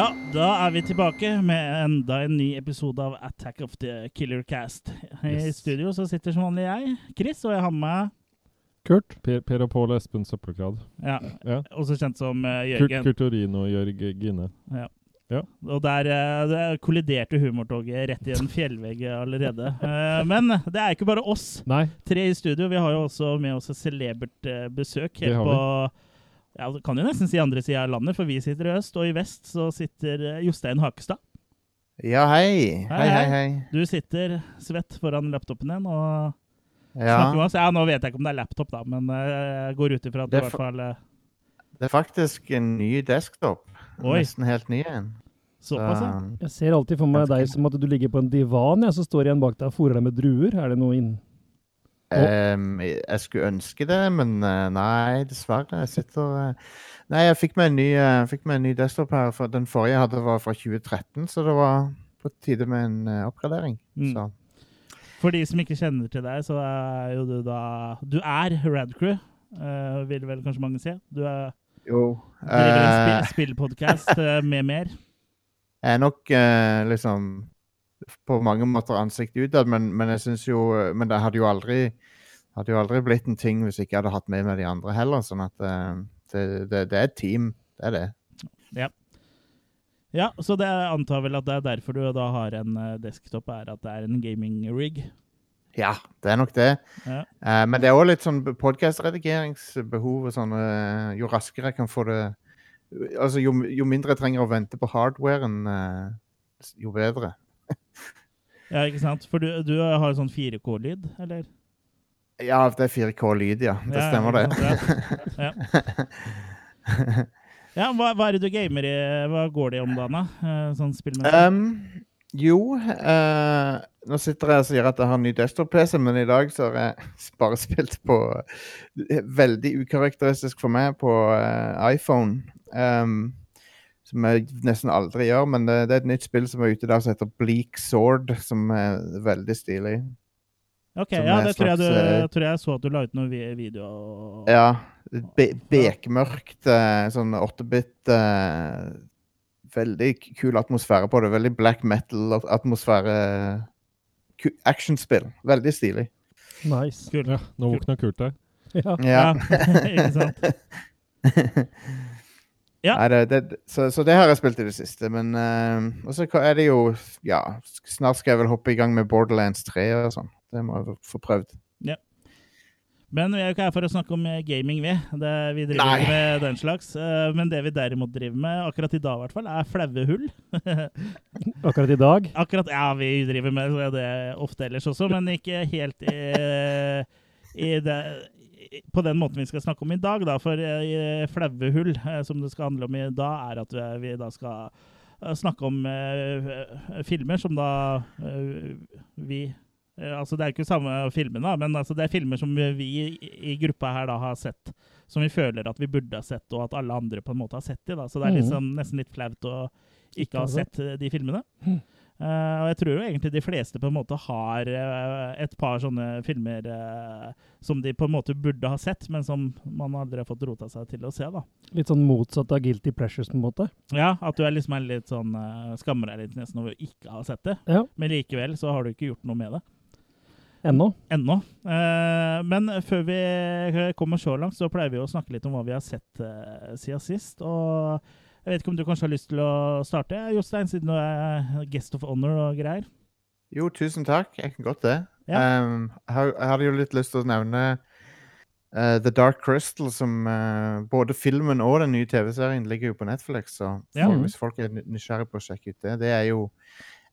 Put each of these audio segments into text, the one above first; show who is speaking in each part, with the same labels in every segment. Speaker 1: er vi tilbake med enda en ny episode av Attack of the Killer Cast. I
Speaker 2: Yes.
Speaker 1: studio så sitter som vanlig jeg, Chris, og jeg har med
Speaker 2: Kurt. Per, per og Pål Espen Søppelgrad.
Speaker 1: ja,
Speaker 2: Ja.
Speaker 1: også kjent som eh,
Speaker 2: Kurt,
Speaker 1: Jørgen.
Speaker 2: Kurt Orin og Jørg Gine.
Speaker 1: Og der, eh, der kolliderte humortoget rett i en fjellvegg allerede. Eh, men det er ikke bare oss
Speaker 2: Nei,
Speaker 1: tre i studio. Vi har jo også med oss et celebert eh, besøk
Speaker 2: Det
Speaker 1: helt
Speaker 2: har
Speaker 1: på ja, du kan jo nesten si andre sida av landet, for vi sitter i øst, og i vest så sitter eh, Jostein Hakestad.
Speaker 3: Ja,
Speaker 1: Hei,
Speaker 3: hei. Hei, hei, hei.
Speaker 1: Du sitter svett foran laptopen din og Snakker med
Speaker 3: Ja,
Speaker 1: oss. Sånn Ja, nå vet jeg ikke om det er laptop, da, men eh, jeg går ut ifra at du
Speaker 3: Det
Speaker 1: i
Speaker 3: er
Speaker 1: hvert
Speaker 3: for-
Speaker 1: fall eh,
Speaker 3: det er faktisk en ny desktop.
Speaker 1: Oi.
Speaker 3: Nesten helt ny en. Um,
Speaker 1: Såpass, ja.
Speaker 3: Så,
Speaker 4: Jeg ser alltid for meg
Speaker 3: Ganske
Speaker 4: deg som at du ligger på en divan, jeg, så står en bak deg og fôrer deg med druer. Er det noe inn...
Speaker 3: ehm, jeg skulle ønske det, men eh, nei, dessverre. Jeg sitter eh, Nei, jeg fikk meg en ny, eh, fikk meg en ny desktop her. For den forrige jeg hadde, var fra 2013, så det var på tide med en eh, oppgradering.
Speaker 1: Mm.
Speaker 3: Så.
Speaker 1: For de som ikke kjenner til deg, så er jo du da Du er Radcrew, eh, vil vel kanskje mange si. Du er,
Speaker 3: Jo.
Speaker 1: driver en
Speaker 3: eh,
Speaker 1: spi- spillpodkast eh, med mer.
Speaker 3: Jeg er nok eh, liksom på mange måter ansiktet utad, men, men jeg synes jo Men det hadde jo aldri hadde jo aldri blitt en ting hvis jeg ikke hadde hatt med meg de andre heller. Sånn at eh, det, det, det er et team. Det er det.
Speaker 1: Ja, Så det jeg antar vel at det er derfor du da har en eh, desktop, er at det er en gaming-rig.
Speaker 3: Ja, det er nok det.
Speaker 1: Ja.
Speaker 3: Eh, men det er òg litt sånn podkastredigeringsbehov og sånn eh, Jo raskere jeg kan få det Altså, jo, jo mindre jeg trenger å vente på hardwaren, eh, jo bedre.
Speaker 1: Ja, ikke sant? For du, du har jo sånn 4K-lyd, eller?
Speaker 3: Ja, det er 4K-lyd, ja. Det
Speaker 1: Ja,
Speaker 3: stemmer, det.
Speaker 1: ikke sant, Ja. Ja. Ja, hva, hva er det du gamer i? Hva går det i om dagen, da? Eh, Sånn spillmessig?
Speaker 3: Ehm, jo eh, Nå sitter jeg og sier at jeg har en ny desktop-PC, men i dag så har jeg bare spilt på eh, Veldig ukarakteristisk for meg på eh, iPhone. ehm, som jeg nesten aldri gjør, men det, det er et nytt spill som er ute der som heter Bleak Sword, som er veldig stilig.
Speaker 1: Ok,
Speaker 3: Som
Speaker 1: ja,
Speaker 3: er
Speaker 1: det
Speaker 3: et
Speaker 1: tror jeg, du,
Speaker 3: slags, eh,
Speaker 1: tror jeg så at du la ut noen vi- videoer.
Speaker 3: Ja. Be bekmørkt, eh, sånn 8-bit eh, Veldig k- kul atmosfære på det. Veldig black metal-atmosfære. Ku- Actionspill. Veldig stilig.
Speaker 4: Nice.
Speaker 1: Kult.
Speaker 2: ja, nå våkna Kurt der.
Speaker 4: Ja.
Speaker 3: Ja.
Speaker 1: ikke sant? Ja.
Speaker 3: Nei, det, det, så, så det har jeg spilt i det siste. Men eh, Og så er det jo Ja, snart skal jeg vel hoppe i gang med Borderlands 3 og sånn. Det må jeg få prøvd.
Speaker 1: Men vi er jo ikke her for å snakke om eh, gaming, vi. Det, vi driver
Speaker 3: Nei.
Speaker 1: ikke med den slags. Eh, Men det vi derimot driver med, akkurat i dag i hvert fall, er flaue hull.
Speaker 4: Akkurat i dag.
Speaker 1: Akkurat, ja, vi driver med det ofte ellers også, men ikke helt i, i det i- på den måten vi skal snakke om i dag, da, for eh, i flaue hull, eh, som det skal handle om i dag, er at eh, vi da skal eh, snakke om eh, filmer som da eh, vi eh, Altså, det er ikke samme filmen, da, men altså, det er filmer som vi i, i gruppa her da har sett, som vi føler at vi burde ha sett, og at alle andre på en måte har sett de, da. Så det er
Speaker 4: Mhm.
Speaker 1: liksom nesten litt flaut å ikke ha sett eh, de filmene. Eh, og jeg tror jo egentlig de fleste på en måte har eh, et par sånne filmer eh, som de på en måte burde ha sett, men som man aldri har fått rota seg til å se. da.
Speaker 4: Litt sånn motsatt av guilty pleasures, på en måte.
Speaker 1: Ja, At du er liksom er litt sånn, eh, skammer deg litt nesten over å ikke ha sett det,
Speaker 4: Ja.
Speaker 1: men likevel så har du ikke gjort noe med det
Speaker 4: Ennå.
Speaker 1: ennå. Eh, men før vi eh, kommer så langt, så pleier vi å snakke litt om hva vi har sett eh, siden sist. og... Jeg vet ikke om du kanskje har lyst til å starte, Jostein, siden du er eh, guest of honor og greier.
Speaker 3: Jo, tusen takk. Jeg kan godt det.
Speaker 1: Ja.
Speaker 3: Um, jeg har- jeg hadde jo litt lyst til å nevne uh, The Dark Crystal, som uh, både filmen og den nye TV-serien ligger jo på Netflix. Så
Speaker 1: Ja. Mm.
Speaker 3: folk, hvis folk er ny- nysgjerrig på å sjekke ut det, det er jo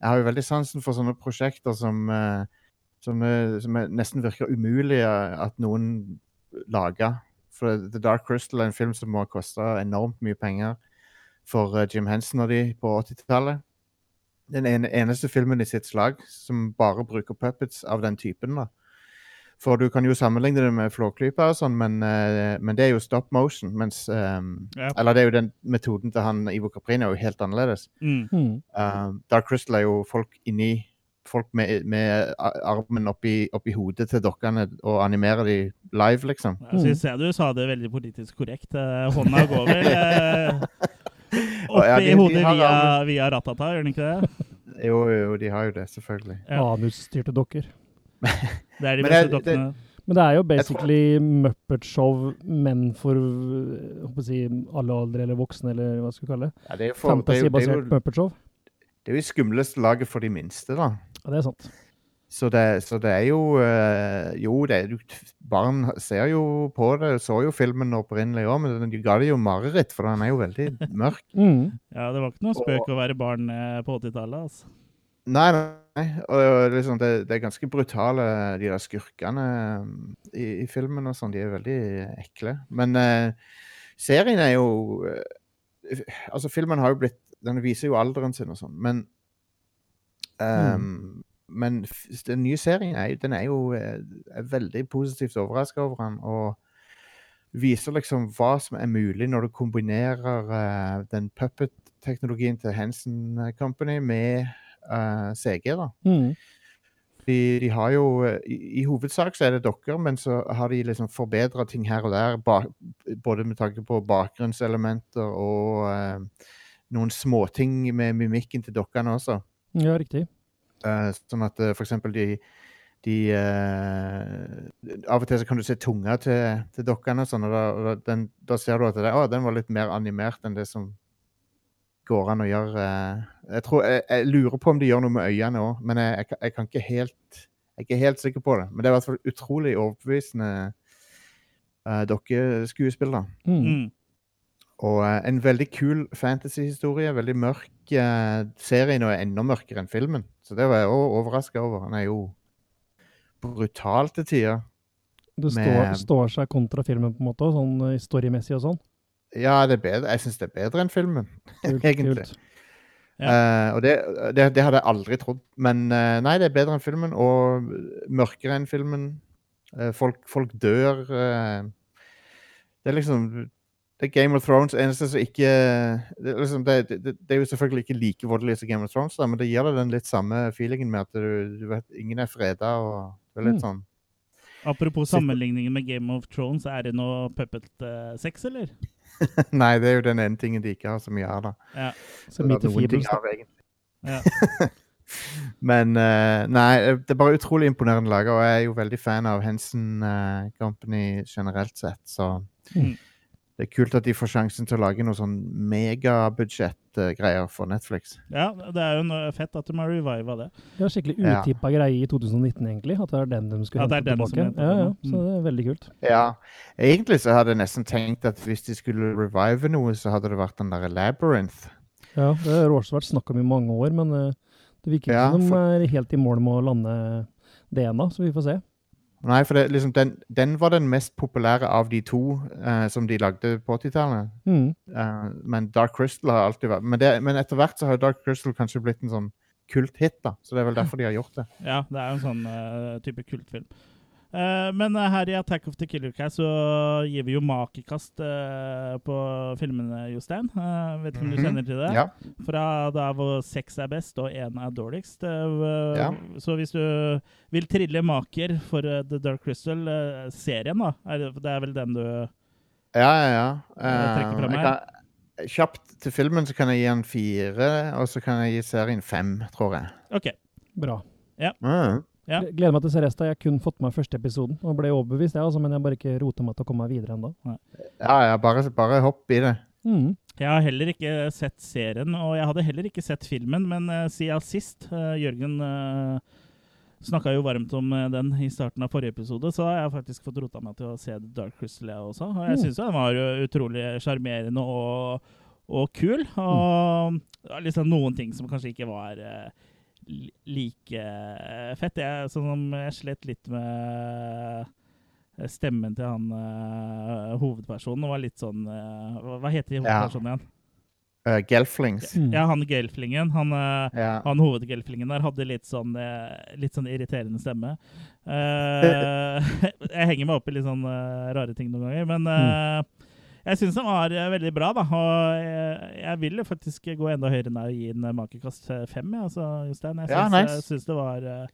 Speaker 3: Jeg har jo veldig sansen for sånne prosjekter som, uh, som, uh, som er- nesten virker umulige at noen lager. For The Dark Crystal er en film som må ha kosta enormt mye penger for uh, Jim Henson og de på 80-tallet den ene, eneste filmen i sitt slag som bare bruker puppets av den typen. da. For du kan jo sammenligne det med Flåklypa og sånn, men, eh, men det er jo stop motion. Mens ehm,
Speaker 1: Ja.
Speaker 3: Eller det er jo den metoden til han Ivo Caprini er jo helt annerledes.
Speaker 1: Mm.
Speaker 4: Mm.
Speaker 3: Um, Dark Crystal er jo folk inni Folk med, med a- armen oppi, oppi hodet til dokkene og animerer de live, liksom.
Speaker 1: Jeg syns jeg du sa det veldig politisk korrekt. Eh, Hånda går vel eh, Opp
Speaker 3: Ja, de-
Speaker 1: i hodet
Speaker 3: de har
Speaker 1: via,
Speaker 3: alle-
Speaker 1: via Ratata, gjør den ikke det?
Speaker 3: Jo, jo, de har jo det, selvfølgelig.
Speaker 1: Ja.
Speaker 4: Anusstyrte dokker.
Speaker 1: Det er de
Speaker 3: Men
Speaker 1: beste
Speaker 3: det- det-
Speaker 1: dokkene.
Speaker 4: Men det er jo
Speaker 3: Jeg tror-
Speaker 4: basically Muppet-show, men for øh, håper jeg å si, alle aldre eller voksne, eller hva skal vi kalle det.
Speaker 3: Ja, det er jo for, det er jo, det er
Speaker 4: Fantasy-basert
Speaker 3: jo,
Speaker 4: Muppet-show.
Speaker 3: det er jo i skumleste laget for de minste, da.
Speaker 4: Ja, det er sant.
Speaker 3: Så det, så det er jo eh, Jo, det er, jo- barn ser jo på det, så jo filmen opprinnelig òg, men de ga det jo mareritt, for han er jo veldig mørk.
Speaker 4: Mm.
Speaker 1: Ja, det var ikke noe spøk å være barn eh, på 80-tallet, altså.
Speaker 3: Nei, nei, nei. Og, og liksom, det, det er ganske brutale, de der skurkene eh, i, i filmen og sånn. De er veldig ekle. Men eh, serien er jo eh, Altså, filmen har jo blitt Den viser jo alderen sin og sånn, men eh, Men f- den nye serien er, jo- den er jo eh, er veldig positivt overraska over den. Og viser liksom hva som er mulig når du kombinerer eh, den puppet-teknologien til Henson Company med eh, CG. da.
Speaker 4: Mm.
Speaker 3: De, de har jo eh, i, I hovedsak så er det dokker, men så har de liksom forbedra ting her og der. Ba, både med tanke på bakgrunnselementer og eh, noen småting med mimikken til dokkene også.
Speaker 4: Ja, riktig.
Speaker 3: Eh, sånn at eh, for eksempel de, de eh, Av og til så kan du se tunga til, til dokkene, og sånn, og da, og da- den, da ser du at det, å, den var litt mer animert enn det som går an å gjøre. eh. Jeg, tror, jeg, jeg lurer på om de gjør noe med øynene òg, men jeg, jeg, kan- jeg kan ikke helt jeg er ikke helt sikker på det. Men det er i hvert fall utrolig overbevisende uh, dokkeskuespill. da.
Speaker 4: Mm.
Speaker 1: Mm.
Speaker 3: Og eh, en veldig kul fantasyhistorie. Veldig mørk. eh, serien er enda mørkere enn filmen, så det var jeg òg overraska over. Han er jo brutal til tider.
Speaker 4: Det står,
Speaker 3: Med-
Speaker 4: står seg kontra filmen, på en måte, sånn øh, storymessig og sånn.
Speaker 3: Ja, det er bedre. jeg syns det er bedre enn filmen,
Speaker 4: Kult,
Speaker 3: egentlig.
Speaker 4: kult.
Speaker 3: Eh, og det, det, det hadde jeg aldri trodd. Men eh, nei, det er bedre enn filmen, og mørkere enn filmen. Eh, folk, folk dør. eh. det er liksom det er Game of Thrones eneste som ikke det, er liksom, det, det, det er jo selvfølgelig ikke like voldelig som Game of Thrones, da, men det gir deg den litt samme feelingen med at du, du vet, ingen er freda. og det er litt sånn.
Speaker 1: Apropos sammenligningen med Game of Thrones, er det noe puppet-sex, eller?
Speaker 3: Nei, det er jo den ene tingen de ikke har så mye av. da.
Speaker 4: Så midt i
Speaker 3: noen ting
Speaker 4: Feebles, da.
Speaker 3: av, egentlig.
Speaker 1: Ja.
Speaker 3: Men eh, nei, det er bare utrolig imponerende laga, og jeg er jo veldig fan av Henson eh, Company generelt sett, så
Speaker 1: Mm.
Speaker 3: det er kult at de får sjansen til å lage noen sånn megabudsjettgreier for Netflix.
Speaker 1: ja, det er jo noe fett at de har reviva det.
Speaker 4: Det var skikkelig
Speaker 3: Ja.
Speaker 4: utippa greie i 2019, egentlig. At det er den de skulle
Speaker 1: At det
Speaker 4: hente
Speaker 1: er Mm. den som
Speaker 4: tilbake.
Speaker 1: henter
Speaker 4: Ja, ja.
Speaker 1: den, ja.
Speaker 4: Så det er veldig kult.
Speaker 3: Ja, egentlig så hadde jeg nesten tenkt at hvis de skulle revive noe, så hadde det vært den derre Labyrinth.
Speaker 4: Ja, det har også vært snakk om i mange år, men øh, det virker ikke
Speaker 3: Ja,
Speaker 4: som de
Speaker 3: for-
Speaker 4: er helt i mål med å lande det ennå, så vi får se.
Speaker 3: Nei, for det, er liksom, den, den var den mest populære av de to eh, som de lagde på 80-tallet.
Speaker 4: Mm.
Speaker 3: Eh, men Dark Crystal har alltid vært Men, det, men etter hvert så har Dark Crystal kanskje blitt en sånn kulthit, da. Så det er vel derfor de har gjort det.
Speaker 1: Ja, det er jo en sånn eh, type kultfilm. Eh, men eh, her i Attack of the Killer Cast så gir vi jo makekast eh, på filmene, Jostein. Eh, vet ikke om du
Speaker 3: Mhm.
Speaker 1: kjenner til det?
Speaker 3: Ja.
Speaker 1: Fra da hvor seks er best og én er dårligst. Eh,
Speaker 3: Ja.
Speaker 1: Så hvis du vil trille maker for eh, The Dark Crystal-serien, da er det, det er vel den du
Speaker 3: Ja, ja, ja.
Speaker 1: Jeg trekker
Speaker 3: Eh,
Speaker 1: frem
Speaker 3: jeg
Speaker 1: her.
Speaker 3: kan, kjapt til filmen så kan jeg gi den fire, og så kan jeg gi serien fem, tror jeg.
Speaker 1: OK.
Speaker 4: Bra.
Speaker 3: Mm.
Speaker 1: Ja.
Speaker 4: Gle- Gleder meg til å se resten. Jeg har kun fått med meg første episoden og ble overbevist, jeg, altså, men jeg bare ikke rota meg til å komme meg videre ennå.
Speaker 3: Ja, ja, bare, bare hopp i det.
Speaker 4: Mm.
Speaker 1: Jeg har heller ikke sett serien, og jeg hadde heller ikke sett filmen, men eh, siden sist eh, Jørgen uh, snakka jo varmt om eh, den i starten av forrige episode, så har jeg faktisk fått rota meg til å se The Dark Crystal, jeg også. Og jeg
Speaker 4: Mm.
Speaker 1: syns jo den var jo utrolig sjarmerende og, og kul.
Speaker 4: Mm.
Speaker 1: Og det var liksom noen ting som kanskje ikke var eh, li- like eh, fett. Jeg, sånn som jeg slet litt med stemmen til han eh, hovedpersonen. og var litt sånn eh, hva- Hva heter hovedpersonen igjen?
Speaker 3: Eh, Gelflings.
Speaker 4: Mm.
Speaker 1: Ja, han gelflingen. Han, eh,
Speaker 3: Ja.
Speaker 1: han hovedgelflingen der hadde litt sånn, eh, litt sånn irriterende stemme. Eh, jeg henger meg opp i litt sånn eh, rare ting noen ganger, men eh, jeg syns den var eh, veldig bra, da. Og jeg, jeg vil jo faktisk gå enda høyere enn å gi den eh, makekast eh, fem, ja, altså, Jostein. Jeg
Speaker 3: Ja,
Speaker 1: syns,
Speaker 3: nice.
Speaker 1: jeg syns det var eh,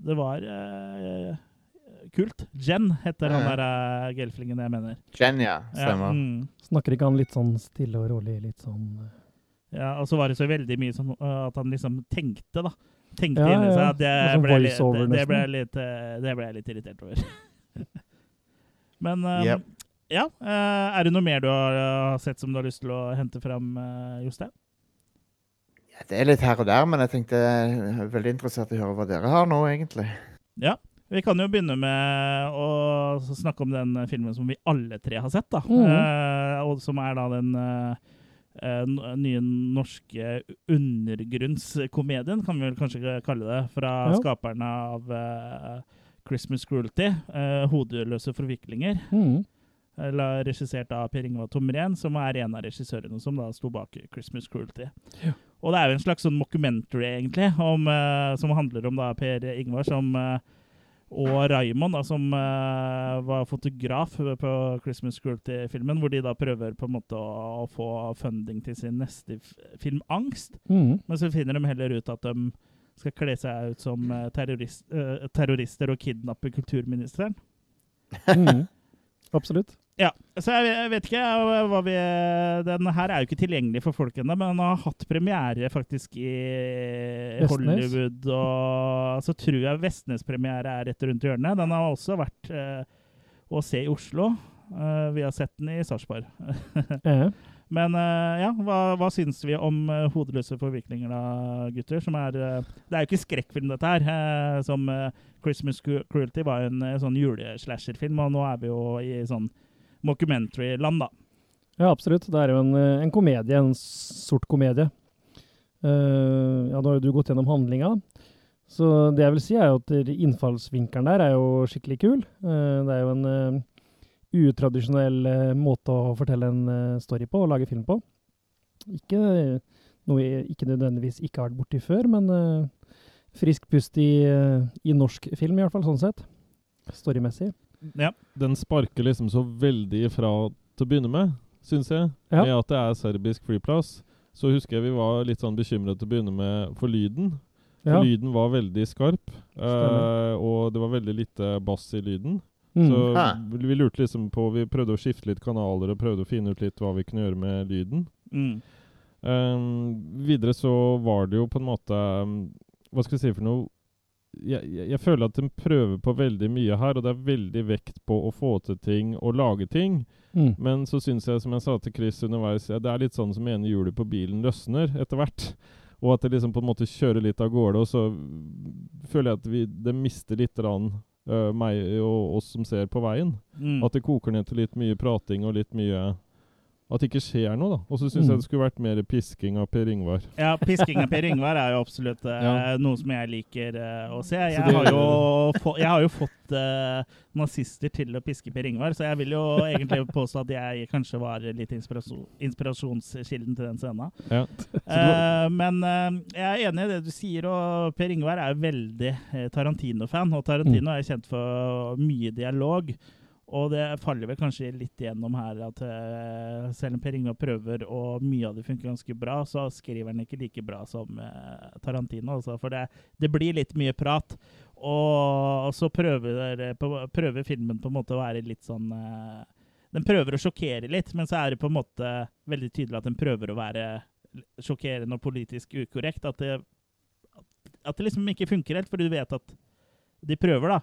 Speaker 1: Det var eh, kult. Jen heter han der eh, gelflingen jeg mener.
Speaker 3: Jen, ja.
Speaker 1: Ja,
Speaker 3: Stemmer.
Speaker 1: mm.
Speaker 4: Snakker ikke han litt sånn stille og rolig, litt sånn eh,
Speaker 1: ja, og så var det så veldig mye sånn eh, at han liksom tenkte, da. Tenkte
Speaker 4: Ja,
Speaker 1: inni seg
Speaker 4: ja.
Speaker 1: at det
Speaker 4: Sånn
Speaker 1: ble, litt,
Speaker 4: voiceover
Speaker 1: det, ble
Speaker 4: nesten.
Speaker 1: litt, eh, det ble jeg litt irritert over. Men eh,
Speaker 3: Yep.
Speaker 1: ja, eh, er det noe mer du har eh, sett som du har lyst til å hente fram, eh, Jostein?
Speaker 3: Ja, Det er litt her og der, men jeg tenkte jeg er veldig interessert i å høre hva dere har nå, egentlig.
Speaker 1: Vi kan jo begynne med å snakke om den filmen som vi alle tre har sett, da.
Speaker 4: Mhm.
Speaker 1: Eh, og som er da den eh, eh, n- nye norske undergrunnskomedien, kan vi vel kanskje kalle det, fra
Speaker 4: Ja.
Speaker 1: skaperne av eh, Christmas Cruelty, eh, 'Hodeløse forviklinger',
Speaker 4: mm.
Speaker 1: eller regissert av Per Ingvar Tomren, som er en av regissørene som da sto bak 'Christmas Cruelty'.
Speaker 4: Ja.
Speaker 1: Og det er jo en slags sånn mockumentary, egentlig, om, eh, som handler om da Per Ingvar som eh, og Raymond, da, som eh, var fotograf på 'Christmas Cruelty'-filmen, hvor de da prøver på en måte å, å få funding til sin neste f film 'Angst'.
Speaker 4: Mm.
Speaker 1: Men så finner de heller ut at de skal kle seg ut som eh, terrorist, eh, terrorister og kidnappe kulturministeren.
Speaker 4: Mm. Absolutt.
Speaker 1: Ja, så jeg, jeg vet ikke eh, hva vi Den her er jo ikke tilgjengelig for folk ennå, men den har hatt premiere faktisk i
Speaker 4: Vestnes?
Speaker 1: Hollywood. Og så tror jeg Vestnes-premiere er rett rundt hjørnet. Den har også vært eh, å se i Oslo. Eh, vi har sett den i Sarpsborg.
Speaker 4: Eh.
Speaker 1: Men eh, ja, hva, hva syns vi om eh, hodeløse forviklinger da, gutter? Som er eh, Det er jo ikke skrekkfilm, dette her. eh, som eh, 'Christmas Cru- Cruelty' var jo en eh, sånn juleslasherfilm, og nå er vi jo i sånn mockumentary-land, da.
Speaker 4: Ja, absolutt. Det er jo en, eh, en komedie, en sort komedie. Eh, ja, nå har jo du gått gjennom handlinga. Så det jeg vil si er jo at eh, innfallsvinkelen der er jo skikkelig kul. Eh, det er jo en eh, utradisjonell eh, måte å fortelle en eh, story på og lage film på. Ikke eh, noe jeg ikke nødvendigvis ikke har vært borti før, men eh, frisk pust i, eh, i norsk film i hvert fall, sånn sett. Storymessig.
Speaker 2: Den sparker liksom så veldig ifra til å begynne med, syns jeg.
Speaker 4: Ja.
Speaker 2: Med at det er serbisk flyplass. Så husker jeg vi var litt sånn bekymra til å begynne med for lyden. For
Speaker 4: Ja.
Speaker 2: lyden var veldig skarp, eh,
Speaker 4: Stemmer.
Speaker 2: og det var veldig lite bass i lyden. Så
Speaker 4: Mm.
Speaker 3: Hæ.
Speaker 2: vi- vi lurte liksom på Vi prøvde å skifte litt kanaler og prøvde å finne ut litt hva vi kunne gjøre med lyden.
Speaker 1: Mm.
Speaker 2: Ehm, videre så var det jo på en måte ehm, Hva skal jeg si for noe jeg, jeg, jeg føler at de prøver på veldig mye her, og det er veldig vekt på å få til ting og lage ting.
Speaker 4: Mm.
Speaker 2: Men så syns jeg, som jeg sa til Chris underveis, ja, det er litt sånn som ene hjulet på bilen løsner etter hvert. Og at det liksom på en måte kjører litt av gårde, og så føler jeg at vi, det mister litt rann, øh, meg og oss som ser på veien.
Speaker 1: Mm.
Speaker 2: At det koker ned til litt mye prating og litt mye At det ikke skjer noe, da. Og så syns
Speaker 4: Mm.
Speaker 2: jeg det skulle vært mer pisking av Per Ingvar.
Speaker 1: Ja, pisking av Per Yngvar er jo absolutt eh,
Speaker 2: Ja.
Speaker 1: noe som jeg liker eh, å se. Jeg
Speaker 2: det-
Speaker 1: har jo, få, jeg har jo fått eh, nazister til å piske Per Yngvar, så jeg vil jo egentlig påstå at jeg kanskje var litt inspirasjon, inspirasjonskilden til den scenen.
Speaker 2: Ja.
Speaker 1: Eh, men eh, jeg er enig i det du sier, og Per Yngvar er jo veldig eh, Tarantino-fan, og Tarantino er kjent for mye dialog. Og det faller vel kanskje litt igjennom her at eh, selv om Per Ingvar prøver, og mye av det funker ganske bra, så skriver han ikke like bra som eh, Tarantino. Altså, for det, det blir litt mye prat. Og så prøver, det på, prøver filmen på en måte å være litt sånn eh, Den prøver å sjokkere litt, men så er det på en måte veldig tydelig at den prøver å være sjokkerende og politisk ukorrekt. At det, at det liksom ikke funker helt, for du vet at de prøver, da.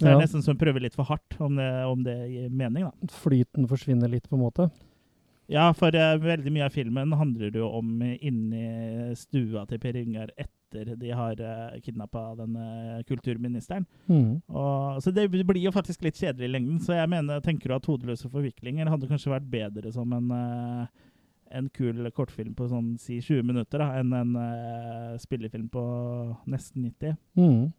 Speaker 1: Så det
Speaker 4: Ja.
Speaker 1: er nesten som å prøve litt for hardt, om det, om det gir mening, da.
Speaker 4: Flyten forsvinner litt, på en måte.
Speaker 1: Ja, for eh, veldig mye av filmen handler jo om eh, inni stua til Per Yngvar etter de har uh, kidnappa den eh, kulturministeren.
Speaker 4: Mm.
Speaker 1: Og, så det blir jo faktisk litt kjedelig i lengden, så jeg mener, tenker du at 'Hodeløse forviklinger' hadde kanskje vært bedre som en, eh, en kul kortfilm på sånn si 20 minutter, da, enn en eh, spillefilm på nesten 90.
Speaker 4: Mm.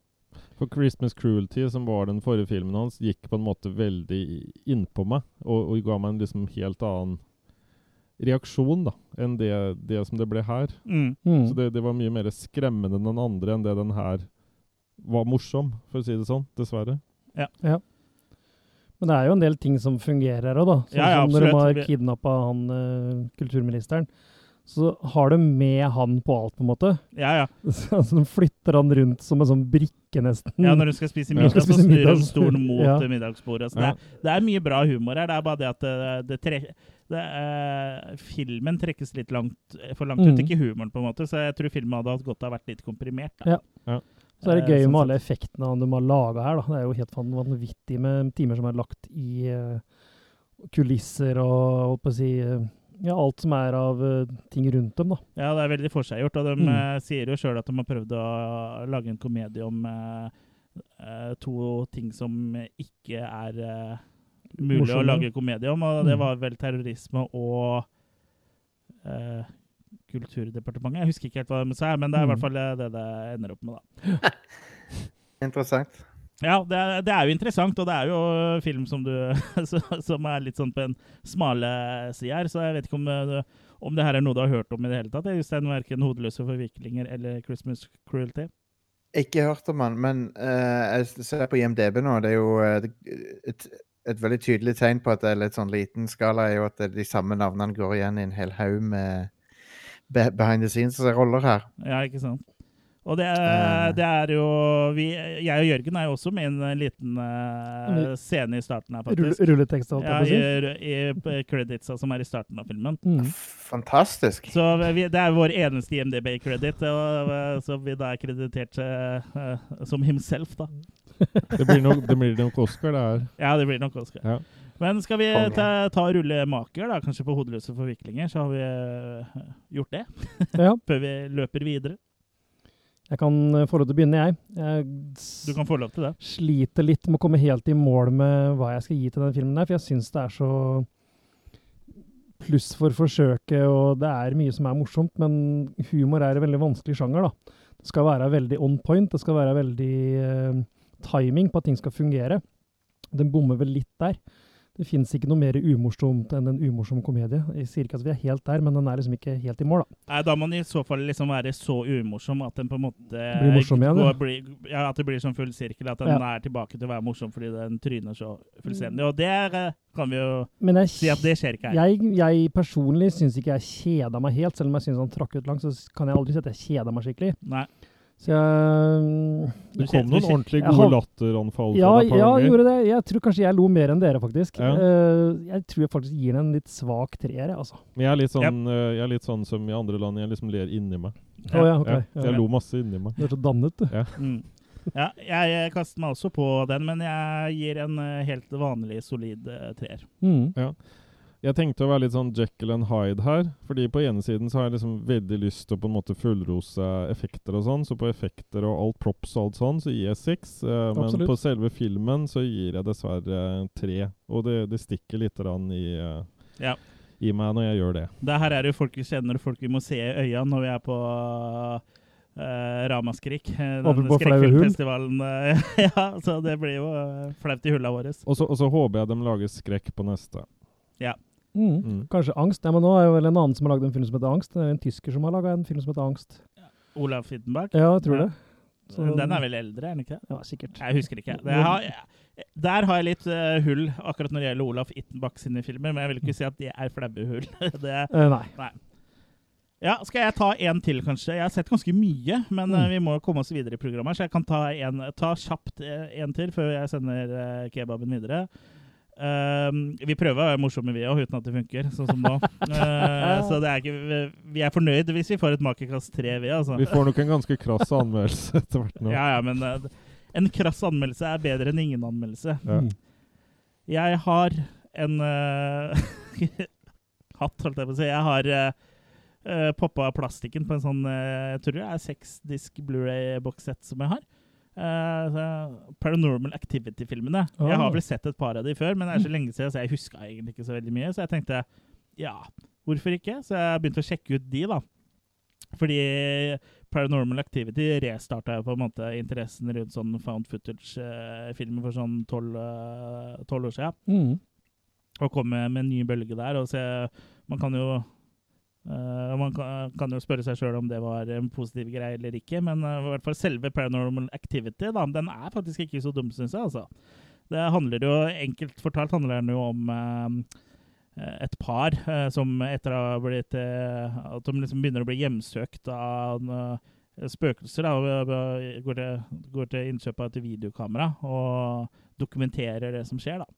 Speaker 2: For 'Christmas Cruelty', som var den forrige filmen hans, gikk på en måte veldig innpå meg, og, og ga meg en liksom helt annen reaksjon da, enn det, det som det ble her.
Speaker 1: Mm.
Speaker 4: Mm.
Speaker 2: Så det, det var mye mer skremmende enn den andre, enn det den her var morsom, for å si det sånn, dessverre.
Speaker 4: Men det er jo en del ting som fungerer her òg, da. Sånn
Speaker 1: Ja, ja,
Speaker 4: som når de
Speaker 1: absolutt.
Speaker 4: har
Speaker 1: Vi-
Speaker 4: kidnappa han eh, kulturministeren. så har de med han på alt, på en måte.
Speaker 1: Ja, ja.
Speaker 4: Så altså, de flytter han rundt som en sånn brikke, nesten.
Speaker 1: ja når du skal spise
Speaker 2: Ja.
Speaker 1: middag, så
Speaker 4: Spise
Speaker 1: snur
Speaker 4: middag,
Speaker 1: du
Speaker 4: så-
Speaker 1: stolen mot
Speaker 4: Ja.
Speaker 1: eh, middagsbordet. Så
Speaker 2: Ja.
Speaker 1: det, er, det er mye bra humor her. Det er bare det at det, det, tre, det eh, Filmen trekkes litt langt, eh, for langt ut.
Speaker 4: Mhm.
Speaker 1: Ikke humoren, på en måte, så jeg tror filmen hadde hatt godt av å vært litt komprimert. Da.
Speaker 4: Ja.
Speaker 2: Ja.
Speaker 4: Så er
Speaker 1: Eh,
Speaker 4: det gøy
Speaker 1: sånn
Speaker 4: med alle effektene han de har laga her. Da. Det er jo helt fan- vanvittig med timer som er lagt i eh, kulisser og holdt på å si eh, ja, alt som er av eh, ting rundt dem. da.
Speaker 1: Ja, det er veldig forseggjort. Og de
Speaker 4: Mm.
Speaker 1: eh, sier jo sjøl at de har prøvd å lage en komedie om eh, eh, to ting som ikke er eh, mulig å
Speaker 4: Morsomme.
Speaker 1: lage komedie om, og det
Speaker 4: Mm.
Speaker 1: var vel terrorisme og eh, Kulturdepartementet. Jeg husker ikke helt hva de sa, men det er i
Speaker 4: Mm.
Speaker 1: hvert fall eh, det det ender opp med, da.
Speaker 3: Interessant.
Speaker 1: Ja, det er, det er jo interessant, og det er jo film som du Som er litt sånn på en smale side her, så jeg vet ikke om det, om det her er noe du har hørt om i det hele tatt. eh, Jostein, verken 'Hodeløse forviklinger' eller 'Christmas Cruelty'.
Speaker 3: Ikke hørt om han, men eh, jeg ser på IMDb nå. Det er jo eh, det- et, et veldig tydelig tegn på at det er litt sånn liten skala, er jo at det er de samme navnene går igjen i en hel haug med be behind the scenes-roller her.
Speaker 1: Ja, ikke sant? Og det,
Speaker 3: Eh.
Speaker 1: det er jo vi, Jeg og Jørgen er jo også med i en liten eh,
Speaker 4: Mm.
Speaker 1: scene i starten her,
Speaker 4: Rull-
Speaker 1: faktisk.
Speaker 4: Rulletekster, holdt
Speaker 1: Ja,
Speaker 4: jeg på å
Speaker 1: i,
Speaker 4: si.
Speaker 1: i p- creditsa som er i starten av filmen.
Speaker 4: Mm.
Speaker 3: Fantastisk.
Speaker 1: Så vi, det er vår eneste IMDb-credit, som vi da er kreditert eh, eh, som himself, da.
Speaker 2: Det blir nok, det blir nok Oscar, det her.
Speaker 1: Ja, det blir nok Oscar.
Speaker 2: Ja.
Speaker 1: Men skal vi
Speaker 3: Konge.
Speaker 1: ta, ta og rulle maker, da, kanskje på hodeløse forviklinger, så har vi eh, gjort det
Speaker 4: Ja,
Speaker 1: før vi løper videre.
Speaker 4: jeg kan eh, få lov til å begynne, jeg. Jeg s-
Speaker 1: Du kan få lov til det.
Speaker 4: sliter litt med å komme helt i mål med hva jeg skal gi til den filmen der, for jeg syns det er så pluss for forsøket, og det er mye som er morsomt, men humor er en veldig vanskelig sjanger, da. Det skal være veldig on point, det skal være veldig eh, timing på at ting skal fungere. Den bommer vel litt der. Det fins ikke noe mer umorsomt enn en umorsom komedie. Jeg sier ikke at vi er helt der, men den er liksom ikke helt i mål, da.
Speaker 1: Nei, da må den i så fall liksom være så umorsom at den på en måte
Speaker 4: Blir morsom igjen,
Speaker 1: går,
Speaker 4: ja.
Speaker 1: blir, ja, At det blir sånn full sirkel, at den er tilbake til å være morsom fordi den tryner så fullstendig. Og der eh, kan vi jo
Speaker 4: Men jeg
Speaker 1: si at det skjer ikke her.
Speaker 4: Jeg, jeg personlig syns ikke jeg kjeda meg helt, selv om jeg syns han trakk ut langt. Så s- kan jeg aldri si at jeg kjeda meg skikkelig.
Speaker 1: Nei.
Speaker 4: Så jeg
Speaker 2: Det
Speaker 1: kjen-
Speaker 2: kom noen
Speaker 1: kjen-
Speaker 2: ordentlig
Speaker 4: Jeg
Speaker 2: gode
Speaker 4: har-
Speaker 2: latteranfall
Speaker 4: ja,
Speaker 2: fra deg et
Speaker 4: ja,
Speaker 2: par ganger.
Speaker 4: gjorde det. Jeg tror kanskje jeg lo mer enn dere, faktisk.
Speaker 2: Ja.
Speaker 4: Eh, jeg tror jeg faktisk gir den en litt svak treer, jeg, altså.
Speaker 2: Men jeg er, litt sånn, eh, jeg er litt sånn som i andre land, jeg liksom ler inni meg.
Speaker 4: Å ja, ok.
Speaker 2: Ja,
Speaker 4: Ja.
Speaker 2: jeg lo masse inni meg.
Speaker 4: Du er så dannet, du.
Speaker 1: Mm. Ja, jeg eh, kaster meg også på den, men jeg gir en eh, helt vanlig solid eh, treer.
Speaker 4: Mm.
Speaker 2: Jeg tenkte å være litt sånn Jekyll and Hyde her. Fordi på ene siden så har jeg liksom veldig lyst til å på en måte fullrose effekter og sånn. Så på effekter og alt props og alt sånn, så gir jeg seks. eh, men
Speaker 4: Absolutt.
Speaker 2: på selve filmen så gir jeg dessverre eh, tre. Og det, det stikker litt grann i, eh,
Speaker 1: Ja.
Speaker 2: i meg når jeg gjør det.
Speaker 1: Det her er jo folk vi kjenner og folk vi må se i øya når vi er på eh, Ramaskrik. eh,
Speaker 4: Oppe
Speaker 1: den
Speaker 4: på Flaue Hull.
Speaker 1: skrekkfilmfestivalen. eh, ja, så det blir jo eh, flaut i hulla våre.
Speaker 2: Og så, og så håper jeg de lager skrekk på neste.
Speaker 4: Mm.
Speaker 2: Mm.
Speaker 4: Kanskje Angst. Nei, men nå er jo vel en annen som har lagd en film som heter Angst. Det er en tysker som har laga en film som heter Angst.
Speaker 1: Olav Fittenberg.
Speaker 4: Ja, jeg tror
Speaker 1: Ja.
Speaker 4: det. Så-
Speaker 1: Den er vel eldre, er den ikke det?
Speaker 4: Ja, sikkert.
Speaker 1: Jeg husker ikke. Det har, der har jeg litt eh, hull akkurat når det gjelder Olaf Ittenbach sine filmer, men jeg vil ikke si at det er flaue hull. det,
Speaker 4: Eh, nei.
Speaker 1: ja, skal jeg ta en til, kanskje? Jeg har sett ganske mye, men
Speaker 2: Mm.
Speaker 1: eh, vi må komme oss videre i programmet, så jeg kan ta, en, ta kjapt eh, en til før jeg sender eh, kebaben videre. Ehm, vi prøver å være morsomme, vi òg, uten at det funker, sånn som nå. Eh, så det er ikke, vi- vi er fornøyd hvis vi får et makekast tre, vi, altså.
Speaker 2: Vi får nok en ganske krass anmeldelse etter hvert nå.
Speaker 1: Ja, ja, men eh, en krass anmeldelse er bedre enn ingen anmeldelse.
Speaker 2: Ja.
Speaker 4: Mm.
Speaker 1: Jeg har en eh, hatt, holdt jeg på å si. Jeg har eh, uh, poppa plastikken på en sånn eh, Jeg tror det er seks disk Blu-ray-bokssett som jeg har. Eh, så Paranormal Activity-filmene. Jeg har
Speaker 4: Ah.
Speaker 1: vel sett et par av de før, men det er så lenge siden, så jeg huska egentlig ikke så veldig mye. Så jeg tenkte ja, hvorfor ikke? Så jeg begynte å sjekke ut de, da. Fordi Paranormal Activity restarta jo på en måte interessen rundt sånn found footage-filmer for sånn tolv eh, tolv år siden
Speaker 4: Mm.
Speaker 1: og komme med en ny bølge der. Og se, man kan jo eh, man kan, kan jo spørre seg sjøl om det var en positiv greie eller ikke, men eh, i hvert fall selve Paranormal Activity da, den er faktisk ikke så dum, syns jeg. altså. Det handler jo, Enkelt fortalt handler den jo om eh, eh, et par eh, som etter å ha blitt eh, At de liksom begynner å bli hjemsøkt av eh, spøkelser. Da, og, eh, går, til, går til innkjøp av et videokamera og dokumenterer det som skjer. da.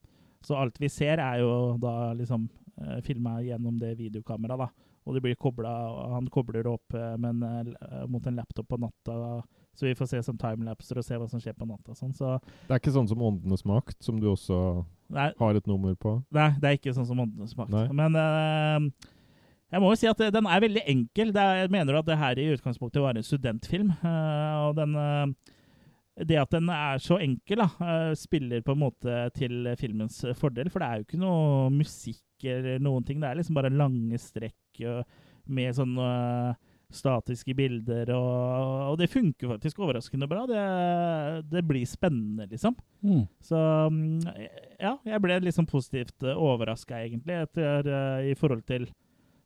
Speaker 1: Så alt vi ser, er jo da liksom filma gjennom det videokameraet. da. Og det blir koblet, og han kobler det opp eh, med en, eh, l- mot en laptop på natta. Så vi får se sånn timelapser og se hva som skjer på natta. og Sånn. Så,
Speaker 2: Det er ikke sånn som Åndenes makt, som du også
Speaker 1: nei,
Speaker 2: har et nummer på.
Speaker 1: Nei, det er ikke sånn som Åndenes makt.
Speaker 2: Nei.
Speaker 1: Men eh, jeg må jo si at eh, den er veldig enkel. Det er, jeg mener at det her i utgangspunktet var en studentfilm. eh, og den, eh, det at den er så enkel, da, eh, spiller på en måte til filmens fordel. For det er jo ikke noe musikk eller noen ting. Det er liksom bare lange strekk eh, med sånn eh, statiske bilder, og, og det funker faktisk overraskende bra. Det, det blir spennende, liksom.
Speaker 4: Mm.
Speaker 1: Så mm, ja, jeg ble liksom positivt overraska, egentlig, etter, eh, i forhold til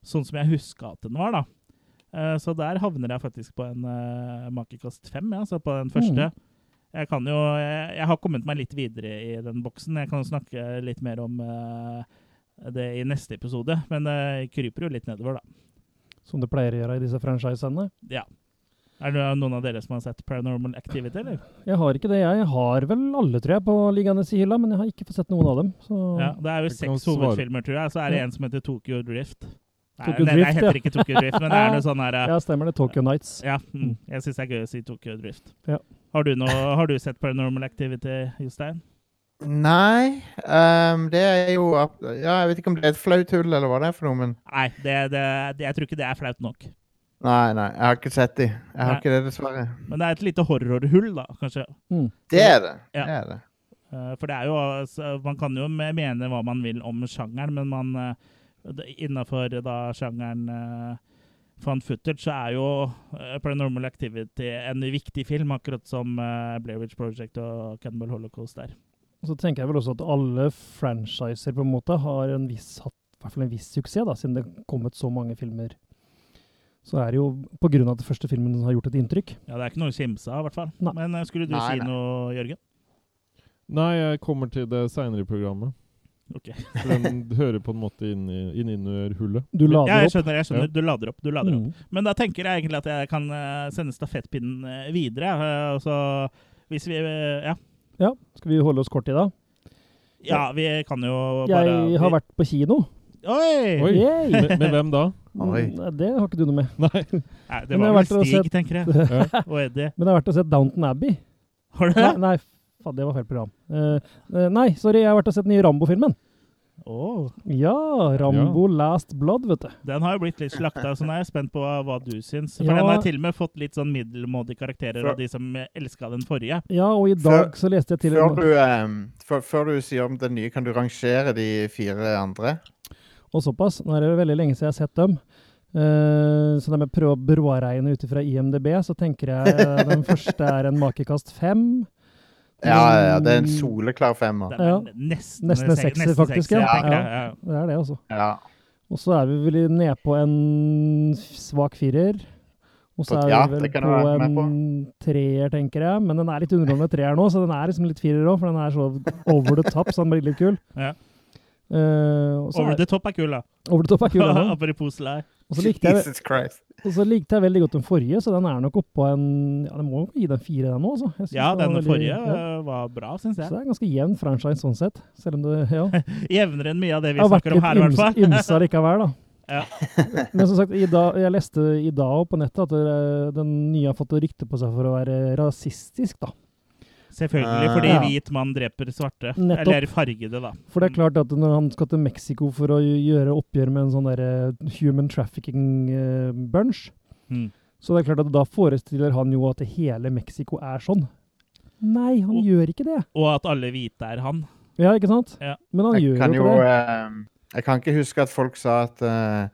Speaker 1: sånn som jeg huska at den var, da. Eh, Så der havner jeg faktisk på en uh, makekast fem, ja, altså på den første. Jeg kan jo jeg, jeg har kommet meg litt videre i den boksen. Jeg kan jo snakke litt mer om eh, det i neste episode, men det kryper jo litt nedover, da.
Speaker 4: Som det pleier å gjøre i disse franchisene.
Speaker 1: Ja. Er det noen av dere som har sett Paranormal Activity, eller?
Speaker 4: Jeg har ikke det, jeg. Jeg har vel alle, tror jeg, på liggende i hylla, men jeg har ikke fått sett noen av dem. Så
Speaker 1: Ja, det er jo
Speaker 2: Jeg kan
Speaker 1: seks
Speaker 2: svare.
Speaker 1: hovedfilmer, tror jeg. Så er det
Speaker 4: Ja.
Speaker 1: en som heter Tokyo Drift. Nei,
Speaker 4: Tokyo
Speaker 1: nei,
Speaker 4: Drift,
Speaker 1: det
Speaker 4: ja.
Speaker 1: heter ikke Tokyo Drift, men det er noe sånn her eh,
Speaker 4: ja, stemmer det. Tokyo Nights.
Speaker 1: Ja, mm, jeg syns det er gøy å si Tokyo Drift.
Speaker 4: Ja.
Speaker 1: Har, du noe, har du sett Paranormal Activity, Jostein?
Speaker 3: Nei. ehm, det er jo ab- Ja, jeg vet ikke om det er et flaut hull, eller hva det er for noe, men
Speaker 1: Nei, det, det, det, jeg tror ikke det er flaut nok.
Speaker 3: Nei, nei. Jeg har ikke sett de. Jeg har
Speaker 1: Nei.
Speaker 3: ikke det, dessverre.
Speaker 1: Men det er et lite horrorhull, da, kanskje.
Speaker 4: Mm.
Speaker 3: Det er det.
Speaker 1: Ja.
Speaker 3: det, er det.
Speaker 1: Eh, For det er jo altså, Man kan jo me- mene hva man vil om sjangeren, men man innafor da sjangeren eh, fan footage, så er jo eh, Paranormal Activity en viktig film, akkurat som eh, Blair Witch Project og Cannibal Holocaust er.
Speaker 4: Og så tenker jeg vel også at alle franchiser på en måte har en viss, hatt i hvert fall en viss suksess, da, siden det har kommet så mange filmer. Så er det jo på grunn av at den første filmen har gjort et inntrykk.
Speaker 1: Ja, det er ikke noe å kimse av, i hvert fall.
Speaker 4: Nei.
Speaker 1: Men eh, skulle du
Speaker 3: Nei,
Speaker 1: si
Speaker 3: nei.
Speaker 1: noe, Jørgen?
Speaker 2: Nei, jeg kommer til det seinere i programmet.
Speaker 1: Ok.
Speaker 2: For den hører på en måte inn i- inn innunder hullet.
Speaker 4: Du lader
Speaker 1: Ja, jeg
Speaker 4: opp.
Speaker 1: skjønner. jeg skjønner. Du lader opp. du lader opp.
Speaker 4: Mm.
Speaker 1: Men da tenker jeg egentlig at jeg kan eh, sende stafettpinnen eh, videre. eh, og så hvis vi eh, Ja,
Speaker 4: Ja, skal vi holde oss kort i dag?
Speaker 1: ja vi kan jo bare
Speaker 4: Jeg har vært på kino.
Speaker 1: Oi!
Speaker 2: Oi!
Speaker 4: Yay!
Speaker 2: Med, med hvem da?
Speaker 3: Oi.
Speaker 4: Mm, Nei, det har ikke du noe med.
Speaker 2: Nei.
Speaker 1: Nei, det
Speaker 4: Men jeg
Speaker 1: var
Speaker 4: har
Speaker 1: vel
Speaker 4: vært og
Speaker 1: Stig,
Speaker 4: sett-
Speaker 1: tenker jeg.
Speaker 2: Ja.
Speaker 1: Og Eddie.
Speaker 4: Men det har vært og sett Downton Abbey.
Speaker 1: Har du det?
Speaker 4: Nei, nei faen, det var feil program. Eh, eh, nei, sorry, jeg har vært og sett den nye Rambo-filmen.
Speaker 1: Åh,
Speaker 4: Ja, Rambo Last Blood, vet du.
Speaker 1: den har jo blitt litt slakta, så nå er jeg spent på hva du syns. For
Speaker 4: Ja.
Speaker 1: den har til og med fått litt sånn middelmådige karakterer
Speaker 3: For-
Speaker 1: av de som elska den forrige.
Speaker 4: Ja, og i dag så leste jeg til
Speaker 3: Før
Speaker 4: og med
Speaker 3: du, ehm, før, før du sier om den nye, kan du rangere de fire andre?
Speaker 4: Og såpass, nå er det jo veldig lenge siden jeg har sett dem. Eh, så da må jeg prøve å bråregne ut ifra IMDb, så tenker jeg eh, den første er en makekast fem.
Speaker 3: Ja, ja, ja, det er en
Speaker 4: Mm.
Speaker 3: soleklar femmer.
Speaker 1: Den er
Speaker 4: Ja.
Speaker 1: nesten,
Speaker 4: Nesten en
Speaker 1: sek-
Speaker 4: sekser,
Speaker 1: nesten
Speaker 4: faktisk, ja.
Speaker 1: tenker
Speaker 4: Ja.
Speaker 1: jeg, ja.
Speaker 4: Det er det, altså.
Speaker 3: Ja.
Speaker 4: Og så er vi vel nede på en svak firer. Og så
Speaker 3: På-
Speaker 4: er
Speaker 3: ja,
Speaker 4: vi vel
Speaker 3: det kan
Speaker 4: på
Speaker 3: jeg være med
Speaker 4: en treer, tenker jeg. Men den er litt underholdende treer nå, så den er liksom litt firer òg, for den er så over the top, så den blir litt kul.
Speaker 1: Ja.
Speaker 4: Eh, og så
Speaker 1: Over
Speaker 4: er,
Speaker 1: the top er kul, da.
Speaker 4: over the top er kul, den også.
Speaker 1: Apropos lei.
Speaker 4: Og så likte jeg,
Speaker 3: Jesus Christ.
Speaker 4: og så likte jeg veldig godt den forrige, så den er nok oppå en Ja, den må jo gi den fire, den òg, altså. Jeg synes
Speaker 1: Ja,
Speaker 4: den var
Speaker 1: denne
Speaker 4: veldig-
Speaker 1: forrige
Speaker 4: ja.
Speaker 1: eh, var bra, syns
Speaker 4: Så
Speaker 1: jeg.
Speaker 4: det er en ganske jevn franchise sånn sett, selv om det ja.
Speaker 1: Jevnere enn mye av det vi
Speaker 4: Jeg har vært
Speaker 1: snakker om
Speaker 4: litt
Speaker 1: her, i hvert
Speaker 4: ymse,
Speaker 1: fall.
Speaker 4: ymse likevel, da.
Speaker 1: Ja.
Speaker 4: Men som sagt, i dag, jeg leste i dag på nettet at eh, den nye har fått rykte på seg for å være rasistisk, da.
Speaker 1: Selvfølgelig, fordi
Speaker 4: Ja.
Speaker 1: hvit mann dreper svarte.
Speaker 4: Nettopp.
Speaker 1: Eller fargede, da.
Speaker 4: For det er klart at når han skal til Mexico for å gjøre oppgjør med en sånn derre human trafficking-bunch,
Speaker 1: Mm.
Speaker 4: så det er klart at da forestiller han jo at hele Mexico er sånn. Nei, han
Speaker 1: Og-
Speaker 4: gjør ikke det.
Speaker 1: Og at alle hvite er han.
Speaker 4: Ja, ikke sant?
Speaker 1: Ja.
Speaker 4: Men han
Speaker 3: Jeg
Speaker 4: gjør
Speaker 3: kan
Speaker 4: jo
Speaker 3: jo
Speaker 4: ikke det.
Speaker 3: ehm, Jeg kan ikke huske at folk sa at eh,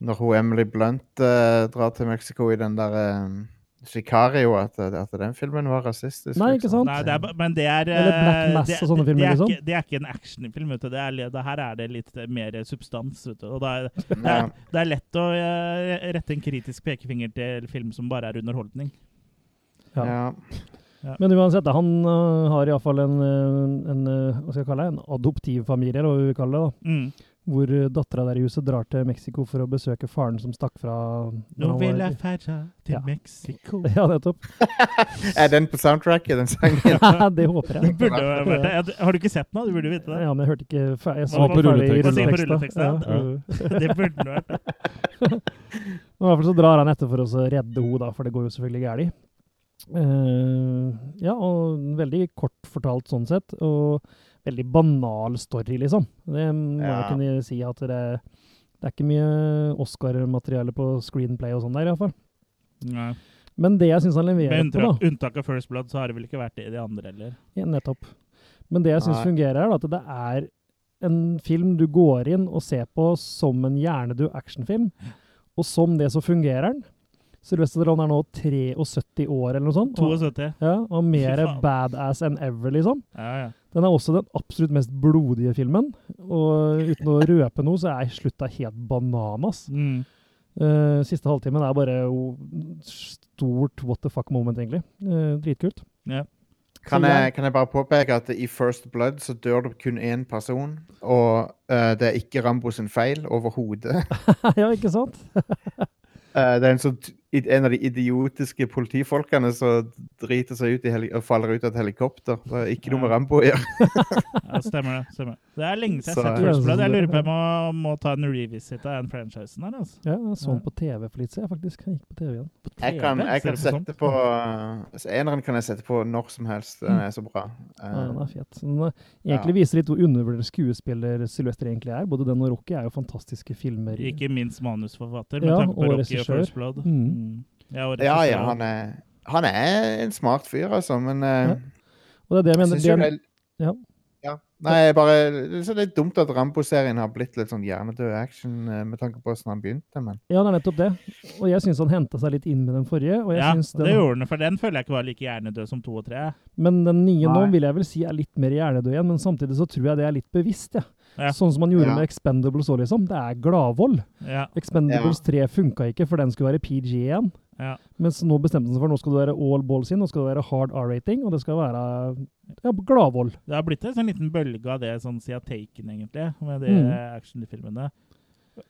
Speaker 3: når hun Emily Blunt eh, drar til Mexico i den der ehm, Sicario, at, at den filmen var rasistisk. liksom.
Speaker 4: Nei, ikke sant?
Speaker 1: Nei, det er, ba- men det er
Speaker 4: Eller Black
Speaker 1: eh,
Speaker 4: Mass
Speaker 1: det-
Speaker 4: og sånne filmer,
Speaker 1: det er
Speaker 4: liksom.
Speaker 1: Ikke, det er ikke en actionfilm. vet du. Det er, li- det her er det litt mer substans. vet du. Og det, er,
Speaker 3: sant?
Speaker 1: det, er, det er lett å eh, rette en kritisk pekefinger til film som bare er underholdning.
Speaker 4: Ja.
Speaker 3: Ja. ja. eh,
Speaker 4: Men uansett, da, han eh, øh, har iallfall en, øh, en øh, Hva skal jeg kalle det? En adoptivfamilie, eller hva vi vil kalle det. da.
Speaker 1: Mm.
Speaker 4: hvor dattera der i huset drar til Mexico for å besøke faren som stakk fra når
Speaker 1: Nå
Speaker 4: han
Speaker 1: vil
Speaker 4: var-
Speaker 1: jeg ferda til
Speaker 4: Ja.
Speaker 1: Mexico.
Speaker 4: Ja, nettopp.
Speaker 3: Er den på soundtracket, den sangen?
Speaker 4: det håper jeg.
Speaker 1: Burde jo vært det. Ja, du- Har du ikke sett den? da? Du burde vite det.
Speaker 4: Ja, men jeg hørte ikke fer- jeg så
Speaker 1: Hva
Speaker 4: ikke
Speaker 2: på
Speaker 4: ferdig i
Speaker 2: rulleteksten?
Speaker 1: Hva sier på
Speaker 4: rulleteksten.
Speaker 1: rulleteksten?
Speaker 4: Ja, jo.
Speaker 1: Det burde den vært.
Speaker 4: Men I hvert fall så drar han etter for å så redde henne, da, for det går jo selvfølgelig galt. ja, og veldig kort fortalt sånn sett, og veldig banal story, liksom. Det må jeg
Speaker 3: Ja.
Speaker 4: kunne si at det, det er ikke mye Oscar-materiale på screenplay og sånn der, iallfall.
Speaker 1: Nei.
Speaker 4: Men det jeg syns han leverer
Speaker 1: Med
Speaker 4: på, da
Speaker 1: unntak, unntak av First Blood, så har det vel ikke vært det i de andre heller.
Speaker 4: Ja, nettopp. Men det jeg syns
Speaker 3: Nei.
Speaker 4: fungerer, er at det er en film du går inn og ser på som en hjernedød actionfilm, og som det så fungerer den. Sylvester Stallone er nå 73 år eller noe sånt. Og,
Speaker 1: 72.
Speaker 4: ja, og mer
Speaker 1: Fy faen.
Speaker 4: badass enn ever, liksom.
Speaker 1: Ja, ja.
Speaker 4: Den er også den absolutt mest blodige filmen, og uten å røpe noe, så er slutta helt bananas.
Speaker 1: Mm.
Speaker 4: Eh, siste halvtimen er bare jo stort what the fuck moment, egentlig. Eh, dritkult.
Speaker 1: ja.
Speaker 3: Kan
Speaker 4: Så
Speaker 3: jeg,
Speaker 4: jeg-
Speaker 3: kan jeg bare påpeke at i First Blood så dør det kun én person, og eh, det er ikke Rambo sin feil overhodet.
Speaker 4: ja, ikke sant?
Speaker 3: Eh, det er en, sånn, t- en av de idiotiske politifolkene som driter seg ut i heli og faller ut av et helikopter. Det er ikke noe med Rambo å gjøre.
Speaker 1: ja, stemmer det. Stemmer. det. Det er lenge siden jeg har
Speaker 3: Så-
Speaker 1: sett First Blood.
Speaker 4: sånn-
Speaker 1: Jeg lurer på om jeg må, må ta en revisit av den franchisen her. altså.
Speaker 4: Ja, jeg så den
Speaker 1: Ja.
Speaker 4: på TV for litt siden, faktisk. Han gikk på TV igjen.
Speaker 1: På
Speaker 3: Jeg kan,
Speaker 1: TV, ser
Speaker 3: jeg kan
Speaker 1: det på
Speaker 4: sånn.
Speaker 3: sette
Speaker 1: sånt.
Speaker 3: på eh, Eneren kan jeg sette på når som helst. Den er så bra. Eh,
Speaker 4: Mm. Ja, den er fet. Så Den eh, egentlig viser litt hvor undervurdert skuespiller Sylvester egentlig er. Både den og Rocky er jo fantastiske filmer.
Speaker 1: Ikke minst manusforfatter, med
Speaker 4: Ja,
Speaker 1: tanke på
Speaker 4: og
Speaker 1: Rocky
Speaker 4: regissør.
Speaker 1: og First Blood.
Speaker 4: Mm.
Speaker 1: Mm. Ja, og
Speaker 3: ja,
Speaker 1: regissør.
Speaker 3: ja, han er, han er en smart fyr, altså, men eh,
Speaker 4: Ja, Og det er det jeg
Speaker 3: jeg
Speaker 4: mener.
Speaker 3: syns jo det
Speaker 4: Det,
Speaker 3: er
Speaker 4: Ja.
Speaker 3: ja. Nei, jeg bare, det er så litt dumt at Rambo-serien har blitt litt sånn hjernedød action eh, med tanke på hvordan han begynte, men
Speaker 4: ja, det er nettopp det. Og jeg syns han henta seg litt inn med den forrige. Og jeg
Speaker 1: Ja,
Speaker 4: synes
Speaker 1: det
Speaker 4: den,
Speaker 1: gjorde han, for den føler jeg ikke var like hjernedød som to og tre.
Speaker 4: men den nye nå
Speaker 3: Nei.
Speaker 4: vil jeg vel si er litt mer hjernedød igjen, men samtidig så tror jeg det er litt bevisst, jeg.
Speaker 1: Ja.
Speaker 4: Sånn som man gjorde
Speaker 3: Ja.
Speaker 4: med Expendables òg, liksom. Det er gladvold.
Speaker 1: Ja,
Speaker 4: Expendables 3 funka ikke, for den skulle være PG igjen.
Speaker 1: ja.
Speaker 4: Mens nå bestemte han seg for nå skal det være all balls in, nå skal det være hard R-rating, og det skal være ja, gladvold.
Speaker 1: Det har blitt en sånn liten bølge av det sånn siden Taken, egentlig, med de
Speaker 4: Mm.
Speaker 1: actionfilmene.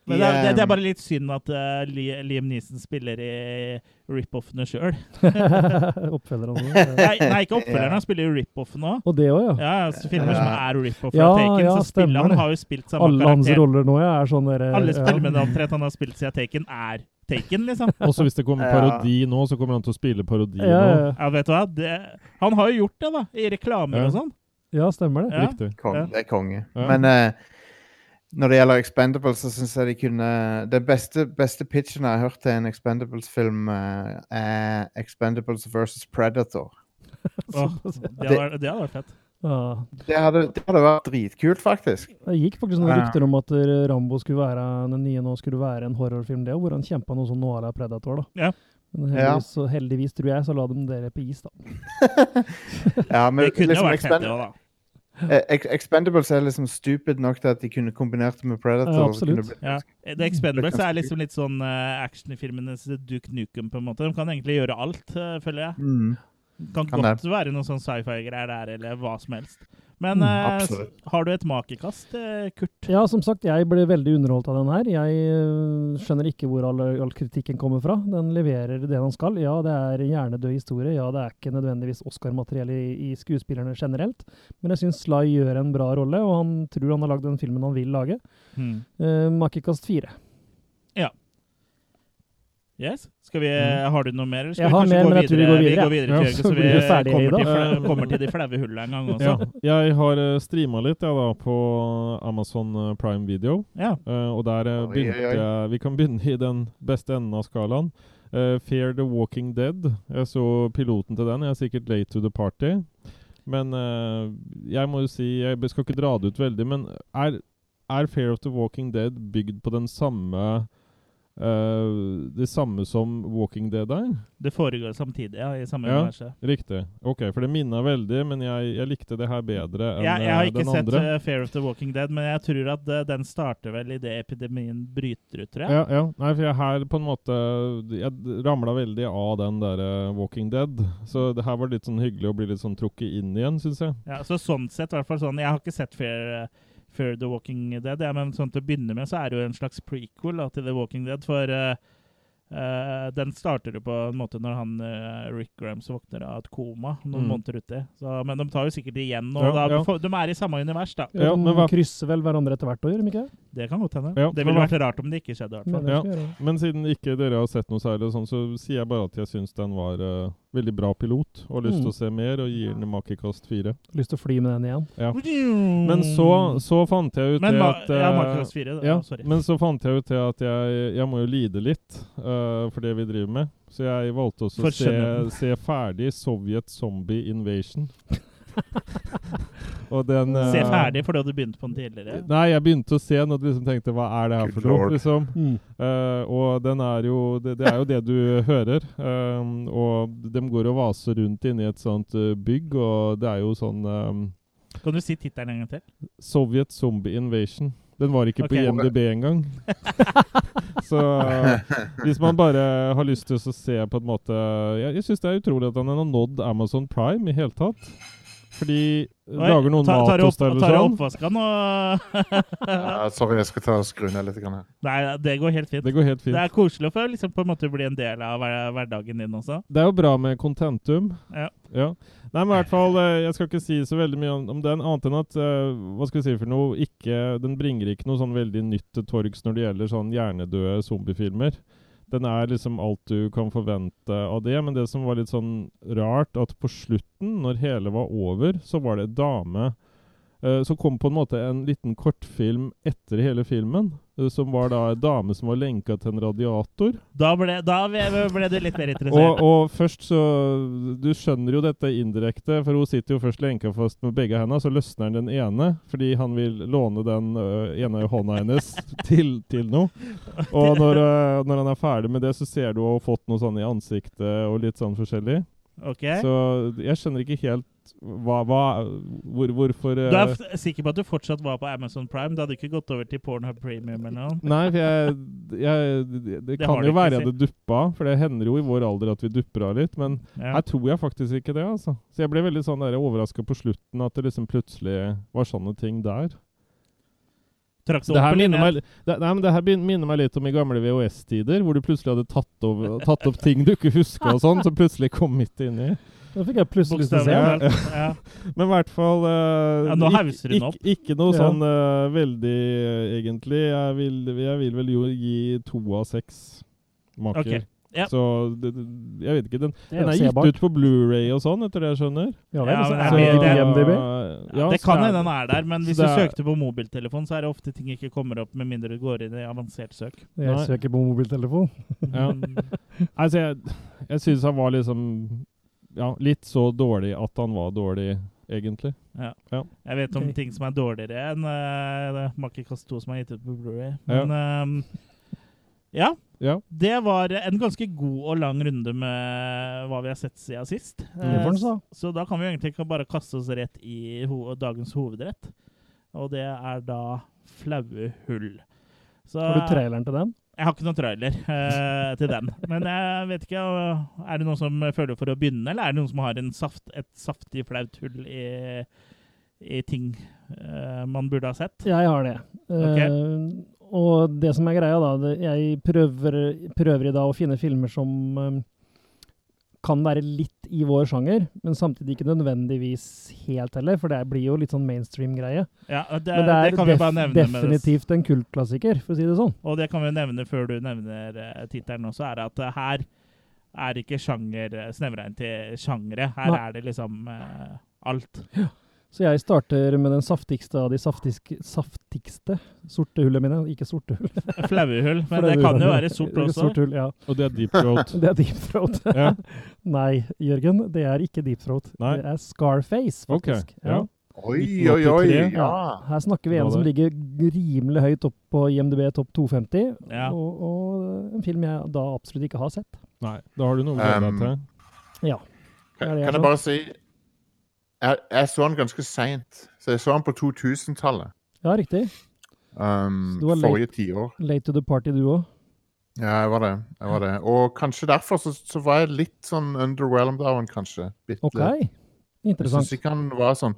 Speaker 1: Men det, er- det, det er bare litt synd at eh, Li- Liam Neeson spiller i rip-offene sjøl.
Speaker 4: Oppfølgeren. altså.
Speaker 1: Nei, nei, ikke oppfølgeren, han spiller jo rip-offen òg.
Speaker 4: Og det òg, ja.
Speaker 1: Ja, altså, filmer som er rip-off fra
Speaker 4: Ja,
Speaker 1: Taken,
Speaker 4: ja,
Speaker 1: så spiller
Speaker 4: stemmer det.
Speaker 1: han har jo spilt samme
Speaker 4: Alle hans
Speaker 1: karakter.
Speaker 4: roller nå ja, er sånn derre
Speaker 1: Alle
Speaker 4: ja.
Speaker 1: spillene omtrent han har spilt siden Taken, er Taken, liksom.
Speaker 2: Også hvis det kommer
Speaker 3: Ja.
Speaker 2: parodi nå, så kommer han til å spille parodi
Speaker 4: Ja, ja, ja.
Speaker 1: Ja, vet du hva? Det, han har jo gjort det, da, i reklamer
Speaker 2: Ja.
Speaker 1: og sånn.
Speaker 4: ja, stemmer det.
Speaker 2: nå.
Speaker 1: Ja.
Speaker 2: Riktig.
Speaker 3: Kong,
Speaker 1: Ja.
Speaker 3: Det er konge.
Speaker 2: Ja.
Speaker 3: Men eh, når det gjelder Expendables, så syns jeg de kunne Den beste, beste pitchen jeg har hørt til en Expendables-film, eh, er Expendables versus Predator.
Speaker 1: Åh, det, hadde, vært- det hadde vært fett.
Speaker 4: Ja.
Speaker 3: Det hadde, det hadde vært dritkult, faktisk.
Speaker 4: Det gikk faktisk noen
Speaker 3: Ja.
Speaker 4: rykter om at eh, Rambo skulle være den nye nå skulle være en horrorfilm, det, hvor han kjempa noe sånn Noala Predator. da.
Speaker 1: Ja.
Speaker 4: Men
Speaker 3: Ja.
Speaker 4: heldigvis, så heldigvis, tror jeg, så la de dere på is, da.
Speaker 3: Ja, men
Speaker 1: Det kunne jo
Speaker 3: liksom
Speaker 1: vært fett,
Speaker 3: Expend-
Speaker 1: det òg, da.
Speaker 3: eh, Ex- Expendables er liksom stupid nok til at de kunne kombinert det med Predator.
Speaker 4: Ja,
Speaker 3: og så kunne det
Speaker 4: absolutt.
Speaker 3: blitt-
Speaker 1: Ja. The Expendables er liksom litt sånn uh, actionfilmenes Duke Nukem, på en måte. De kan egentlig gjøre alt, eh, føler jeg.
Speaker 3: Mm.
Speaker 1: Kan,
Speaker 3: Kan
Speaker 1: godt være noen sånn sci-fi-greier der, eller hva som helst. Men
Speaker 4: Mm,
Speaker 1: eh,
Speaker 3: absolutt.
Speaker 1: s- har du et makekast, eh, Kurt?
Speaker 4: Ja, som sagt, jeg ble veldig underholdt av den her. Jeg øh, skjønner ikke hvor all, all kritikken kommer fra. Den leverer det den skal. Ja, det er en hjernedød historie. Ja, det er ikke nødvendigvis Oscar-materiell i, i skuespillerne generelt. Men jeg syns Sly gjør en bra rolle, og han tror han har lagd den filmen han vil lage.
Speaker 1: Hmm.
Speaker 4: Uh, Makekast fire.
Speaker 1: Yes? Skal vi, eh, Har du noe mer? Eller skal
Speaker 4: Mm. Jeg
Speaker 1: vi
Speaker 4: har
Speaker 1: kanskje
Speaker 4: mer,
Speaker 1: gå
Speaker 4: men jeg tror vi
Speaker 1: videre?
Speaker 4: går
Speaker 1: Vi
Speaker 4: videre.
Speaker 1: går videre
Speaker 2: Ja,
Speaker 1: til Jørgen,
Speaker 2: så
Speaker 1: så vi eh,
Speaker 2: blir
Speaker 4: vi ferdige
Speaker 1: kommer,
Speaker 4: i
Speaker 1: til
Speaker 2: dag.
Speaker 1: fla- kommer til de flaue hullene en gang også.
Speaker 2: Ja. Jeg har eh, streama litt ja, da, på Amazon eh, Prime Video.
Speaker 1: Ja.
Speaker 2: Eh, og der eh,
Speaker 3: Oi,
Speaker 2: begynte
Speaker 3: oi, oi.
Speaker 2: jeg Vi kan begynne i den beste enden av skalaen. Eh, Fear the Walking Dead. Jeg så piloten til den. Jeg er sikkert late to the party. Men eh, jeg må jo si Jeg be- skal ikke dra det ut veldig, men er, er Fear of the Walking Dead bygd på den samme eh, Det samme som Walking Dead er?
Speaker 1: Det foregår samtidig, ja, i samme
Speaker 2: Ja.
Speaker 1: universet.
Speaker 2: Riktig. Ok, for det minna veldig, men jeg, jeg likte det her bedre enn
Speaker 1: Jeg, jeg har
Speaker 2: eh,
Speaker 1: ikke
Speaker 2: den
Speaker 1: sett
Speaker 2: andre.
Speaker 1: eh, Fear of the Walking Dead, men jeg tror at eh, den starter vel idet epidemien bryter ut, tror jeg.
Speaker 2: Ja, ja. Nei, for jeg her på en måte Jeg ramla veldig av den der eh, Walking Dead. Så det her var litt sånn hyggelig å bli litt sånn trukket inn igjen, syns jeg.
Speaker 1: Ja, så sånn sett, i hvert fall sånn Jeg har ikke sett Fear, før The Walking Dead. Ja, men sånn til å begynne med så er det jo en slags prequel da, til The Walking Dead, for eh, eh, den starter jo på en måte når han eh, Rick Grams våkner av et koma noen
Speaker 2: Mm.
Speaker 1: måneder uti. Så- Men de tar jo sikkert det igjen, og
Speaker 2: Ja,
Speaker 1: da,
Speaker 2: ja.
Speaker 1: for- de er i samme univers, da.
Speaker 2: Ja, men hva-
Speaker 4: De krysser vel hverandre etter hvert år, gjør de ikke det?
Speaker 1: Det kan godt hende.
Speaker 2: Ja,
Speaker 1: det
Speaker 2: men
Speaker 1: ville
Speaker 2: hva-
Speaker 1: vært rart om det ikke skjedde, i hvert fall.
Speaker 4: Mener de
Speaker 2: Ja.
Speaker 4: skal gjøre det.
Speaker 2: Men siden ikke dere har sett noe særlig, og sånn, så sier jeg bare at jeg syns den var eh, veldig bra pilot, og har lyst
Speaker 4: Mm.
Speaker 2: til å se mer, og gir den makekast fire.
Speaker 4: Lyst til å fly med den igjen.
Speaker 2: Men så, så fant jeg ut
Speaker 1: Mm. Men
Speaker 2: det
Speaker 1: ma
Speaker 2: at
Speaker 1: ja,
Speaker 2: eh,
Speaker 1: Macross 4. da.
Speaker 2: ja,
Speaker 1: Sorry.
Speaker 2: men så fant jeg ut det at jeg, jeg må jo lide litt eh, for det vi driver med. Så jeg valgte også
Speaker 1: For
Speaker 2: å se, se ferdig Sovjet Zombie Invasion. og den eh,
Speaker 1: Se ferdig, for du hadde begynt på den tidligere.
Speaker 2: Nei, jeg begynte å se den og liksom tenkte hva er det her
Speaker 3: Good
Speaker 2: for noe?
Speaker 3: lord.
Speaker 2: Liksom. Eh, og den er jo det, det er jo det du hører. eh, og de går og vaser rundt inni et sånt eh, bygg, og det er jo sånn eh,
Speaker 1: Kan du si tittelen en gang til?
Speaker 2: Soviet Zombie Invasion. Den var ikke
Speaker 1: Ok.
Speaker 2: på IMDb engang. så eh, hvis man bare har lyst til å se på en måte Jeg, jeg syns det er utrolig at han har nådd Amazon Prime i hele tatt. Fordi eh,
Speaker 1: Oi,
Speaker 2: lager noen
Speaker 1: ta- tar du opp-
Speaker 2: mat hos deg
Speaker 1: Tar
Speaker 2: eller
Speaker 1: du
Speaker 2: sånn.
Speaker 1: oppvasken og
Speaker 3: Ja, sorry, jeg skal ta og skru ned litt. Grann her.
Speaker 1: Nei, det går helt fint.
Speaker 2: Det går helt
Speaker 1: Det
Speaker 2: fint.
Speaker 1: er koselig å få liksom, på en måte bli en del av hver, hverdagen din også.
Speaker 2: Det er jo bra med contentum.
Speaker 1: Ja.
Speaker 2: Nei, men i hvert fall, eh, jeg skal ikke si så veldig mye om, om den, annet enn at eh, hva skal vi si for noe, ikke, den bringer ikke noe sånn veldig nytt til torgs når det gjelder sånn hjernedøde zombiefilmer. Den er liksom alt du kan forvente av det, men det som var litt sånn rart, at på slutten, når hele var over, så var det en dame eh, så kom på en måte en liten kortfilm etter hele filmen, eh, som var da en dame som var lenka til en radiator.
Speaker 1: Da ble, da ble ble du litt mer
Speaker 2: Og,
Speaker 1: interessert.
Speaker 2: og først så Du skjønner jo dette indirekte, for hun sitter jo først lenka fast med begge hendene, så løsner den ene fordi han vil låne den ø, ene hånda hennes til, til noe. Og når, ø, når han er ferdig med det, så ser du hun har fått noe sånn i ansiktet og litt sånn forskjellig.
Speaker 1: Ok.
Speaker 2: Så jeg skjønner ikke helt hva, hva hvor, Hvorfor øh, ø,
Speaker 1: Du er f sikker på at du fortsatt var på Amazon Prime? Det hadde ikke gått over til Pornhub Premium eller noe?
Speaker 2: Nei, for jeg, jeg Det, det
Speaker 1: Det har
Speaker 2: kan
Speaker 1: du
Speaker 2: jo
Speaker 1: ikke
Speaker 2: være
Speaker 1: sett.
Speaker 2: jeg hadde duppa, for det hender jo i vår alder at vi dupper av litt. men
Speaker 1: Ja.
Speaker 2: Her tror jeg faktisk ikke det, altså. Så jeg ble veldig sånn overraska på slutten, at det liksom plutselig var sånne ting der.
Speaker 1: Trakk du
Speaker 2: Så det
Speaker 1: opp
Speaker 2: her minner
Speaker 1: eller
Speaker 2: meg,
Speaker 1: ned?
Speaker 2: det, nei, men det her begyn- minner meg litt om i gamle VHS-tider, hvor du plutselig hadde tatt, over, tatt opp ting du ikke huska og sånn, som plutselig kom midt inni.
Speaker 4: Da fikk jeg plutselig lyst til å se.
Speaker 2: Bokstavelig.
Speaker 1: Bokstavelig talt. Ja.
Speaker 2: Men i hvert fall eh,
Speaker 1: Ja, nå
Speaker 2: ikk-
Speaker 1: hauser hun
Speaker 2: ikk-
Speaker 1: opp.
Speaker 2: Ikke noe
Speaker 4: Ja.
Speaker 2: sånn eh, veldig, eh, egentlig. Jeg vil, jeg vil vel jo gi to av seks maker.
Speaker 1: Ok, ja.
Speaker 2: Så det, det, jeg vet ikke. Den,
Speaker 4: Det
Speaker 2: den
Speaker 4: er
Speaker 2: er
Speaker 4: jo
Speaker 2: gitt
Speaker 4: sebart.
Speaker 2: ut på Blu-ray og sånn, etter det jeg skjønner.
Speaker 4: Ja, det
Speaker 1: Ja,
Speaker 4: er liksom
Speaker 1: men
Speaker 4: er
Speaker 1: det-
Speaker 4: det ikke
Speaker 1: det-
Speaker 4: IMDb.
Speaker 2: Ja,
Speaker 1: det
Speaker 2: så
Speaker 1: kan
Speaker 2: er-
Speaker 1: hende den er der, men hvis du
Speaker 2: Så det er-
Speaker 1: søkte på mobiltelefon, så er det ofte ting ikke kommer opp, med mindre du går inn i avansert søk.
Speaker 4: Jeg søker på mobiltelefon.
Speaker 2: Ja. Altså, jeg, jeg syns han var liksom Ja, litt så dårlig at han var dårlig, egentlig.
Speaker 1: Jeg vet om
Speaker 4: Ok.
Speaker 1: ting som er dårligere enn uh, Makekast 2 som er gitt ut på Blu-ray.
Speaker 2: Ja.
Speaker 1: Men ehm, ja.
Speaker 2: Ja.
Speaker 1: Det var en ganske god og lang runde med hva vi har sett siden sist.
Speaker 4: Det får den sa.
Speaker 1: Eh, så da kan vi jo egentlig bare kaste oss rett i ho dagens hovedrett. Og det er da flaue hull. Så
Speaker 4: Har du traileren til den?
Speaker 1: jeg har ikke noen trailer eh, til den. Men jeg vet ikke eh, Er det noen som føler for å begynne, eller er det noen som har en saft, et saftig, flaut hull i, i ting eh, man burde ha sett?
Speaker 4: Jeg har det.
Speaker 1: Ok.
Speaker 4: Eh, og det som er greia, da det, Jeg prøver, prøver i dag å finne filmer som eh, kan være litt i vår sjanger, men samtidig ikke nødvendigvis helt heller, for det blir jo litt sånn mainstream-greie.
Speaker 1: Ja, det,
Speaker 4: Men det er
Speaker 1: kan vi bare
Speaker 4: def-
Speaker 1: nevne. med det.
Speaker 4: definitivt en kultklassiker, for å si det sånn.
Speaker 1: Og det kan vi nevne før du nevner uh, tittelen også, er at eh, her er ikke sjanger eh, snevra inn til sjangere. Her
Speaker 4: Nei.
Speaker 1: er det liksom eh, alt.
Speaker 4: Så jeg starter med den saftigste av de saftisk, saftigste sorte hullene mine. Ikke sorte hull.
Speaker 1: Flauehull.
Speaker 4: for
Speaker 1: Men det
Speaker 4: er
Speaker 1: kan jo
Speaker 4: hullene.
Speaker 1: være sort
Speaker 4: Det er
Speaker 1: også.
Speaker 4: Sort hull, ja.
Speaker 2: Og det er deep throat.
Speaker 4: Det er deep throat.
Speaker 2: ja.
Speaker 4: Nei, Jørgen, det er ikke deep throat.
Speaker 2: Nei.
Speaker 4: Det er Scarface,
Speaker 2: Ok,
Speaker 4: faktisk.
Speaker 2: ja.
Speaker 3: Oi, oi, oi!
Speaker 2: 1983,
Speaker 3: Ja.
Speaker 4: Her snakker vi
Speaker 2: Bra
Speaker 4: en som
Speaker 2: der.
Speaker 4: ligger rimelig høyt opp på IMDb topp 250,
Speaker 1: Ja.
Speaker 4: og, og en film jeg da absolutt ikke har sett.
Speaker 2: Nei, da har du noe å glede deg til.
Speaker 4: Ja.
Speaker 3: Kan,
Speaker 4: Ja, det er
Speaker 3: kan jeg
Speaker 4: så.
Speaker 3: bare si jeg, jeg så den ganske seint. Så jeg så den på 2000-tallet.
Speaker 4: ja, riktig.
Speaker 3: Um,
Speaker 4: Så du var late.
Speaker 3: forrige tiår.
Speaker 4: Late to the party, du òg.
Speaker 3: Ja, jeg var det. jeg var det. Og kanskje derfor så, så var jeg litt sånn underwhelmed av den, kanskje. Bitte
Speaker 4: OK.
Speaker 3: litt.
Speaker 5: Jeg
Speaker 4: Interessant.
Speaker 5: syns ikke han var sånn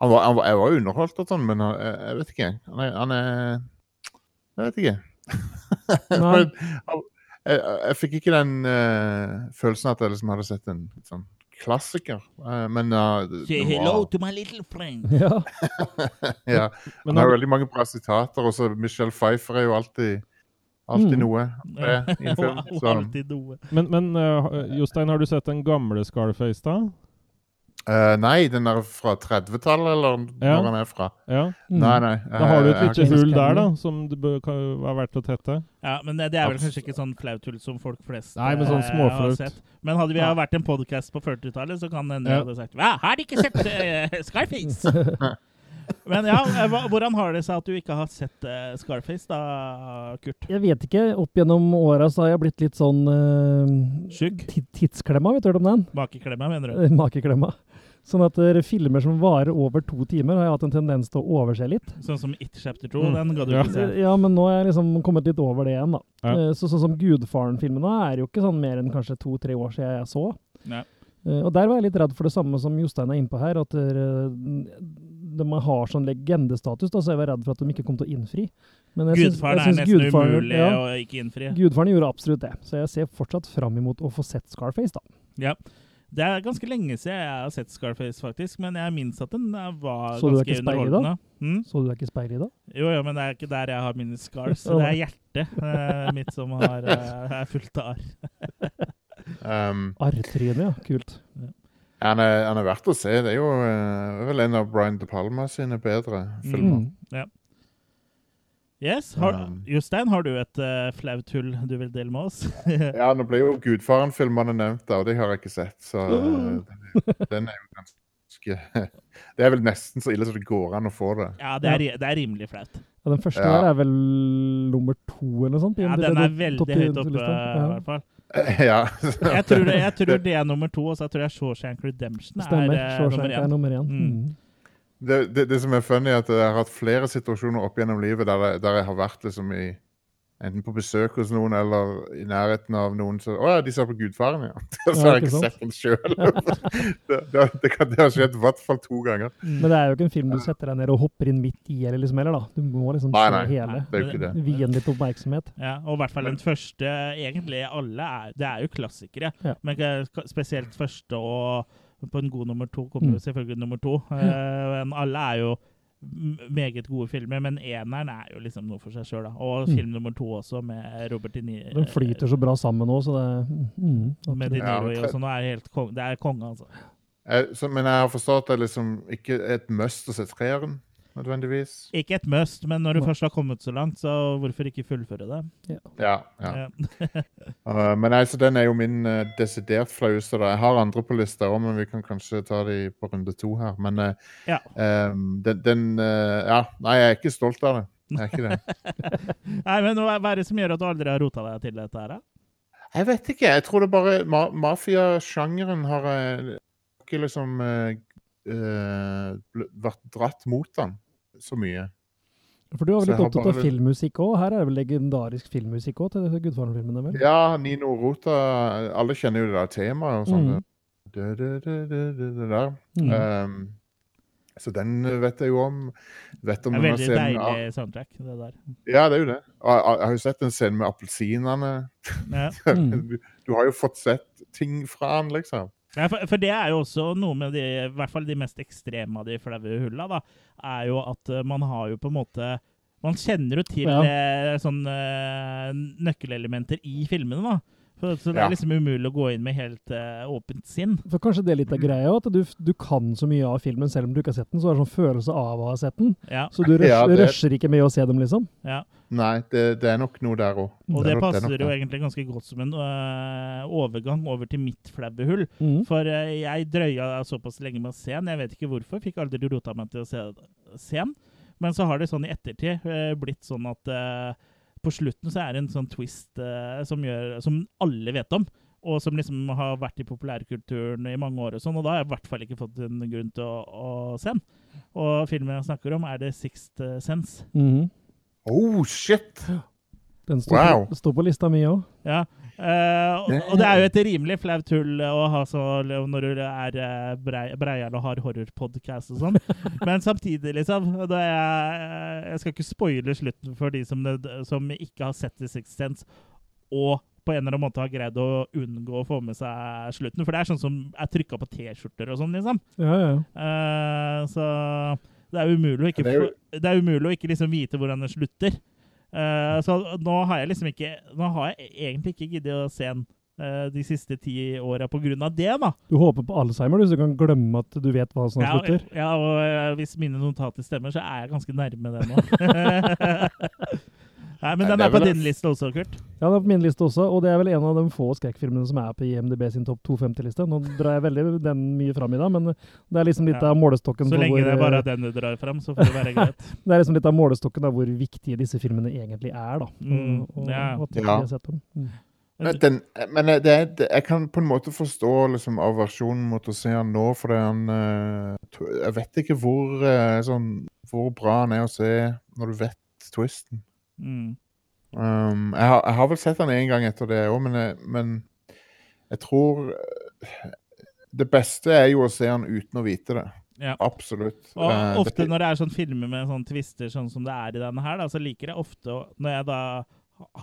Speaker 5: Han var, han var, jeg var underholdt og sånn, men han, jeg jeg vet ikke. Han er, han er Jeg vet ikke.
Speaker 4: Nei.
Speaker 5: Men han- jeg, jeg fikk ikke den eh, følelsen at jeg liksom hadde sett en sånn klassiker. Eh, men eh, det-
Speaker 1: Say
Speaker 5: det
Speaker 1: hello
Speaker 5: var,
Speaker 1: to my little friend.
Speaker 4: Ja.
Speaker 5: ja,
Speaker 2: Men
Speaker 5: Han har
Speaker 2: har,
Speaker 5: veldig mange bra sitater. Og så Michelle Pfeiffer er jo alltid Alltid
Speaker 4: Mm.
Speaker 5: noe. Det, i en film, sånn.
Speaker 1: Wow,
Speaker 5: så,
Speaker 1: alltid noe.
Speaker 2: men men eh, Jostein, har du sett den gamle Scarface, da?
Speaker 5: Eh, nei, den er fra 30-tallet, eller
Speaker 2: Ja.
Speaker 5: hvor han er fra.
Speaker 2: Ja.
Speaker 4: Mm.
Speaker 5: Nei, nei.
Speaker 2: Da har du et
Speaker 5: eh,
Speaker 2: lite
Speaker 4: ikke-
Speaker 2: hull der, da, som det bør, kan, er verdt å tette.
Speaker 1: Ja, men det det er vel kanskje ikke sånn flauthull som folk flest
Speaker 2: Nei, men sånn
Speaker 1: eh,
Speaker 2: småflaut.
Speaker 1: har sett. Men hadde vi
Speaker 2: Ja.
Speaker 1: vært en podkast på 40-tallet, så kan hende
Speaker 2: Ja.
Speaker 1: jeg hadde sagt Hva, har de ikke sett eh, Scarface? men ja, eh, hva- hvordan har det seg at du ikke har sett eh, Scarface da, Kurt?
Speaker 4: Jeg vet ikke. Opp gjennom åra så har jeg blitt litt sånn eh,
Speaker 1: Skygg?
Speaker 4: ti- tidsklemma, vet du hørt om den?
Speaker 1: Bakeklemma, mener du?
Speaker 4: Eh, Makeklemma. Sånn at eh, filmer som varer over to timer, har jeg hatt en tendens til å overse litt.
Speaker 1: Sånn som It Chapter 2,
Speaker 2: Mm.
Speaker 1: den ga du
Speaker 2: Ja.
Speaker 1: ikke se.
Speaker 4: Eh, Ja, men nå er jeg liksom kommet litt over det igjen, da.
Speaker 2: Ja.
Speaker 4: Eh, Så sånn som Gudfaren-filmene er jo ikke sånn mer enn kanskje to-tre år siden jeg så.
Speaker 1: Nei.
Speaker 4: Eh, Og der var jeg litt redd for det samme som Jostein er inne på her, at eh, de har sånn legendestatus, da, så jeg var redd for at de ikke kom til å innfri. Men jeg syns-
Speaker 1: Gudfaren
Speaker 4: jeg
Speaker 1: er
Speaker 4: syns
Speaker 1: nesten
Speaker 4: Gudfaren-
Speaker 1: umulig
Speaker 4: ja,
Speaker 1: å ikke innfri.
Speaker 4: Gudfaren gjorde absolutt det, så jeg ser fortsatt fram imot å få sett Scarface, da.
Speaker 1: Det er ganske lenge siden jeg har sett Scarface, faktisk, men jeg minnes at den eh, var
Speaker 4: Så du er
Speaker 1: ganske
Speaker 4: ikke speilet, da?
Speaker 1: underholdende. Mm?
Speaker 4: Så du deg ikke i speilet i dag?
Speaker 1: Jo, jo, men det er ikke der jeg har mine scars. Det er hjertet eh, mitt som har, eh, er fullt av arr.
Speaker 5: Um,
Speaker 4: Arrtryne, ja. Kult.
Speaker 5: eh, han, er, han er verdt å se. Det er jo eh, vel en av Brian De Palma sine bedre filmer.
Speaker 4: Mm.
Speaker 1: Yes, har,
Speaker 5: Um.
Speaker 1: Jostein, har du et eh, flaut hull du vil dele med oss?
Speaker 2: Mm.
Speaker 5: Ja, Nå ble jo Gudfaren-filmene nevnt, da, og de har jeg ikke sett. Så
Speaker 2: Uh.
Speaker 5: eh, den, er- den er jo ganske Det er vel nesten så ille som det går an å få det.
Speaker 1: Ja, det er, det er rimelig flaut.
Speaker 4: Ja, den første
Speaker 5: Ja.
Speaker 4: der er vel nummer to eller noe sånt? på
Speaker 1: Ja,
Speaker 4: IMDb,
Speaker 1: Den er
Speaker 4: topp- topp
Speaker 1: veldig
Speaker 4: ti-
Speaker 1: høyt oppe,
Speaker 4: lista.
Speaker 1: eh, i
Speaker 4: Ja.
Speaker 1: hvert fall.
Speaker 5: ja.
Speaker 1: Jeg tror, det, jeg tror det er nummer to, og så tror jeg Shawshank Redemption er
Speaker 4: Stemmer.
Speaker 1: eh,
Speaker 4: Shawshank
Speaker 1: nummer
Speaker 4: er
Speaker 1: én.
Speaker 4: nummer én.
Speaker 1: Mm.
Speaker 4: Mm.
Speaker 5: det, det, det som er funny, er at jeg har hatt flere situasjoner opp gjennom livet der jeg, der jeg har vært liksom i Enten på besøk hos noen eller i nærheten av noen som Å ja, de ser på Gudfaren, ja. Så har jeg
Speaker 4: ikke
Speaker 5: ikke
Speaker 4: sant?
Speaker 5: sett den sjøl. det, det, det, kan- det har skjedd i hvert fall to ganger.
Speaker 4: Men det er jo ikke en film du setter deg ned og hopper inn midt i eller liksom heller, da. Du må liksom
Speaker 5: Nei,
Speaker 4: se
Speaker 5: nei.
Speaker 4: hele.
Speaker 5: Det er jo ikke det.
Speaker 4: Vie den litt oppmerksomhet.
Speaker 1: Ja, og i hvert fall den første Egentlig alle er Det er jo klassikere,
Speaker 4: Ja.
Speaker 1: men ka- spesielt første og på en god nummer to kommer jo
Speaker 4: Mm.
Speaker 1: selvfølgelig nummer to. Eh, men alle er jo m- meget gode filmer, men eneren er jo liksom noe for seg sjøl. Og
Speaker 4: Mm.
Speaker 1: film nummer to også, med Robert De Niro.
Speaker 4: Den flyter så bra sammen òg, så det er mm,
Speaker 1: Eh, Med De
Speaker 4: absolutt.
Speaker 1: Niro i
Speaker 5: Ja,
Speaker 1: og sånn. og er helt kong, det er konge, altså.
Speaker 5: Jeg, så, men jeg har forstått at det liksom ikke er et must å se treeren, nødvendigvis.
Speaker 1: Ikke et must, men når du
Speaker 4: Nei.
Speaker 1: først har kommet så langt, så hvorfor ikke fullføre det?
Speaker 5: Ja, ja.
Speaker 1: Ja.
Speaker 5: Uh, men nei, så den er jo min uh, desidert flaueste. da. Jeg har andre på lista òg, men vi kan kanskje ta de på runde to her. Men uh,
Speaker 1: Ja.
Speaker 5: um, den, den uh, Ja, nei, jeg er ikke stolt av det. Jeg er ikke det.
Speaker 1: Nei, men hva hva er det som gjør at du aldri har rota deg til dette her, da?
Speaker 5: Jeg vet ikke. Jeg tror det bare ma Mafia-sjangeren har uh, ikke liksom uh, uh, bl- vært dratt mot den så mye.
Speaker 4: For du var
Speaker 5: Så
Speaker 4: vel
Speaker 5: jeg
Speaker 4: litt
Speaker 5: har
Speaker 4: opptatt
Speaker 5: bare-
Speaker 4: av filmmusikk òg? Her er det vel legendarisk filmmusikk òg til Gudfaren-filmene, vel?
Speaker 5: Ja, Nino Rota Alle kjenner jo det der temaet og sånn.
Speaker 4: Mm.
Speaker 5: Det, det, det, det, det, det der.
Speaker 4: Mm.
Speaker 5: Um, så den vet jeg jo om. Vet om
Speaker 1: Det er
Speaker 5: denne
Speaker 1: veldig
Speaker 5: scenen av-
Speaker 1: deilig soundtrack, det der.
Speaker 5: Ja, det er jo det. Og jeg, jeg har jo sett en scene med appelsinene.
Speaker 1: Ja.
Speaker 4: Mm.
Speaker 5: Du, du har jo fått sett ting fra han, liksom.
Speaker 1: Ja, for, for det er jo også noe med de, i hvert fall de mest ekstreme av de flaue hulla, da, er jo at eh, man har jo på en måte Man kjenner jo til
Speaker 4: Ja.
Speaker 1: eh, sånne eh, nøkkelelementer i filmene, da. Så, så det
Speaker 5: Ja.
Speaker 1: er liksom umulig å gå inn med helt eh, åpent sinn.
Speaker 4: For kanskje det er litt av greia òg, at du, du kan så mye av filmen selv om du ikke har sett den, så har du sånn følelse av å ha sett den.
Speaker 1: Ja,
Speaker 4: Så du rush,
Speaker 5: Ja, det-
Speaker 4: rusher ikke med å se dem, liksom.
Speaker 1: ja.
Speaker 5: Nei, det, det er nok noe der òg.
Speaker 1: Og det passer jo egentlig ganske godt som en eh, overgang over til mitt flaue hull.
Speaker 4: Mm.
Speaker 1: For eh, jeg drøya såpass lenge med å se den. Jeg vet ikke hvorfor. Fikk aldri rota meg til å se, se den. Men så har det sånn i ettertid eh, blitt sånn at eh, på slutten så er det en sånn twist eh, som, gjør, som alle vet om. Og som liksom har vært i populærkulturen i mange år, og sånn, og da har jeg i hvert fall ikke fått en grunn til å, å se den. Og filmen jeg snakker om, er The Sixth Sense.
Speaker 4: Mhm.
Speaker 5: Oh, shit!
Speaker 4: Den står,
Speaker 5: Wow.
Speaker 4: står på lista mi òg.
Speaker 1: Ja, Eh, og, og det er jo et rimelig flaut hull å ha så, når du er eh, brei, breial og har horrorpodkast og sånn. Men samtidig, liksom da jeg, jeg skal ikke spoile slutten for de som, som ikke har sett Existence, og på en eller annen måte har greid å unngå å få med seg slutten. For det er sånn som er trykka på T-skjorter og sånn, liksom.
Speaker 4: Ja, ja.
Speaker 1: Eh, så det er umulig å ikke,
Speaker 3: Det er jo-
Speaker 1: få- det er umulig å ikke liksom vite hvordan det slutter. Eh, så nå har jeg liksom ikke Nå har jeg egentlig ikke giddet å se den eh, de siste ti åra på grunn av det, da.
Speaker 4: Du håper på Alzheimer, du, så du kan glemme at du vet hva som
Speaker 1: Ja,
Speaker 4: slutter.
Speaker 1: ja, og eh, hvis mine notater stemmer, så er jeg ganske nærme det nå. Nei, men
Speaker 3: Nei,
Speaker 1: den
Speaker 3: det er
Speaker 1: er på
Speaker 3: vel-
Speaker 1: din liste også, Kurt.
Speaker 4: Ja, det er på min liste også, og det er vel en av de få skrekkfilmene som er på IMDb sin topp 250-liste. Nå drar jeg veldig den mye fram i dag, men det er liksom litt
Speaker 1: Ja.
Speaker 4: av målestokken
Speaker 1: Så
Speaker 4: på
Speaker 1: lenge
Speaker 4: hvor,
Speaker 1: det er bare den du drar fram, så får det være greit.
Speaker 4: det er liksom litt av målestokken da, hvor viktige disse filmene egentlig er, da.
Speaker 1: Mm,
Speaker 4: Og- og,
Speaker 1: ja.
Speaker 4: og at vi
Speaker 3: Ja.
Speaker 4: har sett dem. Mm.
Speaker 3: Men Den, men det, er- det, jeg kan på en måte forstå liksom, aversjonen mot å se han nå, for det er han eh, to- Jeg vet ikke hvor, eh, sånn, hvor bra han er å se når du vet twisten.
Speaker 1: Mm.
Speaker 3: Um, jeg, har, jeg har vel sett han én gang etter det òg, men, jeg- men jeg tror eh, Det beste er jo å se han uten å vite det.
Speaker 1: Ja.
Speaker 3: Absolutt. Eh,
Speaker 1: Og ofte
Speaker 3: det,
Speaker 1: når det er sånn filmer med sånn twister sånn som det er i denne her, da, så liker jeg ofte å- Når jeg da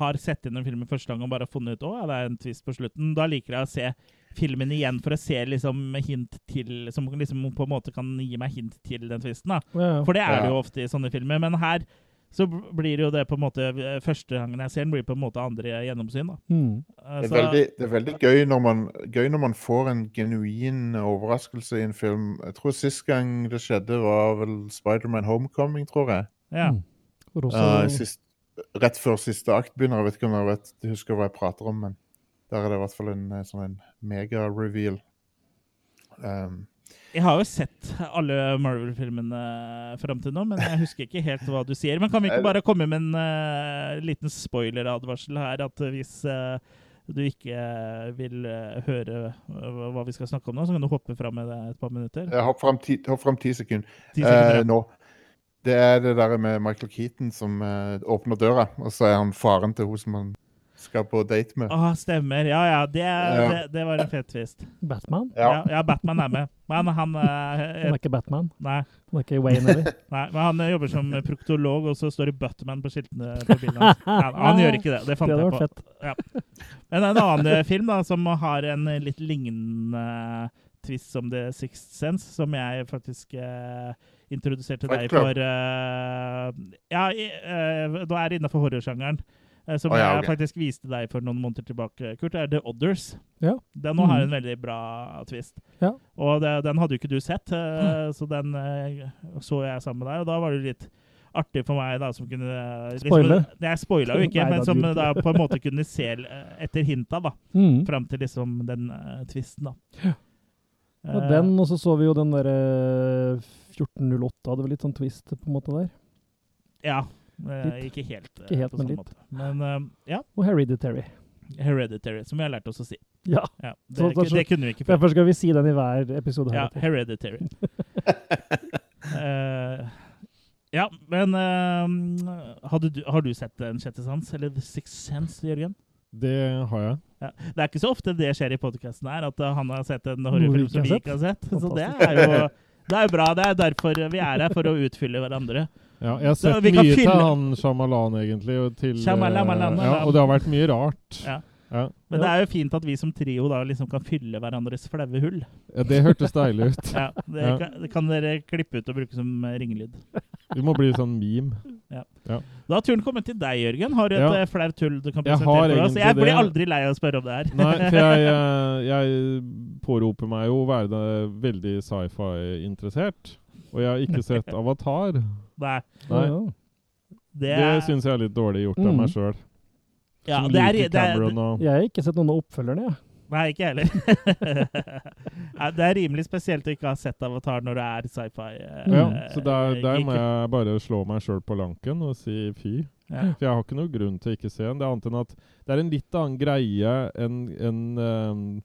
Speaker 1: har sett inn en film første gang og bare funnet ut å, ja, det er en twist på slutten, da liker jeg å se filmen igjen for å se liksom hint til Som liksom på en måte kan gi meg hint til den twisten. da.
Speaker 4: Ja, ja.
Speaker 1: For det er det
Speaker 3: Ja.
Speaker 1: jo ofte i sånne filmer. Men her så b- blir jo det på en måte eh, Første gangen jeg ser den, blir på en måte andre gjennomsyn. da.
Speaker 4: Mm.
Speaker 3: det,
Speaker 1: Eh,
Speaker 3: er
Speaker 1: så-
Speaker 3: veldig, det er veldig gøy når, man, gøy når man får en genuin overraskelse i en film. Jeg tror sist gang det skjedde, var vel Spiderman Homecoming, tror jeg.
Speaker 1: ja.
Speaker 4: Mm. For også,
Speaker 3: Eh, sist, rett før siste akt begynner. Jeg vet ikke om dere vet, jeg husker hva jeg prater om, men der er det i hvert fall en eh, sånn en mega-reveal. Um,
Speaker 1: Jeg har jo sett alle Marvel-filmene fram til nå, men jeg husker ikke helt hva du sier. Men kan vi ikke bare komme med en eh, liten spoiler-advarsel her? At hvis eh, du ikke vil eh, høre eh, hva vi skal snakke om nå, så kan du hoppe fram med det et par minutter.
Speaker 3: jeg hopp fram ti, hopp frem ti sekunder.
Speaker 1: Ti sekunder.
Speaker 3: Eh, nå. Det er det der med Michael Keaton som eh, åpner døra, og så er han faren til hun som han skal på date med.
Speaker 1: Ah, stemmer. Ja, ja. Det,
Speaker 3: Ja.
Speaker 1: det, det var en fet twist.
Speaker 4: Batman?
Speaker 1: Ja.
Speaker 3: Ja.
Speaker 1: ja, Batman er med. Men han eh,
Speaker 4: Han er ikke Batman.
Speaker 1: Nei.
Speaker 4: Han er ikke Wayne heller.
Speaker 1: Nei, men han eh, jobber som proktolog, og så står det 'Buttman' på skiltene på bilen hans. Nei, han gjør ikke det. Det fant
Speaker 4: Det hadde
Speaker 1: jeg
Speaker 4: vært
Speaker 1: på.
Speaker 4: fett.
Speaker 1: Men en annen eh, film da, som har en eh, litt lignende eh, twist som The Sixth Sense, som jeg faktisk eh, introduserte
Speaker 3: Fight
Speaker 1: deg
Speaker 3: Club.
Speaker 1: for eh, Ja, i, eh, nå er det innafor horrorsjangeren. eh, som
Speaker 3: Å, ja,
Speaker 1: jeg
Speaker 3: ok.
Speaker 1: faktisk viste deg for noen måneder tilbake, Kurt. er The Others.
Speaker 4: Ja.
Speaker 1: Den nå har
Speaker 4: Mhm.
Speaker 1: en veldig bra twist.
Speaker 4: Ja. Mm.
Speaker 1: Og det, den hadde jo ikke du sett, eh, så den eh, så jeg sammen med deg. Og da var det litt artig for meg, da, som kunne liksom-
Speaker 4: Spoile?
Speaker 1: Nei, jeg spoila jo ikke,
Speaker 4: Nei,
Speaker 1: men
Speaker 4: da,
Speaker 1: som
Speaker 4: du-
Speaker 1: da på en måte kunne se eh, etter hinta, da.
Speaker 4: Mm.
Speaker 1: Fram til liksom den eh, tvisten, da.
Speaker 4: Og
Speaker 1: Eh,
Speaker 4: den, og så så vi jo den eh, derre 1408, hadde vel litt sånn twist på en måte der.
Speaker 1: Ja. eh,
Speaker 4: Litt.
Speaker 1: Ikke helt, eh,
Speaker 4: Ikke helt,
Speaker 1: på
Speaker 4: men
Speaker 1: sånn
Speaker 4: litt.
Speaker 1: måte. Men eh, ja,
Speaker 4: Og Hereditary.
Speaker 1: Hereditary, som vi har lært oss å si.
Speaker 4: Ja.
Speaker 1: Ja, det,
Speaker 4: Så- så-
Speaker 1: det kunne vi ikke før.
Speaker 4: Derfor skal vi si den i hver episode her.
Speaker 1: Ja, Hereditary. Eh, ja, men eh, hadde du, har du sett Den sjette sans, eller The Sixth Sense, Jørgen?
Speaker 2: Det har jeg.
Speaker 1: Ja. Det er ikke så ofte det skjer i podkasten her, at eh, han har sett en horrorfilm
Speaker 4: ikke
Speaker 1: som vi
Speaker 4: har
Speaker 1: ikke har sett. Så det
Speaker 4: Fantastisk.
Speaker 1: er jo det er jo bra. Det er derfor vi er her, for å utfylle hverandre.
Speaker 2: Ja, jeg har
Speaker 1: Så
Speaker 2: sett
Speaker 1: vi
Speaker 2: mye
Speaker 1: kan
Speaker 2: til
Speaker 1: fylle-
Speaker 2: han Shamalan, egentlig. Og, til, eh,
Speaker 1: Shyamalan.
Speaker 2: ja, og det har vært mye rart.
Speaker 1: Ja.
Speaker 2: Ja.
Speaker 1: Men
Speaker 4: Ja.
Speaker 1: det er jo fint at vi som trio da liksom kan fylle hverandres flaue hull.
Speaker 2: Ja, det hørtes deilig ut.
Speaker 1: Ja, det,
Speaker 2: Ja.
Speaker 1: Kan, det kan dere klippe ut og bruke som eh, ringelyd.
Speaker 2: Vi må bli sånn meme.
Speaker 1: Da har turen kommet til deg, Jørgen. Har du et
Speaker 2: Ja.
Speaker 1: eh, flaut hull du kan
Speaker 2: Jeg
Speaker 1: presentere
Speaker 2: har
Speaker 1: for oss?
Speaker 2: egentlig
Speaker 1: Jeg blir
Speaker 2: det.
Speaker 1: aldri lei av å spørre om det her.
Speaker 2: Nei, for jeg, eh, jeg påroper meg jo å være da veldig sci-fi-interessert. Og jeg har ikke sett Avatar.
Speaker 1: Nei,
Speaker 2: Nei,
Speaker 4: Ja, ja.
Speaker 1: det,
Speaker 2: Det syns jeg er litt dårlig gjort av
Speaker 4: Mm.
Speaker 2: meg sjøl.
Speaker 1: ja,
Speaker 2: som
Speaker 1: det er,
Speaker 2: liker
Speaker 1: det er,
Speaker 2: Cameron og
Speaker 4: Jeg har ikke sett noen av oppfølgerne, jeg.
Speaker 1: Nei, ikke jeg heller. Nei, det er rimelig spesielt å ikke ha sett Avatar når det er sci-fi. eh,
Speaker 2: ja, Så der,
Speaker 1: eh,
Speaker 2: der må
Speaker 1: geek.
Speaker 2: jeg bare slå meg sjøl på lanken og si fy.
Speaker 1: Ja.
Speaker 2: For jeg har ikke noe grunn til å ikke se den. Det er annet enn at det er en litt annen greie enn enn,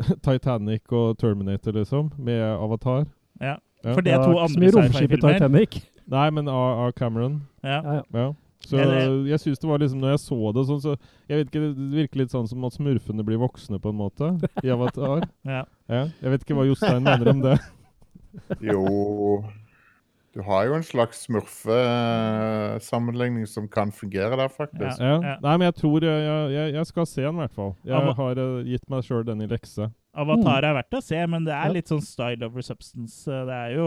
Speaker 2: eh, Titanic og Terminator, liksom, med Avatar.
Speaker 1: Ja.
Speaker 2: Ja.
Speaker 1: For det er to
Speaker 4: ikke så
Speaker 1: andre
Speaker 4: mye romskip i
Speaker 1: sci-fi-filmer.
Speaker 4: Titanic.
Speaker 2: Nei, men av av Cameron.
Speaker 1: Ja.
Speaker 4: Ja, ja.
Speaker 2: Ja. Så jeg syns det var liksom Når jeg så det sånn, så Jeg vet ikke, det virker litt sånn som at smurfene blir voksne, på en måte, i Avatar.
Speaker 1: Ja.
Speaker 2: Ja. Jeg vet ikke hva Jostein mener om det.
Speaker 5: Jo Du har jo en slags smurfesammenligning som kan fungere der, faktisk.
Speaker 2: Ja.
Speaker 1: Ja.
Speaker 2: Nei, men jeg tror jeg, jeg, jeg- jeg skal se den, i hvert fall.
Speaker 1: Ava-
Speaker 2: Jeg har eh, gitt meg sjøl den i lekse.
Speaker 1: Avatar er verdt å se, men det
Speaker 4: Ja.
Speaker 1: er litt sånn style over substance. Det er jo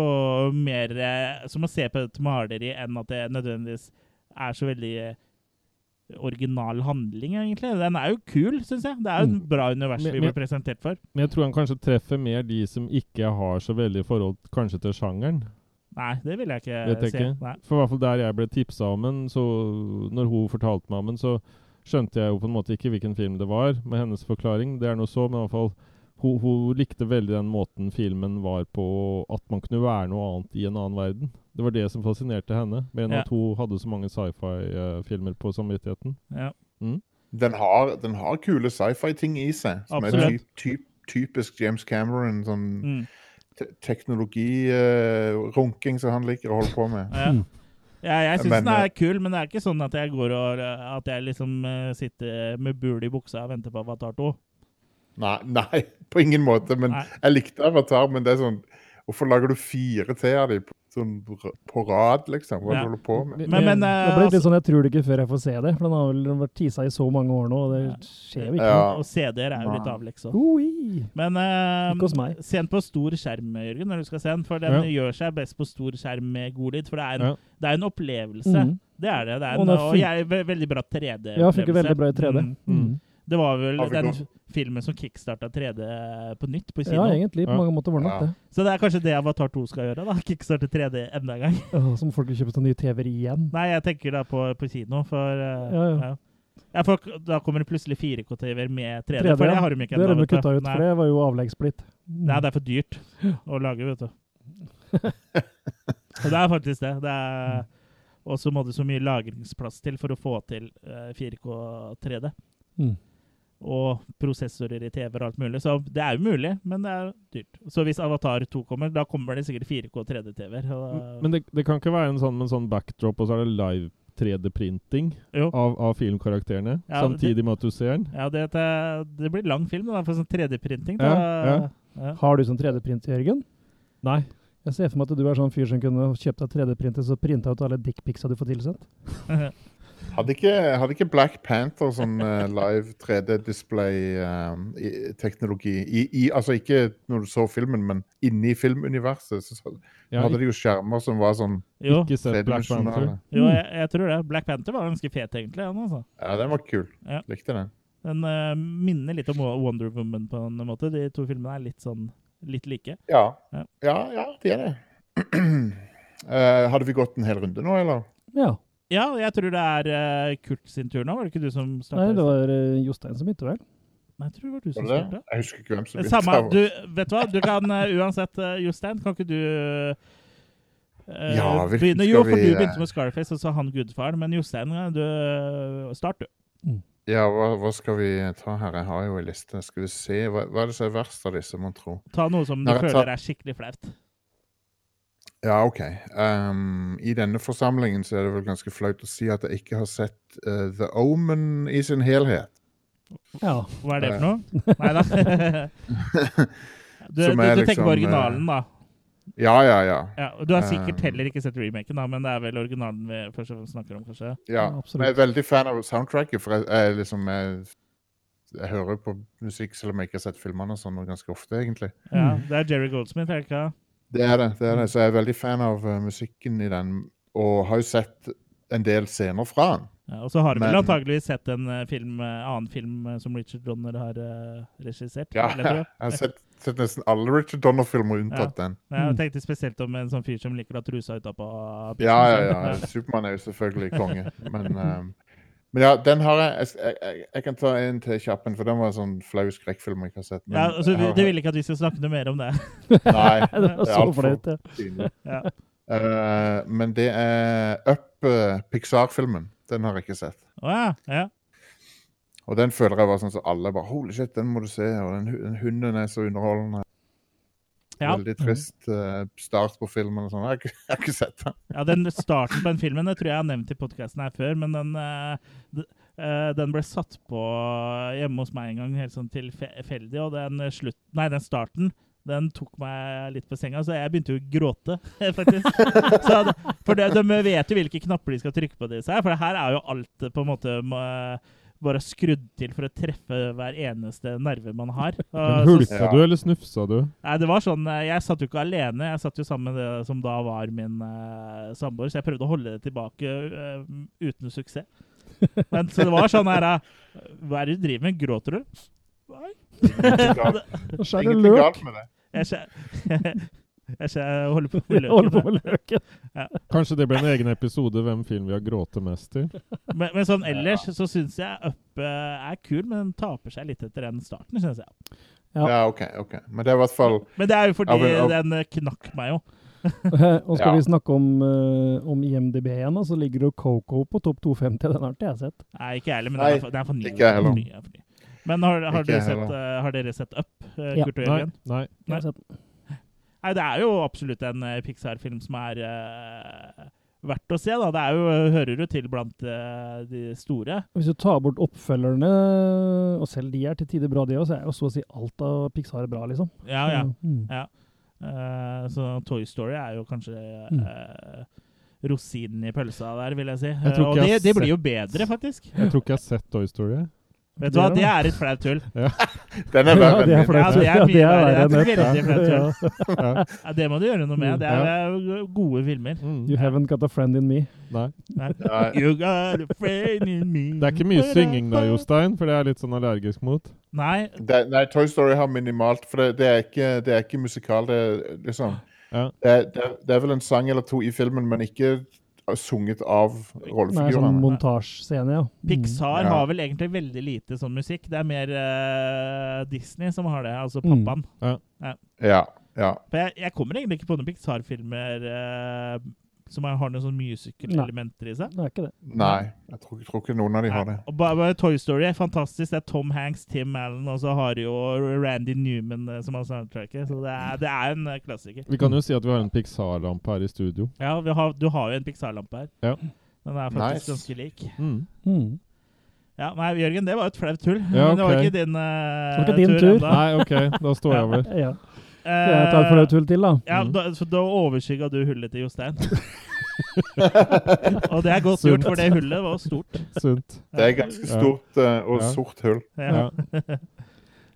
Speaker 1: mer eh, som å se på et maleri enn at det nødvendigvis er så veldig eh, original handling, egentlig. Den er jo kul, syns jeg. Det er jo et bra univers
Speaker 2: Mm. Men-
Speaker 1: vi
Speaker 2: men-
Speaker 1: blir presentert for.
Speaker 2: Men jeg tror han kanskje treffer mer de som ikke har så veldig forhold kanskje til sjangeren.
Speaker 1: Nei, det vil Eh, jeg ikke
Speaker 2: Vet jeg
Speaker 1: se.
Speaker 2: ikke.
Speaker 1: Nei.
Speaker 2: For i hvert fall der jeg ble tipsa om den, så når hun fortalte meg om den, så skjønte jeg jo på en måte ikke hvilken film det var, med hennes forklaring. Det er noe så, men i hvert fall hun, hun likte veldig den måten filmen var på, at man kunne være noe annet i en annen verden. Det var det som fascinerte henne, mer enn
Speaker 1: Ja.
Speaker 2: at hun hadde så mange sci-fi-filmer på samvittigheten.
Speaker 1: Ja.
Speaker 5: Den, har, den har kule sci-fi-ting i seg, som er
Speaker 1: Absolutt.
Speaker 5: typ, typ, typisk James Cameron. sånn...
Speaker 1: Mm.
Speaker 5: teknologirunking som han liker å holde på med.
Speaker 1: Ja.
Speaker 4: Hmm.
Speaker 1: Ja, jeg syns
Speaker 5: Men, eh,
Speaker 1: den er kul, men det er ikke sånn at jeg går og At jeg liksom eh, sitter med bul i buksa og venter på Avatar 2.
Speaker 5: Nei, nei på ingen måte. Men
Speaker 1: Nei.
Speaker 5: jeg likte Avatar, men det er sånn Hvorfor lager du fire til av dem på, sånn, r- på rad, liksom? Hva
Speaker 1: Ja.
Speaker 5: holder du på med?
Speaker 1: Men, men
Speaker 4: Det
Speaker 1: eh,
Speaker 4: ble litt
Speaker 1: altså,
Speaker 4: sånn, Jeg tror det ikke før jeg får se det, for den har vel vært tisa i så mange år nå, og det skjer jo ikke.
Speaker 5: Ja.
Speaker 1: og CD-er er jo litt avleksa.
Speaker 4: Oi!
Speaker 1: Men eh,
Speaker 4: Ikke hos meg.
Speaker 1: se den på stor skjerm, Jørgen, når du skal se den. For den
Speaker 2: Ja.
Speaker 1: gjør seg best på stor skjerm med god lyd. For det er en,
Speaker 2: Ja.
Speaker 1: det er en opplevelse.
Speaker 4: Mm.
Speaker 1: Det er det. det er
Speaker 4: Og
Speaker 1: en,
Speaker 4: den
Speaker 1: og
Speaker 4: fun-
Speaker 1: jeg er ve veldig bra 3D-opplevelse.
Speaker 4: Ja, funker veldig bra i 3D.
Speaker 1: Mm.
Speaker 4: Mm.
Speaker 2: Mm.
Speaker 1: Det var vel
Speaker 5: Har vi
Speaker 1: den
Speaker 5: gått?
Speaker 1: filmen som kickstarta 3D eh, på nytt på
Speaker 4: Ja,
Speaker 1: kino.
Speaker 4: egentlig. På
Speaker 2: Ja.
Speaker 4: mange måter var det nok
Speaker 5: Ja.
Speaker 4: det.
Speaker 1: så det er kanskje det Avatar 2 skal gjøre. da Kickstarte 3D enda en gang.
Speaker 4: Åh, Som folk vil kjøpe seg nye TV-er igjen.
Speaker 1: Nei, jeg tenker da på, på kino, for eh,
Speaker 4: Ja, ja.
Speaker 1: ja. Ja, for da kommer det plutselig 4K-TV-er med 3D,
Speaker 4: 3D,
Speaker 1: for det
Speaker 4: ja.
Speaker 1: har de ikke
Speaker 4: Det har
Speaker 1: ennå,
Speaker 4: de
Speaker 1: vet du.
Speaker 4: kutta ut,
Speaker 1: Nei.
Speaker 4: for det var jo avleggssplitt.
Speaker 1: Nei, det er for dyrt å lage, vet du. Og det er faktisk det. det er, og så må det så mye lagringsplass til for å få til eh, 4K 3D.
Speaker 4: Mm.
Speaker 1: Og prosessorer i TV-er og alt mulig. Så det er jo mulig, men det er dyrt. Så hvis Avatar 2 kommer, da kommer det sikkert 4K 3D-TV-er. og-
Speaker 2: Men det, det kan ikke være en sånn med en sånn backdrop, og så er det live 3D-printing
Speaker 1: Jo.
Speaker 2: av, av filmkarakterene,
Speaker 1: Ja,
Speaker 2: samtidig med at du ser den.
Speaker 1: Ja, det, det blir lang film, da, for sånn 3D-printing. da.
Speaker 2: Ja, ja.
Speaker 1: Ja.
Speaker 4: Har du sånn 3D-print, Jørgen?
Speaker 2: Nei.
Speaker 4: Jeg ser for meg at du er sånn fyr som kunne kjøpt deg 3D-printer, så printa ut alle dickpicsa du får tilsendt.
Speaker 5: Hadde ikke, hadde ikke Black Panther sånn eh, live 3D-display-teknologi? eh, i, i, altså ikke når du så filmen, men inni filmuniverset. Så, så
Speaker 2: Jeg har
Speaker 5: hadde de jo skjermer som var sånn
Speaker 1: Jo,
Speaker 2: ikke sett Black Panther.
Speaker 5: tredimensjonale.
Speaker 1: jo jeg, jeg tror det. Black Panther var ganske fet, egentlig. Han, altså.
Speaker 5: Ja, den var kul.
Speaker 1: Ja.
Speaker 5: Likte den.
Speaker 1: Den eh, minner litt om Wonder Woman på en måte. De to filmene er litt sånn litt like.
Speaker 5: Ja.
Speaker 1: Ja.
Speaker 5: Ja, ja, de er det. Eh, hadde vi gått en hel runde nå, eller?
Speaker 4: Ja.
Speaker 1: Ja, jeg tror det er eh, Kurt sin tur nå. Var det ikke du som
Speaker 4: Nei,
Speaker 1: startet?
Speaker 4: det var eh, Jostein som begynte, vel?
Speaker 1: Nei, jeg tror det var du som
Speaker 5: Var det det?
Speaker 1: starta.
Speaker 5: Jeg husker ikke hvem som
Speaker 1: Samme,
Speaker 5: av oss.
Speaker 1: du, vet du hva? Du kan eh, uansett, eh, Jostein, kan ikke du eh,
Speaker 5: Ja, hvilken
Speaker 1: begynne?
Speaker 5: skal
Speaker 1: Jo, for
Speaker 5: vi,
Speaker 1: du
Speaker 5: eh,
Speaker 1: begynte med Scarface, og så han gudfaren. Men Jostein, eh, du eh, Start, du.
Speaker 5: Ja, hva, hva skal vi ta her? Jeg har jo ei liste. Skal vi se. Hva, hva er det som er verst av disse, mon tro?
Speaker 1: Ta noe som du
Speaker 5: Nei, jeg tar-
Speaker 1: føler er skikkelig flaut.
Speaker 5: Ja, OK. Ehm, I denne forsamlingen så er det vel ganske flaut å si at jeg ikke har sett eh, The Omen i sin helhet.
Speaker 4: Ja.
Speaker 1: Hva er det for noe? Nei da. Du, du,
Speaker 5: Som er
Speaker 1: du tenker
Speaker 5: liksom,
Speaker 1: på originalen, da.
Speaker 5: Ja, ja, ja.
Speaker 1: Ja, og du har sikkert
Speaker 5: eh,
Speaker 1: heller ikke sett remaken, da, men det er vel originalen vi først og fremst snakker om, kanskje?
Speaker 5: ja.
Speaker 4: Ja, absolutt.
Speaker 5: Men jeg er veldig fan av soundtracket, for jeg, jeg liksom jeg, jeg hører på musikk selv om jeg ikke har sett filmene og sånn og ganske ofte, egentlig.
Speaker 1: Ja, Det er Jerry Goldsmith, er det ikke?
Speaker 5: Det er det. det er det. Så jeg er veldig fan av eh, musikken i den, og har jo sett en del scener fra den.
Speaker 1: Ja, og så har du vel
Speaker 5: Men-
Speaker 1: antageligvis sett en eh, film, eh, annen film eh, som Richard Donner har eh, regissert.
Speaker 5: Ja,
Speaker 1: vil jeg
Speaker 5: jeg
Speaker 1: tro.
Speaker 5: har sett, sett nesten alle Richard Donner-filmer unntatt den.
Speaker 1: Men Jeg tenkte spesielt om en sånn fyr som liker å ha trusa utapå. bussen sånn.
Speaker 5: Ja, ja,
Speaker 1: sin.
Speaker 5: ja. Supermann er jo selvfølgelig konge. Men, ehm, men ja, den har jeg jeg, jeg jeg kan ta en til kjappen, for den var en sånn flau skrekkfilm jeg ikke har sett. men
Speaker 1: Ja, altså,
Speaker 5: jeg har-
Speaker 1: Du vil ikke at vi skal snakke noe mer om det?
Speaker 5: Nei,
Speaker 4: Det var så
Speaker 5: alt for-
Speaker 4: flaut, ja.
Speaker 5: synlig.
Speaker 1: Ja.
Speaker 5: Eh, men det er Up, eh, Pixar-filmen. Den har jeg ikke sett.
Speaker 1: Å ja, ja.
Speaker 5: Og den føler jeg var sånn som alle bare Holy shit, den må du se. Og den, hu- den hunden er så underholdende.
Speaker 1: Ja.
Speaker 5: Veldig trist eh, start på filmen. og sånn. Jeg, har ikke- jeg har ikke sett den.
Speaker 1: Ja, den starten på den filmen det tror jeg jeg har nevnt i podkasten her før, men den, eh, d- eh, den ble satt på hjemme hos meg en gang helt sånn tilfeldig, og den, slutt, nei, den starten den tok meg litt på senga, så jeg begynte jo å gråte, faktisk. Så, det- for det, de vet jo hvilke knapper de skal trykke på, disse her, for det her er jo alt eh, på en måte må- bare skrudd til for å treffe hver eneste nerve man har.
Speaker 2: Men
Speaker 1: Og, så,
Speaker 2: hulka du, eller snufsa du?
Speaker 1: Nei, det var sånn, eh, Jeg satt jo ikke alene, jeg satt jo sammen med det som da var min eh, samboer, så jeg prøvde å holde det tilbake eh, uten suksess. Men så det var sånn her eh, Hva er det du driver med? Gråter du? Nei.
Speaker 5: Ingenting galt-
Speaker 4: Og så er det
Speaker 5: Ingenting
Speaker 4: løk.
Speaker 5: galt med det.
Speaker 1: Jeg, skjø- jeg skjø- holder på med
Speaker 4: Jeg holder på
Speaker 1: løken.
Speaker 4: med løken.
Speaker 2: Kanskje det ble en egen episode hvem film vi har grått mest til?
Speaker 1: Men, men sånn ellers så syns jeg Up eh, er kul, men den taper seg litt etter den starten, syns jeg.
Speaker 4: Ja.
Speaker 5: Ja, OK. ok. Men det er i hvert fall
Speaker 1: Men det er jo fordi
Speaker 5: Ja, men, ja.
Speaker 1: den eh, knakk meg jo.
Speaker 4: Og skal
Speaker 5: Ja.
Speaker 4: vi snakke om, eh, om IMDb igjen, da, så ligger jo Coco på topp 250. Den har ikke jeg sett.
Speaker 1: Nei, ikke jeg heller, men
Speaker 5: Nei,
Speaker 1: den er for- den er for ny.
Speaker 5: ikke jeg
Speaker 1: Den er
Speaker 5: heller.
Speaker 1: for ny, den er for ny. Men har, har,
Speaker 5: Ikke
Speaker 1: dere
Speaker 5: jeg
Speaker 1: sett,
Speaker 5: heller.
Speaker 1: eh, har dere sett Up, eh,
Speaker 4: Ja.
Speaker 1: Kurt og
Speaker 2: Nei,
Speaker 1: Jørgen?
Speaker 2: nei.
Speaker 4: Jeg har
Speaker 1: Nei.
Speaker 4: sett den.
Speaker 1: Nei, det er jo absolutt en eh, Pixar-film som er eh, verdt å se, da. Det er jo, hører jo til blant eh, de store.
Speaker 4: Hvis du tar bort oppfølgerne, og selv de er til tider bra, de òg, så er jo så å si alt av Pixar bra, liksom.
Speaker 1: Ja, ja.
Speaker 4: Mm.
Speaker 1: Eh, så Toy Story er jo kanskje
Speaker 4: Mm.
Speaker 1: eh, rosinen i pølsa der, vil jeg si. Eh,
Speaker 2: Jeg tror ikke
Speaker 1: og
Speaker 2: jeg
Speaker 1: det,
Speaker 2: har
Speaker 1: det blir jo bedre, faktisk.
Speaker 2: Jeg tror ikke jeg har sett Toy Story.
Speaker 1: Vet du hva,
Speaker 4: Det er
Speaker 1: det er et flaut tull.
Speaker 5: Den er verre
Speaker 4: det er
Speaker 5: enn min.
Speaker 4: flaut.
Speaker 1: Ja, det er
Speaker 4: Ja,
Speaker 1: mye verre.
Speaker 4: verre
Speaker 1: Det er
Speaker 4: enn
Speaker 1: veldig flaut
Speaker 4: dette.
Speaker 1: tull.
Speaker 4: Ja.
Speaker 2: Ja.
Speaker 1: Ja, det må du gjøre noe med. Det er eh, gode filmer.
Speaker 2: Mm.
Speaker 4: You haven't got a friend in me.
Speaker 2: Nei.
Speaker 1: Nei.
Speaker 5: Ja,
Speaker 1: You got a friend in me.
Speaker 2: Det er ikke mye synging da, Jostein, for det er jeg litt sånn allergisk mot.
Speaker 1: Nei,
Speaker 5: det, nei, Toy Story har minimalt, for det, det, er, ikke, det er ikke musikal. Det, er liksom,
Speaker 2: Ja.
Speaker 5: det, er- det, er- det er vel en sang eller to i filmen, men ikke eh, sunget av
Speaker 4: Nei, sånn
Speaker 5: rollefigurene.
Speaker 4: montasjescene, ja. Mm.
Speaker 1: Pixar
Speaker 5: Ja.
Speaker 1: har vel egentlig veldig lite sånn musikk. Det er mer eh, Disney som har det, altså
Speaker 2: Mm.
Speaker 1: pappaen.
Speaker 5: Ja, ja.
Speaker 1: For jeg, jeg kommer egentlig ikke på noen Pixar-filmer eh, som har noen sånne musical-elementer i seg.
Speaker 4: Det er ikke det.
Speaker 5: Nei, jeg tror, jeg tror ikke noen av de har det.
Speaker 1: Nei, og bare, bare Toy Story er fantastisk. Det er Tom Hanks, Tim Allen, og så har de jo Randy Newman eh, som har soundtracket. Så det er, det er en eh, klassiker.
Speaker 2: Vi kan jo si at vi har en Pixar-lampe her i studio.
Speaker 1: Ja, vi har, Du har jo en Pixar-lampe her.
Speaker 2: Ja.
Speaker 1: Den er faktisk
Speaker 5: Nice.
Speaker 1: ganske lik.
Speaker 2: Mm.
Speaker 4: Mm.
Speaker 1: Ja, Nei, Jørgen, det var jo et flaut tull.
Speaker 2: Ja,
Speaker 1: Men det var
Speaker 2: ok.
Speaker 1: ikke din, eh,
Speaker 4: Det var ikke din tur.
Speaker 1: enda. Eh,
Speaker 2: Nei, OK, da står jeg over.
Speaker 4: Ja. Skal jeg ta et flaut tull til, da?
Speaker 1: Ja,
Speaker 2: Mm.
Speaker 1: da, så da overskygga du hullet til Jostein. og det er godt gjort, for det hullet var stort.
Speaker 2: Sunt.
Speaker 5: Det er ganske
Speaker 2: Ja.
Speaker 5: stort eh, og
Speaker 2: Ja.
Speaker 5: sort hull.
Speaker 1: Ja.
Speaker 2: Ja.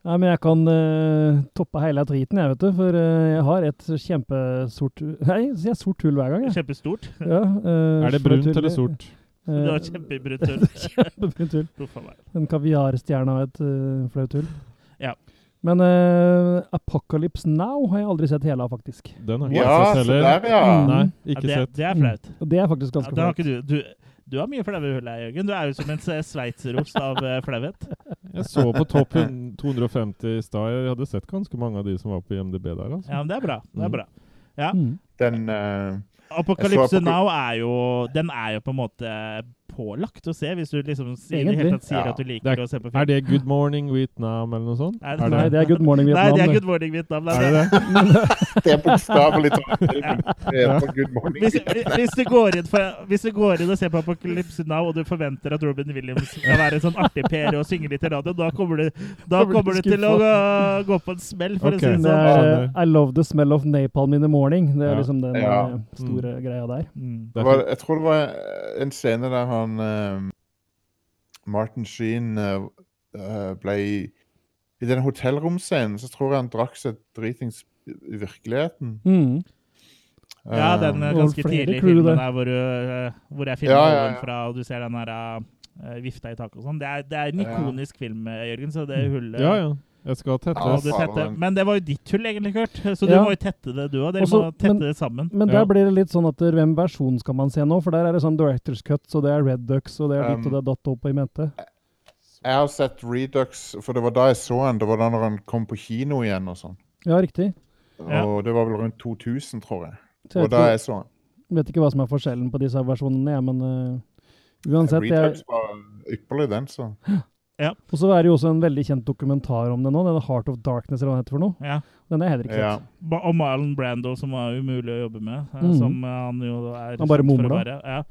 Speaker 4: Nei, men jeg kan eh, toppe hele driten, jeg, vet du. For eh, jeg har et kjempesort Nei, jeg sier sort hull hver gang, jeg.
Speaker 1: Kjempestort.
Speaker 4: Ja, eh,
Speaker 2: Er det
Speaker 4: flaut
Speaker 2: brunt
Speaker 4: hull-
Speaker 2: eller sort?
Speaker 4: Eh,
Speaker 1: Det var kjempebrutt hull.
Speaker 4: kjempebrunt hull.
Speaker 1: Huff a meg.
Speaker 4: En kaviarstjerne av et eh, flaut hull.
Speaker 1: Ja.
Speaker 4: Men eh, Apocalypse Now har jeg aldri sett hele av, faktisk.
Speaker 2: Den har ikke
Speaker 5: Ja,
Speaker 2: jeg sett
Speaker 5: se der,
Speaker 2: heller.
Speaker 5: ja!
Speaker 4: Mm.
Speaker 2: Nei,
Speaker 1: Ja,
Speaker 2: ikke
Speaker 1: det,
Speaker 2: sett.
Speaker 1: det er flaut.
Speaker 4: Og det er faktisk
Speaker 1: Ja,
Speaker 4: Mm. ganske
Speaker 1: det har
Speaker 4: flaut.
Speaker 1: ikke du. Du, du har mye flaue hull her, Jørgen. Du er jo som en s- sveitserost av eh, flauhet.
Speaker 2: Jeg så på topp 250 i stad. Jeg hadde sett ganske mange av de som var på IMDb der. altså.
Speaker 1: Ja, men det er bra. Det
Speaker 2: Mm.
Speaker 1: er bra.
Speaker 4: Mm.
Speaker 5: Den eh,
Speaker 1: Apokalypse
Speaker 5: Jeg så Apokalyp-
Speaker 1: Now er jo Den er jo på en måte pålagt å se, hvis du liksom s- i det
Speaker 4: Egentlig.
Speaker 1: hele tatt sier
Speaker 5: Ja.
Speaker 1: at du liker
Speaker 2: Det
Speaker 1: å se på
Speaker 2: Er
Speaker 1: film.
Speaker 2: det Good Morning Vietnam eller noe sånt?
Speaker 1: Nei,
Speaker 2: Er
Speaker 4: Nei,
Speaker 2: det,
Speaker 4: det er Good Morning
Speaker 1: Nei,
Speaker 4: Vietnam.
Speaker 1: det er Good Morning Vietnam.
Speaker 2: er det det?
Speaker 5: Det er bokstavelig talt filmen. Det er på Good Morning.
Speaker 1: Hvis, hvis, du går inn for, hvis du går inn og ser på Apocalypse Now, og du forventer at Robin Williams skal være en sånn artig Per og synge litt i radio, da kommer du, da
Speaker 4: Da blir du
Speaker 1: kommer du til å gå, gå på en smell, for
Speaker 2: Ok.
Speaker 1: å si det
Speaker 4: Det
Speaker 1: sånn.
Speaker 4: er
Speaker 2: Sånn.
Speaker 4: eh, I love the smell of napalm in the morning. Det er
Speaker 2: Ja.
Speaker 4: liksom den
Speaker 5: Ja.
Speaker 4: eh, store greia der.
Speaker 1: Mm.
Speaker 2: Det
Speaker 5: Det
Speaker 2: er
Speaker 5: var,
Speaker 2: fint.
Speaker 5: jeg tror det var eh, en scene der han eh, Martin Sheen eh, eh, ble i, I den hotellromscenen så tror jeg han drakk seg dritings i virkeligheten.
Speaker 4: Mm.
Speaker 1: Ja,
Speaker 5: Eh,
Speaker 1: den eh,
Speaker 4: Og
Speaker 1: ganske
Speaker 4: flere
Speaker 1: tidlig
Speaker 4: crew
Speaker 1: filmen
Speaker 4: der.
Speaker 1: der hvor, eh, hvor jeg filmer
Speaker 5: Ja,
Speaker 1: ja,
Speaker 5: ja, ja.
Speaker 1: fra, og du ser den der eh, vifta i taket og sånn. Det, er- det er en
Speaker 5: Ja.
Speaker 1: ikonisk film, eh, Jørgen, så
Speaker 4: Mm.
Speaker 1: det hullet
Speaker 2: Ja, ja. Jeg skal tette.
Speaker 1: må du tette.
Speaker 5: faen.
Speaker 1: Men det var jo ditt hull, egentlig, Kurt, så du
Speaker 4: Ja.
Speaker 1: må jo tette det, du òg. Dere
Speaker 4: Også-
Speaker 1: må tette
Speaker 4: men-
Speaker 1: det sammen.
Speaker 4: Men der
Speaker 2: Ja.
Speaker 4: blir det litt sånn at eh, hvem versjon skal man se nå? For der er det sånn Directors Cut, så det er Red Ducks, og det er ditt
Speaker 5: Um,
Speaker 4: og det er datt opp i mente.
Speaker 5: Jeg har sett Redux, for det var da jeg så han. Det var da når han kom på kino igjen og sånn.
Speaker 4: Ja, riktig.
Speaker 1: Ja.
Speaker 5: Og det var vel rundt 2000, tror jeg.
Speaker 4: Så jeg
Speaker 5: Og da
Speaker 4: vet,
Speaker 5: jeg så han.
Speaker 4: ikke, vet ikke hva som er forskjellen på disse versjonene, jeg, men eh, uansett jeg,
Speaker 5: Redux var ypperlig, den, så.
Speaker 1: Ja.
Speaker 4: Og så er det jo også en veldig kjent dokumentar om det nå, denne Heart of Darkness, eller hva den heter for noe.
Speaker 1: Ja.
Speaker 4: Den er heller ikke
Speaker 5: Ja.
Speaker 4: sett.
Speaker 1: Ba- Og Marlon Brando, som var umulig å jobbe med. eh,
Speaker 4: Mhm.
Speaker 1: Som eh, han jo er kjent
Speaker 4: Han bare
Speaker 1: for å
Speaker 4: mumla.
Speaker 1: være, Ja.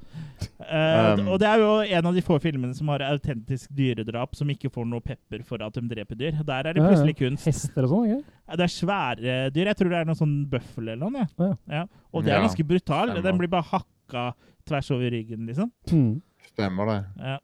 Speaker 1: Eh,
Speaker 5: Um.
Speaker 1: og det er jo en av de få filmene som har autentisk dyredrap, som ikke får noe pepper for at de dreper dyr. Der er det
Speaker 4: Ja, ja.
Speaker 1: plutselig kunst.
Speaker 4: Hester og sånn, ikke?
Speaker 1: Ja, Det er svære dyr. Jeg tror det er noe sånn bøffel eller noe. Ja. Ja. Og det er
Speaker 5: Ja,
Speaker 1: ganske brutal.
Speaker 5: stemmer.
Speaker 1: Den blir bare hakka tvers over ryggen, liksom.
Speaker 4: Mm.
Speaker 5: Stemmer det.
Speaker 1: Ja.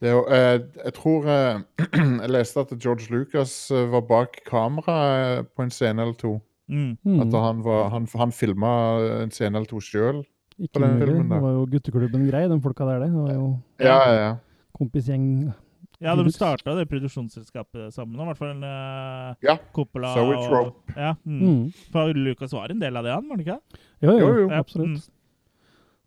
Speaker 5: det er, jo- eh, jeg tror eh, Jeg leste at George Lucas eh, var bak kamera eh, på en scene eller to.
Speaker 1: Mm.
Speaker 4: Mm.
Speaker 5: At han, var- han, han filma en scene eller to sjøl.
Speaker 4: Ikke
Speaker 5: på den
Speaker 4: mulig.
Speaker 5: filmen, da.
Speaker 4: Det var jo gutteklubben grei, de folka der, det. Det var jo
Speaker 5: Ja, ja, ja.
Speaker 4: kompisgjeng.
Speaker 1: ja, de
Speaker 4: Deluxe.
Speaker 1: starta det produksjonsselskapet sammen, i hvert fall eh,
Speaker 5: Ja,
Speaker 1: Coppola
Speaker 5: Zoe Trope.
Speaker 1: og Ja. Mm.
Speaker 5: Hmm.
Speaker 4: Mm.
Speaker 1: For Lucas var en del av det, han, var det ikke? det?
Speaker 4: Jo, jo,
Speaker 5: Jo, jo.
Speaker 1: Ja, Mm.
Speaker 4: absolutt.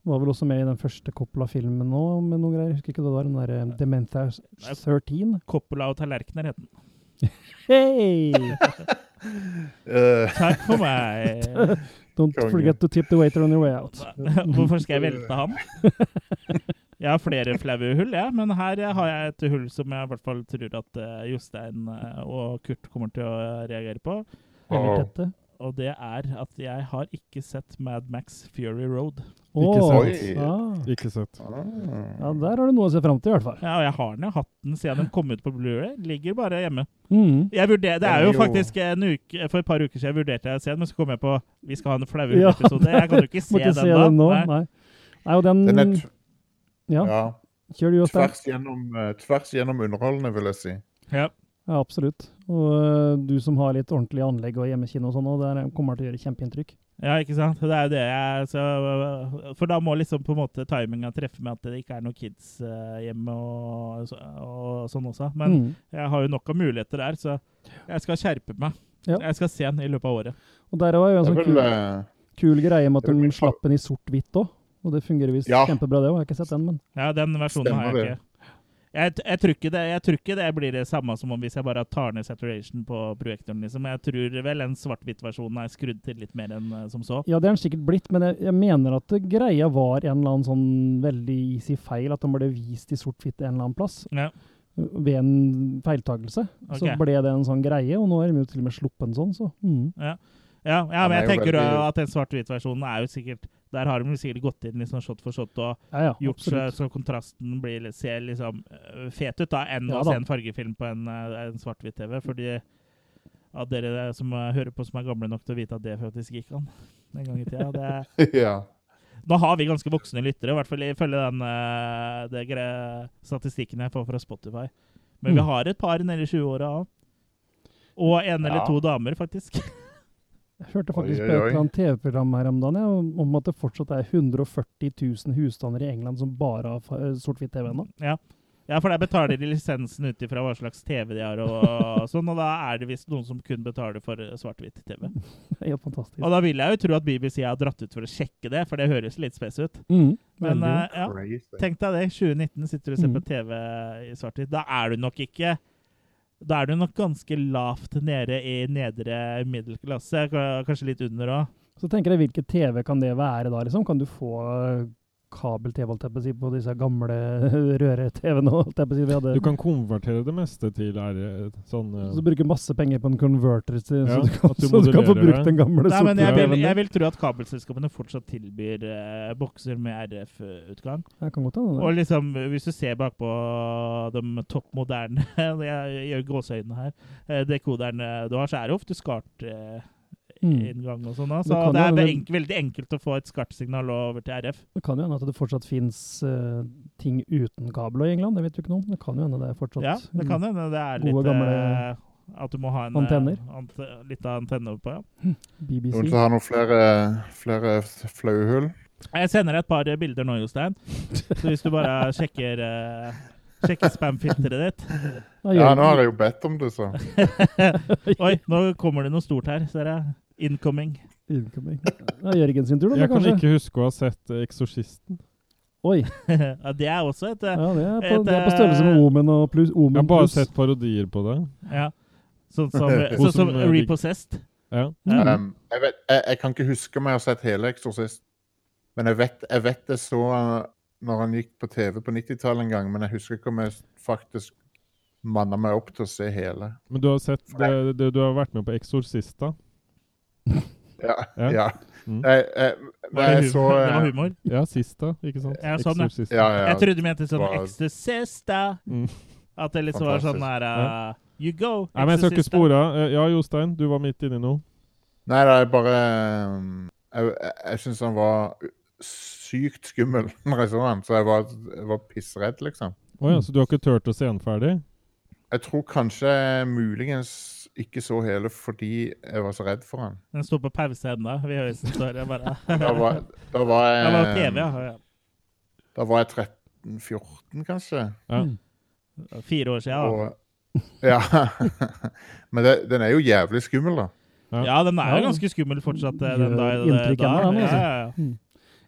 Speaker 4: Var vel også med i den første Coppola-filmen nå, med noen greier. Jeg husker ikke hva det var, den der eh, Dementia 13.
Speaker 1: Coppola og tallerkener het den.
Speaker 4: Hey!
Speaker 5: Eh,
Speaker 1: Takk for meg.
Speaker 4: Don't
Speaker 5: Konge.
Speaker 4: forget to tip the waiter on your way out.
Speaker 1: Hvorfor skal jeg velte han? Jeg har flere flaue hull, jeg, men her eh, har jeg et hull som jeg i hvert fall tror at eh, Jostein eh, og Kurt kommer til å reagere på.
Speaker 4: Eller
Speaker 5: Wow.
Speaker 4: dette.
Speaker 1: Og det er at jeg har ikke sett Mad Max Fury Road.
Speaker 4: Åh,
Speaker 5: sant.
Speaker 4: ah.
Speaker 2: Ikke sett.
Speaker 5: ah.
Speaker 4: Ja, der har du noe å se fram til, i hvert fall.
Speaker 1: Ja, og jeg har den, jeg har hatt den siden den kom ut på Blu-ray. Ligger bare hjemme.
Speaker 4: Mm.
Speaker 1: Jeg vurder, det er jo
Speaker 5: Den er jo-
Speaker 1: faktisk en uke, For et par uker siden vurderte jeg å se den, men så kom jeg på vi skal ha en flaue
Speaker 4: Ja,
Speaker 1: hull-episode. Jeg kan jo ikke
Speaker 4: Må
Speaker 1: se
Speaker 4: ikke
Speaker 1: den
Speaker 4: se
Speaker 1: da.
Speaker 4: den nå.
Speaker 1: Nei.
Speaker 4: Nei. Nei, og den,
Speaker 5: Den er t
Speaker 4: Mm, Ja,
Speaker 5: ja,
Speaker 4: kjør du, Jostein.
Speaker 5: tvers, gjennom, eh, tvers gjennom underholdende, vil jeg si.
Speaker 1: Ja.
Speaker 4: Ja, absolutt. Og øh, du som har litt ordentlig anlegg og hjemmekino og sånn, og der kommer det til å gjøre kjempeinntrykk.
Speaker 1: Ja, ikke sant? Det er jo det jeg så, For da må liksom på en måte timinga treffe med at det ikke er noen kids eh, hjemme og, så- og sånn også. Men
Speaker 4: Mm.
Speaker 1: jeg har jo nok av muligheter der, så jeg skal skjerpe meg.
Speaker 4: Ja.
Speaker 1: Jeg skal se den i løpet av året.
Speaker 4: Og der var jo en
Speaker 5: Det
Speaker 4: sånn
Speaker 5: er vel
Speaker 4: kul,
Speaker 5: eh,
Speaker 4: kul greie med at
Speaker 5: det er
Speaker 4: de
Speaker 5: vel-
Speaker 4: slapp den i sort-hvitt òg. Og det fungerer visst
Speaker 5: Ja.
Speaker 4: kjempebra, det òg. Jeg har ikke sett den, men
Speaker 1: Ja, den versjonen har
Speaker 5: Stemmer
Speaker 1: jeg ikke. Jeg, t- jeg, tror ikke det, jeg tror ikke det blir det samme som om hvis jeg bare tar ned saturation på projektoren. liksom. Jeg tror vel en svart-hvitt-versjon er skrudd til litt mer enn eh, som så.
Speaker 4: Ja, det er den sikkert blitt, men jeg, jeg mener at det greia var en eller annen sånn veldig easy feil, at den ble vist i sort-hvitt en eller annen plass.
Speaker 1: Ja.
Speaker 4: Ved en feiltagelse. Så
Speaker 1: Ok.
Speaker 4: ble det en sånn greie, og nå er de jo til og med sluppet en sånn, så mm.
Speaker 1: Ja, ja men jeg
Speaker 5: Den er jo
Speaker 1: tenker
Speaker 5: veldig-
Speaker 1: jo at den svart-hvitt-versjonen er jo sikkert Der har de jo sikkert gått inn liksom shot for shot og
Speaker 4: Ja, ja,
Speaker 1: gjort så,
Speaker 4: absolutt.
Speaker 1: så kontrasten blir, litt- ser liksom øh, fet ut da, enn
Speaker 4: Ja
Speaker 1: å
Speaker 4: da.
Speaker 1: se en fargefilm på en, øh, en svart-hvitt-TV. Fordi at dere som øh, hører på, som er gamle nok til å vite at det faktisk gikk an en gang i tida. Det er
Speaker 5: ja.
Speaker 1: Nå har vi ganske voksne lyttere, i hvert fall ifølge den eh, det gre- statistikken jeg får fra Spotify. Men vi
Speaker 4: Mm.
Speaker 1: har et par nedi 20-åra òg. Og en eller
Speaker 5: Ja.
Speaker 1: to damer, faktisk.
Speaker 4: Jeg hørte
Speaker 5: Oi,
Speaker 4: faktisk
Speaker 5: oi,
Speaker 4: på et
Speaker 5: oi.
Speaker 4: eller annet TV-program her om dagen, ja, om- om at det fortsatt er 140 000 husstander i England som bare har fa- eh, sort-hvitt TV ennå.
Speaker 1: Ja, for der betaler de lisensen ut ifra hva slags TV de har, og, og sånn. Og da er det visst noen som kun betaler for eh, svart-hvitt-TV.
Speaker 4: Det er jo fantastisk.
Speaker 1: Og da vil jeg jo tro at BBC har dratt ut for å sjekke det, for det høres litt spes ut.
Speaker 4: Mm,
Speaker 1: Men
Speaker 4: veldig.
Speaker 1: eh, ja,
Speaker 5: Crazy.
Speaker 1: Tenk deg det. 2019 sitter du og ser på
Speaker 4: Mm.
Speaker 1: TV i svart-hvitt. Da er du nok ikke Da er du nok ganske lavt nede i nedre middelklasse. k- Kanskje litt under òg.
Speaker 4: Så tenker jeg, hvilket TV kan det være da, liksom? Kan du få eh, kabel-TV, holdt jeg på å si, på disse gamle røre-TV-ene, holdt jeg på å si, vi hadde?
Speaker 2: Du kan konvertere det meste til R... Sånn
Speaker 4: Så
Speaker 2: eh,
Speaker 4: bruker du masse penger på en converter, så,
Speaker 2: Ja,
Speaker 4: så, du, kan,
Speaker 2: at du
Speaker 4: så du kan få
Speaker 2: modellerer
Speaker 4: brukt
Speaker 2: det.
Speaker 4: den gamle
Speaker 1: Nei, men jeg vil,
Speaker 4: sort-TV-en.
Speaker 1: jeg vil tro at kabelselskapene fortsatt tilbyr eh, bokser med RF-utgang.
Speaker 4: Jeg kan godt hende
Speaker 1: Og
Speaker 4: det.
Speaker 1: liksom, hvis du ser bakpå de topp moderne Jeg gjør gåseøynene her. eh, Dekoderne du har, så er det ofte skart eh,
Speaker 4: Mm.
Speaker 1: inngang og sånn. da. Så
Speaker 4: Det kan
Speaker 1: det
Speaker 4: jo
Speaker 1: er
Speaker 4: hende-
Speaker 1: enk- veldig enkelt å få et skartsignal over til RF.
Speaker 4: Det kan jo hende at det fortsatt finnes eh, ting uten kabel i England, det vet du ikke noe om. Det kan jo hende det er fortsatt
Speaker 1: Ja, det kan hende det er
Speaker 4: Mm.
Speaker 1: litt
Speaker 4: Gode, gamle
Speaker 1: eh, At du må ha en eh,
Speaker 4: antenner.
Speaker 1: ante- litt av antenne oppå, ja.
Speaker 4: BBC.
Speaker 5: Noen som har noen flere, flere flaue hull?
Speaker 1: Jeg sender deg et par eh, bilder nå, Jostein. Så hvis du bare sjekker eh, Sjekker spamfilteret ditt.
Speaker 4: Da gjør
Speaker 5: Ja,
Speaker 4: vi-
Speaker 5: nå har jeg jo bedt om det, så.
Speaker 1: Oi, nå kommer det noe stort her, ser jeg. Incoming.
Speaker 4: Incoming. Det er Jørgen sin tur, da,
Speaker 2: Jeg kan
Speaker 4: kanskje?
Speaker 2: ikke huske å ha sett eh, Eksorsisten.
Speaker 4: Oi,
Speaker 1: ja, det er også et eh,
Speaker 4: ja, det, er på,
Speaker 1: Et,
Speaker 4: det er på størrelse med
Speaker 1: eh,
Speaker 4: Omen og plus,
Speaker 2: Jeg
Speaker 4: Omen
Speaker 2: har bare
Speaker 4: pluss.
Speaker 2: sett parodier på det.
Speaker 1: Ja. Sånn som,
Speaker 2: Hun
Speaker 1: sånn som
Speaker 2: som, eh, ligger-
Speaker 1: Repossessed.
Speaker 2: Ja.
Speaker 4: Mm.
Speaker 5: Um, jeg, vet, jeg, jeg kan ikke huske om jeg har sett hele Exorcist, men jeg vet, jeg øh, vet det så uh, når han gikk på TV på 90-tallet en gang, men jeg husker ikke om jeg faktisk manna meg opp til å se hele.
Speaker 2: Men du har sett det, det, Du har vært med på Exorcista.
Speaker 5: Ja.
Speaker 2: Ja.
Speaker 5: ja.
Speaker 2: Mm.
Speaker 5: Jeg, jeg,
Speaker 1: Var det,
Speaker 5: jeg
Speaker 1: hu-
Speaker 5: så
Speaker 1: det var
Speaker 5: eh,
Speaker 1: humor.
Speaker 2: Ja, sista, ikke sant?
Speaker 1: Ja, sånn, ja.
Speaker 2: Exorcista.
Speaker 5: ja, ja.
Speaker 1: Jeg trodde du mente sånn
Speaker 5: Wow.
Speaker 1: Exorcista.
Speaker 2: Mm.
Speaker 1: At det liksom var sånn der uh, You go,
Speaker 2: Nei, men jeg skal ikke
Speaker 1: Exorcista.
Speaker 2: spore av. Eh, Ja, Jostein, du var midt inni noe.
Speaker 5: Nei, det er bare um, Jeg, jeg, jeg syns han var sykt skummel når jeg så han, så jeg var, jeg var pissredd, liksom.
Speaker 2: Å
Speaker 4: Mm.
Speaker 2: ja, så du har ikke turt å se den ferdig?
Speaker 5: Jeg tror kanskje jeg muligens ikke så hele fordi jeg var så redd for han.
Speaker 1: Den står på pause ennå. Vi høres den står der bare.
Speaker 5: Da var, da var
Speaker 1: Det var
Speaker 5: jeg,
Speaker 1: TV, ja.
Speaker 5: da var jeg 13-14, kanskje.
Speaker 2: Ja.
Speaker 1: ja. Fire år siden.
Speaker 5: Og, ja. Men det, den er jo jævlig skummel, da.
Speaker 1: Ja,
Speaker 2: Ja.
Speaker 1: ja den er
Speaker 4: Ja.
Speaker 1: jo ganske skummel fortsatt, eh, den
Speaker 4: Gjør
Speaker 1: dag.
Speaker 4: inntrykk
Speaker 1: dag.
Speaker 4: ennå, den, altså.
Speaker 1: Ja, ja, ja.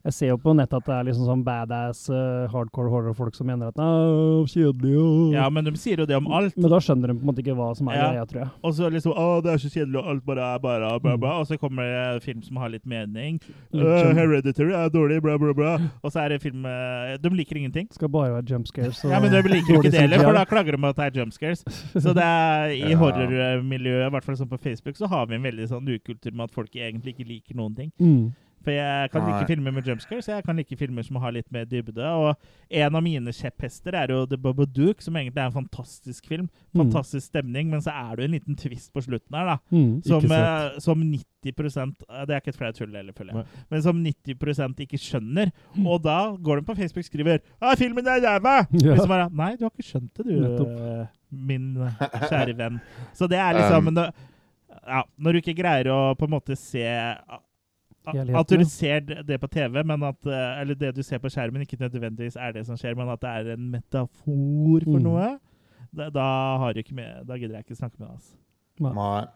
Speaker 4: Jeg ser jo på nettet at det er liksom sånn badass eh, hardcore horror-folk som mener at «Nei, kjedelig og
Speaker 1: ja, men de sier jo det om alt.
Speaker 4: Men da skjønner de på en måte ikke hva som er
Speaker 1: Ja.
Speaker 4: greia, tror jeg.
Speaker 1: Og så liksom Å, det er så kjedelig, og alt bare er bare bla, bla. Og så kommer det en film som har litt mening.
Speaker 4: Litt
Speaker 1: Øh,
Speaker 4: jump-
Speaker 1: Hereditary er dårlig, bla, bla, bla. Og så er det film eh, De liker ingenting.
Speaker 4: Skal bare være jump scares. og
Speaker 1: Ja, men de liker jo ikke
Speaker 4: dårlig
Speaker 1: det heller, for da
Speaker 4: CGI.
Speaker 1: klager de på at det er jump scares. Så det er i
Speaker 5: Ja.
Speaker 1: horrormiljøet, i hvert fall sånn på Facebook, så har vi en veldig sånn ukultur med at folk egentlig ikke liker noen ting.
Speaker 4: Mm.
Speaker 1: For jeg kan
Speaker 5: Nei.
Speaker 1: like filmer med jumpscares, jeg kan like filmer som har litt mer dybde. Og en av mine kjepphester er jo The Babadook, som egentlig er en fantastisk film. Fantastisk stemning, men så er det jo en liten twist på slutten her, da.
Speaker 4: Mm.
Speaker 1: Som,
Speaker 2: Ikke
Speaker 1: eh, som 90 eh, Det er ikke et flaut tull heller, føler jeg.
Speaker 2: Nei.
Speaker 1: Men som 90 ikke skjønner.
Speaker 4: Mm.
Speaker 1: Og da går de på Facebook og skriver «Ah, filmen er ræva!»
Speaker 4: Ja.
Speaker 1: Hvis de bare, Nei, du har ikke skjønt det, du,
Speaker 4: Nettopp.
Speaker 1: eh, min kjære venn. Så det er liksom
Speaker 5: Um.
Speaker 1: når- ja, Når du ikke greier å på en måte se a- a-
Speaker 4: Helheten,
Speaker 1: At du
Speaker 4: ja.
Speaker 1: ser det det på TV, men at, eh, eller det du ser på skjermen, ikke nødvendigvis er det som skjer, men at det er en metafor for
Speaker 4: Mm.
Speaker 1: noe, da, da, har du ikke med, da gidder jeg ikke snakke med deg. Altså.
Speaker 5: Nei.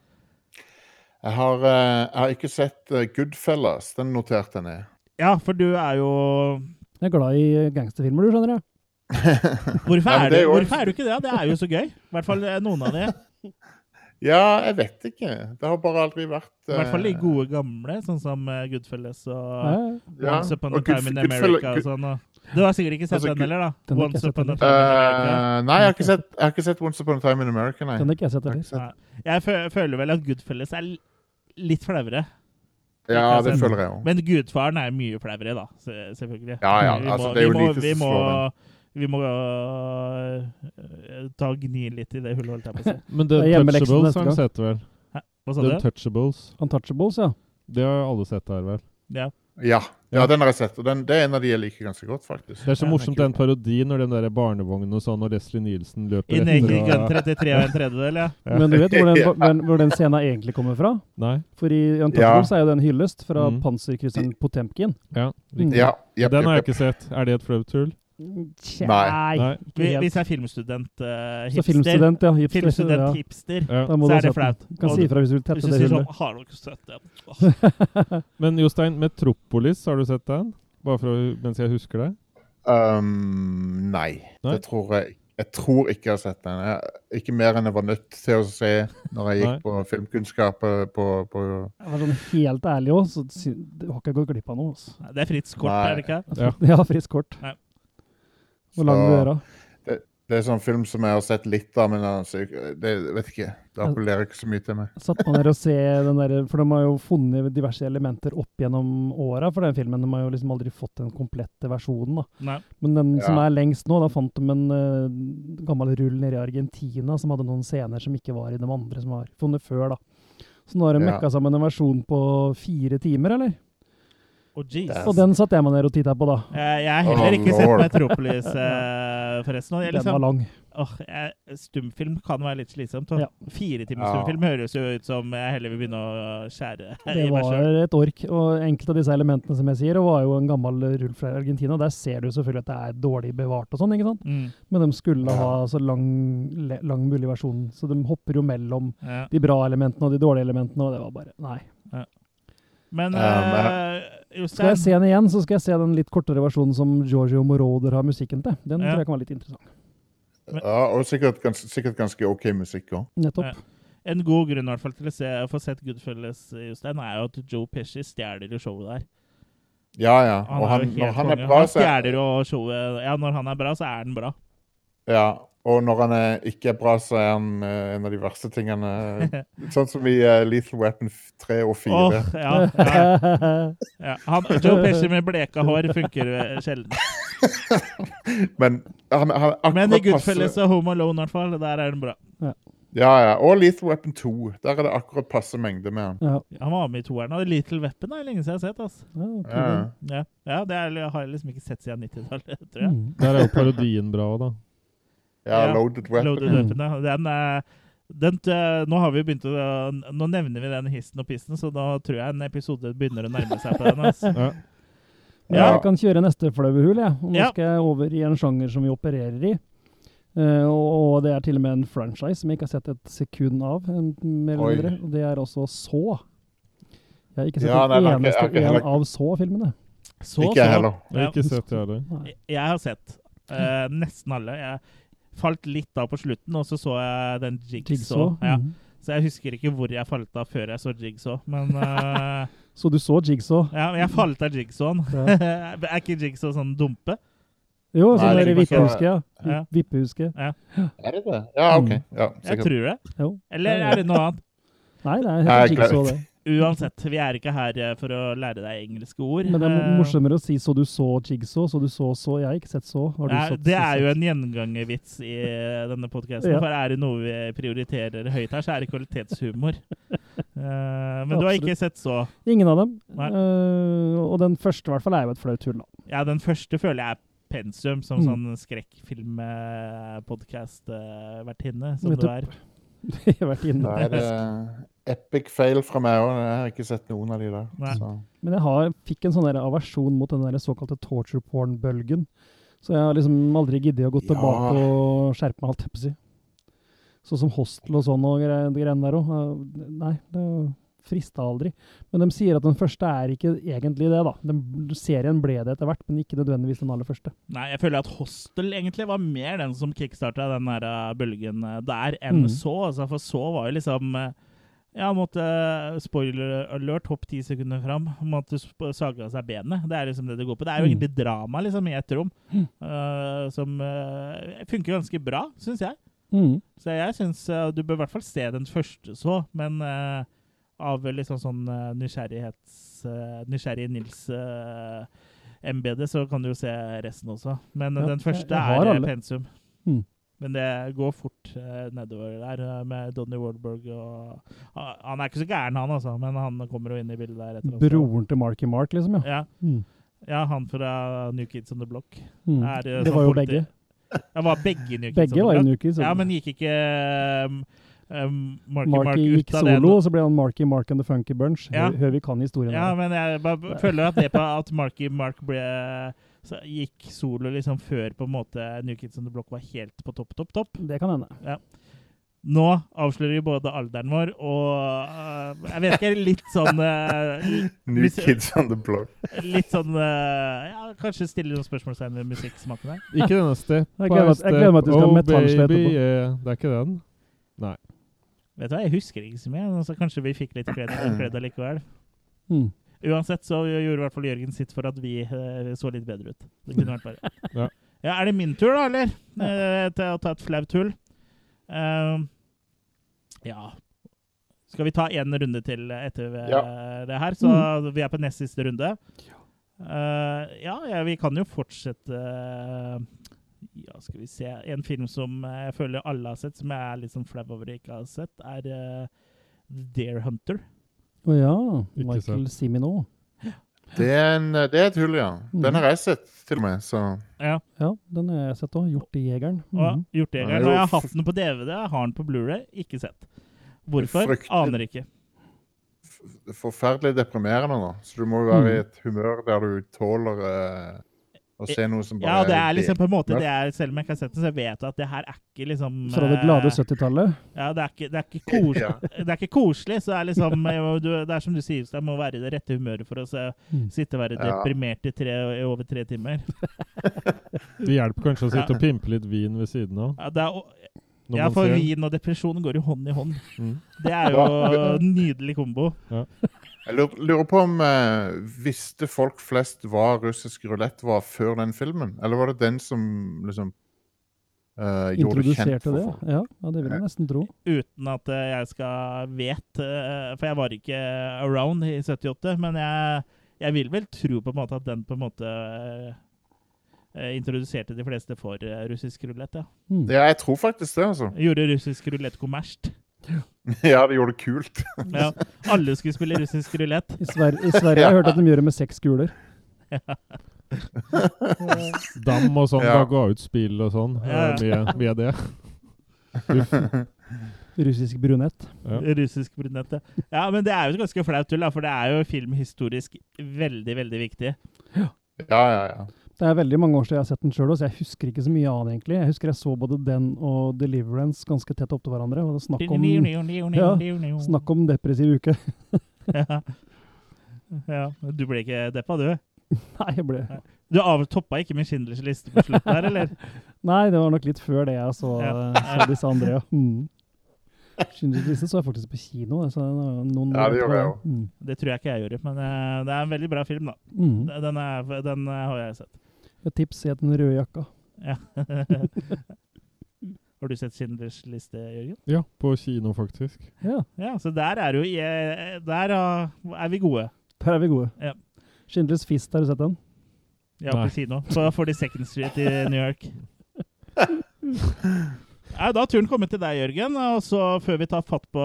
Speaker 5: Jeg har, eh, jeg har ikke sett eh, Goodfellas. Den noterte jeg ned.
Speaker 1: Ja, for du er jo
Speaker 4: Jeg er glad i eh, gangsterfilmer, du skjønner. jeg.
Speaker 1: Hvorfor
Speaker 5: Ja, men
Speaker 1: er,
Speaker 5: det er
Speaker 1: du,
Speaker 5: jo-
Speaker 1: hvorfor er du ikke det? Det er jo så gøy. I hvert fall eh, noen av de.
Speaker 5: Ja, jeg vet ikke. Det har bare aldri vært
Speaker 1: I hvert fall de
Speaker 5: eh,
Speaker 1: gode gamle, sånn som eh, Goodfellas
Speaker 4: Ja.
Speaker 1: og
Speaker 5: ja.
Speaker 1: Once Upon a
Speaker 5: Og
Speaker 1: Time in
Speaker 5: Goodf- Goodfella-
Speaker 1: America og sånn. Og. Du har sikkert ikke sett
Speaker 5: Altså,
Speaker 1: den
Speaker 5: Good-
Speaker 1: heller, da?
Speaker 4: Den har ikke
Speaker 1: Once
Speaker 4: jeg
Speaker 1: Upon a
Speaker 4: sett
Speaker 1: Time in America.
Speaker 5: Eh, nei, jeg har, ikke sett, jeg har ikke sett Once Upon a Time in America, nei.
Speaker 4: Den har ikke jeg sett
Speaker 5: Jeg har
Speaker 4: heller.
Speaker 5: ikke sett-
Speaker 1: Jeg fø- føler vel at Goodfellas er l- litt flauere.
Speaker 5: Ja,
Speaker 1: ikke
Speaker 5: det
Speaker 1: sett.
Speaker 5: føler jeg òg.
Speaker 1: Men Gudfaren er mye flauere, da. se- Selvfølgelig.
Speaker 5: Ja, ja,
Speaker 1: Vi må-
Speaker 5: altså, det er jo
Speaker 1: vi må-
Speaker 5: lite
Speaker 1: vi
Speaker 5: som
Speaker 1: må,
Speaker 5: slår
Speaker 1: vi må øh, ta og gni litt i det hullet, holdt jeg på å si.
Speaker 2: Men
Speaker 4: Det
Speaker 2: The
Speaker 4: er hjemmeleksen
Speaker 2: Touchables
Speaker 4: neste
Speaker 2: har
Speaker 4: gang.
Speaker 2: han sett, vel?
Speaker 1: Hva sa
Speaker 2: The
Speaker 1: du?
Speaker 2: Touchables.
Speaker 4: Untouchables, ja.
Speaker 2: Det har alle sett her, vel?
Speaker 1: Ja.
Speaker 5: Ja, ja, den har jeg sett. Og den, det er en av de jeg liker ganske godt, faktisk.
Speaker 2: Det er så
Speaker 1: Ja, den er
Speaker 2: morsomt,
Speaker 5: kul.
Speaker 2: den parodien når den der barnevognen og sånn, og Leslie Nielsen løper
Speaker 1: I Naked
Speaker 2: og-
Speaker 1: Gun 33 og en tredjedel, ja.
Speaker 2: Ja.
Speaker 4: Men du vet hvor den, hvor den- hvor den scenen egentlig kommer fra?
Speaker 2: Nei?
Speaker 4: For i Untouchables er jo den hyllest fra
Speaker 2: Mm.
Speaker 4: panserkrysseren Potemkin.
Speaker 2: Ja. riktig.
Speaker 5: Ja, jep,
Speaker 2: Den har jeg
Speaker 5: jep,
Speaker 2: ikke sett. Er det et flaut tull?
Speaker 4: Tja,
Speaker 5: Nei.
Speaker 2: Nei.
Speaker 4: ikke
Speaker 1: Vi- Hvis
Speaker 4: helt.
Speaker 1: jeg er filmstudent eh,
Speaker 4: Så
Speaker 1: hipster,
Speaker 4: filmstudent, ja. Hipster, ja.
Speaker 1: filmstudent hipster
Speaker 2: Ja.
Speaker 4: Da må
Speaker 1: så
Speaker 4: du
Speaker 1: er
Speaker 4: ha
Speaker 1: det
Speaker 4: sett den.
Speaker 1: flaut.
Speaker 4: Du kan
Speaker 1: Og
Speaker 4: si
Speaker 1: du-
Speaker 4: ifra hvis du vil
Speaker 1: Hvis
Speaker 4: tette
Speaker 1: du
Speaker 4: det
Speaker 1: sier sånn
Speaker 4: hullet.
Speaker 1: Har dere sett det? Åh,
Speaker 2: Men Jostein, Metropolis, har du sett den? Bare for å, mens jeg husker det?
Speaker 5: Um, nei,
Speaker 2: Nei?
Speaker 5: det tror jeg Jeg tror ikke jeg har sett den. Jeg, ikke mer enn jeg var nødt til å se når
Speaker 2: Nei.
Speaker 5: jeg gikk på filmkunnskap eh, på, på
Speaker 4: Jeg var sånn helt ærlig òg, så sy- du har ikke gått glipp av noe. Altså.
Speaker 1: nei, Det er Fritz Kort,
Speaker 5: Nei.
Speaker 1: er det ikke?
Speaker 2: Ja.
Speaker 4: Jeg har frisk kort.
Speaker 1: Ja.
Speaker 4: Hvor lang
Speaker 5: Så-
Speaker 4: du er da?
Speaker 5: Det er sånn film som jeg har sett litt av, men altså, det vet ikke. Det appellerer ikke så mye til meg.
Speaker 4: Satt man der og se den der, for de har jo funnet diverse elementer opp gjennom åra for den filmen. De har jo liksom aldri fått den komplette versjonen, da.
Speaker 1: Nei.
Speaker 4: Men den som
Speaker 5: Ja.
Speaker 4: er lengst nå, da fant de en eh, gammel rull nede i Argentina som hadde noen scener som ikke var i de andre som var funnet før, da. Så nå har de
Speaker 5: Ja.
Speaker 4: mekka sammen en versjon på fire timer, eller?
Speaker 1: Å, jeez.
Speaker 5: Det
Speaker 4: Og den satt jeg meg ned og titta på, da.
Speaker 1: Eh, Jeg har heller
Speaker 5: Oh,
Speaker 1: ikke sett
Speaker 5: lord.
Speaker 1: Metropolis, eh, forresten. Og jeg,
Speaker 4: Den var
Speaker 1: liksom,
Speaker 4: lang.
Speaker 1: åh, jeg, stumfilm kan være litt slitsomt. og
Speaker 4: Ja.
Speaker 1: Fire timers
Speaker 5: Ja.
Speaker 1: stumfilm høres jo ut som jeg heller vil begynne å skjære
Speaker 4: Det
Speaker 1: i meg
Speaker 4: var
Speaker 1: sjøl.
Speaker 4: et ork. Og enkelte av disse elementene som jeg sier, var jo en gammel rull fra Argentina. Der ser du selvfølgelig at det er dårlig bevart og sånn, ikke sant?
Speaker 1: Mm,
Speaker 4: Men de skulle
Speaker 5: Ja.
Speaker 4: ha så lang, le- lang mulig versjon, så de hopper jo mellom
Speaker 1: ja.
Speaker 4: de bra elementene og de dårlige elementene, og det var bare Nei.
Speaker 1: Men
Speaker 5: Um,
Speaker 1: eh,
Speaker 4: Skal
Speaker 1: Jostein
Speaker 4: jeg se den igjen, så skal jeg se den litt kortere versjonen som Giorgio Moroder har musikken til. Den
Speaker 1: Ja.
Speaker 4: tror jeg kan være litt interessant.
Speaker 5: Ja, og sikkert, gans, sikkert ganske OK musikk òg.
Speaker 4: Nettopp.
Speaker 1: Ja. En god grunn i hvert fall til å se, få sett Goodfellas, eh, Jostein, er jo at Joe Pesci stjeler jo showet der.
Speaker 5: Ja, ja.
Speaker 1: Han
Speaker 5: Og
Speaker 1: er
Speaker 5: han,
Speaker 1: jo helt
Speaker 5: når han
Speaker 1: konge.
Speaker 5: er bra,
Speaker 1: Han
Speaker 5: så
Speaker 1: stjeler jo showet Ja, når han er bra, så er han bra.
Speaker 5: Ja, og når han er, ikke er bra, så er han eh, en av de verste tingene. Sånn som i eh, Lethal Weapon 3 og 4.
Speaker 1: Åh, ja, ja, ja. Han, Joe Pesci med bleka hår funker eh, sjelden.
Speaker 5: Men han, han akkurat
Speaker 1: Men i
Speaker 5: passe-
Speaker 1: Goodfellas og Home Alone, i hvert fall, der er den bra.
Speaker 5: Ja, ja. Og Lethal Weapon 2. Der er det akkurat passe mengde med han.
Speaker 4: ja.
Speaker 1: Han var med i toeren. Og Little Weapon er lenge siden jeg har sett. Altså.
Speaker 4: ja, ok, Mm.
Speaker 5: Ja,
Speaker 1: Ja.
Speaker 5: ja.
Speaker 1: ja, Det er, jeg har jeg liksom ikke sett siden 90-tallet, tror
Speaker 4: det-
Speaker 1: jeg.
Speaker 4: mm.
Speaker 2: Der er jo parodien bra òg, da.
Speaker 5: ja,
Speaker 1: Ja.
Speaker 5: Loaded Weapon.
Speaker 1: Loaded Weapon, ja. Den, eh, den, eh, nå har vi jo begynt å Nå nevner vi den hissen og pissen, så nå tror jeg en episode begynner å nærme seg på den. Altså.
Speaker 2: Ja.
Speaker 4: Men
Speaker 1: Ja.
Speaker 4: Jeg kan kjøre neste flauehul, jeg. Og nå
Speaker 1: Ja.
Speaker 4: skal jeg over i en sjanger som vi opererer i. Eh, og, og det er til og med en franchise som jeg ikke har sett et sekund av. En, mer eller
Speaker 5: Oi.
Speaker 4: mindre. Og det er også Så. Jeg har ikke sett
Speaker 5: Ja, nei,
Speaker 4: en
Speaker 5: det har ikke- jeg
Speaker 4: eneste
Speaker 5: har ikke heller-
Speaker 4: en av Så-filmene.
Speaker 1: Så,
Speaker 5: Ikke jeg heller.
Speaker 2: Jeg har ikke sett det heller.
Speaker 1: Jeg, jeg har sett eh, nesten alle. Jeg falt litt av på slutten, og så så jeg den Jigsaw.
Speaker 4: Jigsaw.
Speaker 1: Ja.
Speaker 4: Mhm.
Speaker 1: Så jeg husker ikke hvor jeg falt av før jeg så Jigsaw, men eh,
Speaker 4: Så du så Jigsaw?
Speaker 1: ja, men jeg falt av Jigsawen.
Speaker 4: Ja.
Speaker 1: er ikke Jigsaw sånn dumpe?
Speaker 4: Jo, sånn
Speaker 5: Nei,
Speaker 4: der
Speaker 5: Jigsaw-
Speaker 4: vippehuske. Ja.
Speaker 1: Ja.
Speaker 4: Vippehuske.
Speaker 5: Er det det? Ja, OK.
Speaker 4: Mm.
Speaker 5: Ja,
Speaker 1: Mhm. Jeg
Speaker 5: sikkert.
Speaker 1: tror det.
Speaker 4: Jo.
Speaker 1: Eller er det noe annet?
Speaker 4: Nei, det er
Speaker 5: Nei, jeg
Speaker 4: Jigsaw,
Speaker 5: glemte.
Speaker 4: det.
Speaker 1: Uansett, vi er ikke her eh, for å lære deg engelske ord.
Speaker 4: Men det er
Speaker 1: Eh,
Speaker 4: mo- morsommere å si 'så du så Jigsaw', 'så du så så'. Jeg har ikke sett så. Har du
Speaker 1: Nei,
Speaker 4: sett
Speaker 1: det
Speaker 4: så,
Speaker 1: er
Speaker 4: så?
Speaker 1: jo en gjengangervits i eh, denne podkasten.
Speaker 4: Ja.
Speaker 1: For er det noe vi prioriterer høyt her, så er det kvalitetshumor. Eh, men du har ikke sett så
Speaker 4: Ingen av dem.
Speaker 1: Nei.
Speaker 4: Eh, og den første i hvert fall er jo et flaut hull. da.
Speaker 1: Ja, den første føler jeg er pensum, som
Speaker 4: Mm.
Speaker 1: sånn skrekkfilmpodkast-vertinne, som du er.
Speaker 4: Nettopp. Vi har vært inne.
Speaker 5: Da er det eh, epic fail fra meg òg. Jeg har ikke sett noen av de der.
Speaker 1: Nei.
Speaker 5: Så.
Speaker 4: Men jeg har, fikk en sånn der aversjon mot den der såkalte torture porn-bølgen. Så jeg har liksom aldri giddet å gå
Speaker 5: Ja.
Speaker 4: tilbake og skjerpe meg, holdt jeg på å si. Sånn som hostel og sånn og gre- de greiene der òg. Nei, det frista aldri. Men de sier at den første er ikke egentlig det, da. Den, serien ble det etter hvert, men ikke nødvendigvis den aller første.
Speaker 1: Nei, jeg føler at Hostel egentlig var mer den som kickstarta den der eh, bølgen eh, der, enn
Speaker 4: Mm.
Speaker 1: så. Altså, for så var jo liksom eh, Ja, måtte eh, Spoiler alert, hopp ti sekunder fram. Måtte sp- saga seg benet. Det er liksom det det går på. Det er jo
Speaker 4: Mm.
Speaker 1: egentlig drama liksom, i et rom, eh, som eh, funker ganske bra, syns jeg. Så jeg syns eh, du bør i hvert fall se den første så, men eh, av liksom sånn eh, nysgjerrighets... eh, nysgjerrig Nils uh, MBD, så kan du jo se resten også. Men eh,
Speaker 4: Ja,
Speaker 1: den
Speaker 4: jeg-
Speaker 1: første
Speaker 4: jeg har
Speaker 1: er eh,
Speaker 4: alle.
Speaker 1: pensum.
Speaker 4: Mm.
Speaker 1: Men det går fort eh, nedover der eh, med Donny Wahlberg og ah, Han er ikke så gæren, han altså, men han kommer jo inn i bildet der. etter også.
Speaker 4: Broren til Marky Mark, liksom, ja.
Speaker 1: Ja,
Speaker 4: Mm.
Speaker 1: ja, han fra New Kids on the Block.
Speaker 4: Mm.
Speaker 1: Er, eh,
Speaker 4: Det
Speaker 1: sånn
Speaker 4: var jo
Speaker 1: politi-
Speaker 4: begge.
Speaker 1: Ja, var begge New Kids on the
Speaker 4: Begge var
Speaker 1: Block?
Speaker 4: jo Nukids.
Speaker 1: Ja, men gikk ikke um, um, Marky Mark,
Speaker 4: Marky
Speaker 1: ut
Speaker 4: gikk
Speaker 1: av det?
Speaker 4: solo, og så ble han Marky Mark and the Funky Bunch.
Speaker 1: Ja.
Speaker 4: Hør, hør vi kan historien.
Speaker 1: Ja,
Speaker 4: her.
Speaker 1: men jeg bare føler at det på at Marky Mark ble så gikk solo liksom før på en måte New Kids on the Block var helt på topp, topp, topp.
Speaker 4: Det kan hende.
Speaker 1: Nå avslører vi både alderen vår og uh, Jeg vet ikke, litt sånn uh,
Speaker 5: New
Speaker 1: Hvis-
Speaker 5: Kids on the Block.
Speaker 1: Litt sånn uh, Ja, kanskje stille noen spørsmålstegn ved musikksmaken her.
Speaker 2: Ikke denne step
Speaker 4: Jeg gleder meg- jeg gleder meg til du skal ha metallslett
Speaker 2: Oh, baby,
Speaker 4: oppå.
Speaker 2: yeah. Det er ikke den.
Speaker 1: Vet du hva, jeg husker ikke så mye, så kanskje vi fikk litt kred kred allikevel.
Speaker 4: Mm.
Speaker 1: Uansett så gjorde i hvert fall Jørgen sitt for at vi eh, så litt bedre ut. Det kunne vært bare.
Speaker 2: Ja.
Speaker 1: Ja, er det min tur, da, eller? Eh, til å ta et flaut hull? Ehm, ja Skal vi ta én runde til etter eh, det her? Så vi er på nest siste runde. Eh, ja, ja, vi kan jo fortsette eh, Ja, skal vi se En film som eh, jeg føler alle har sett, som jeg er litt sånn flau over ikke har sett, er eh, Deer Hunter.
Speaker 4: Å ja.
Speaker 2: Ikke
Speaker 4: Michael Simino.
Speaker 5: Det er, en, eh, det er et hull, ja.
Speaker 1: Mhm.
Speaker 5: Den har jeg sett, til og med. Så
Speaker 1: Ja.
Speaker 4: Ja, den har jeg sett òg. Hjortejegeren.
Speaker 1: Og
Speaker 4: Mhm.
Speaker 1: gjort det en
Speaker 5: Ja,
Speaker 1: gang.
Speaker 5: jo.
Speaker 1: Og jeg har hatt den på DVD, jeg har den på Blu-ray, ikke sett. Hvorfor?
Speaker 5: Fryktelig.
Speaker 1: Aner ikke.
Speaker 5: forferdelig deprimerende, da. Så du må jo
Speaker 1: Mhm.
Speaker 5: være i et humør der du tåler eh, å se noe som bare
Speaker 1: Ja, det er liksom på en måte
Speaker 5: Ja.
Speaker 1: det er, Selv om jeg ikke har sett den, så jeg vet at det her er ikke liksom
Speaker 4: Fra det glade
Speaker 1: eh,
Speaker 4: 70-tallet.
Speaker 1: Ja, det er ikke, det er ikke, kos
Speaker 5: Ja.
Speaker 1: det er ikke koselig. Så det er liksom eh, du, Det er som du sier, Ustad, må være i det rette humøret for å se,
Speaker 4: Mm.
Speaker 1: sitte og være
Speaker 5: Ja.
Speaker 1: deprimert i, tre, i over tre timer.
Speaker 2: Det hjelper kanskje å sitte og pimpe litt vin ved siden av.
Speaker 1: Ja, det er, o-
Speaker 2: Når
Speaker 1: ja
Speaker 2: man
Speaker 1: for
Speaker 2: ser.
Speaker 1: vin og depresjon går jo hånd i hånd.
Speaker 2: Mm.
Speaker 1: Det er jo en nydelig kombo.
Speaker 5: Jeg lurer, lurer på om eh, visste folk flest hva russisk rulett var før den filmen? Eller var det den som liksom eh, gjorde det kjent
Speaker 4: Introduserte
Speaker 5: for
Speaker 4: det?
Speaker 5: folk.
Speaker 4: Ja, ja, det vil jeg nesten tro.
Speaker 1: Uten at eh, jeg skal vet, eh, for jeg var ikke around i 78, men jeg, jeg vil vel tro på en måte at den på en måte eh, introduserte de fleste for eh, russisk rulett, ja.
Speaker 4: Mm.
Speaker 5: Ja, jeg tror faktisk det, altså.
Speaker 1: Gjorde russisk rulett kommersielt.
Speaker 5: Ja, det gjorde det kult.
Speaker 1: Ja, alle skulle spille russisk rulett.
Speaker 4: I, Sver I Sverige har jeg hørt at de gjør det med seks kuler. Eh,
Speaker 2: Dam og sånn,
Speaker 5: Ja.
Speaker 2: da ga ut spill og sånn.
Speaker 1: Ja,
Speaker 2: eh, Via, via det.
Speaker 4: Russisk brunett.
Speaker 2: Ja.
Speaker 1: Russisk brunette. Ja, men det er jo et ganske flaut tull, da, for det er jo filmhistorisk veldig, veldig viktig.
Speaker 5: Ja, ja, ja.
Speaker 4: Det er veldig mange år siden jeg har sett den sjøl, så jeg husker ikke så mye av den egentlig. Jeg husker jeg så både den og Deliverance ganske tett opptil hverandre. og det er snakk om, Ja, snakk om depressiv uke.
Speaker 1: Ja. ja. Du ble ikke deppa, du?
Speaker 4: Nei, jeg ble...
Speaker 1: Du av- toppa ikke med Schindlers liste på slutten her, eller?
Speaker 4: Nei, det var nok litt før det jeg så, eh,
Speaker 1: Ja.
Speaker 4: så disse andre, ja. Mm. Schindlers liste så jeg faktisk på kino. det, Så det var noen
Speaker 5: Ja, det
Speaker 4: år
Speaker 5: gjorde
Speaker 4: etterpå,
Speaker 1: Det tror jeg ikke jeg gjorde, men eh, det er en veldig bra film, da.
Speaker 4: Mm. Mm.
Speaker 1: Den, er, den eh, har jeg sett.
Speaker 4: Et tips het Den røde jakka.
Speaker 1: Ja. har du sett Schindlers liste, Jørgen?
Speaker 2: Ja, på kino, faktisk.
Speaker 4: Ja,
Speaker 1: Ja, så der er jo eh, Der ah, er vi gode.
Speaker 4: der er vi gode.
Speaker 1: Ja.
Speaker 4: Schindlers fist, har du sett den?
Speaker 1: Ja,
Speaker 2: Nei.
Speaker 1: på kino. På 42nd Street i New York. Nei, da har turen kommet til deg, Jørgen. Og så før vi tar fatt på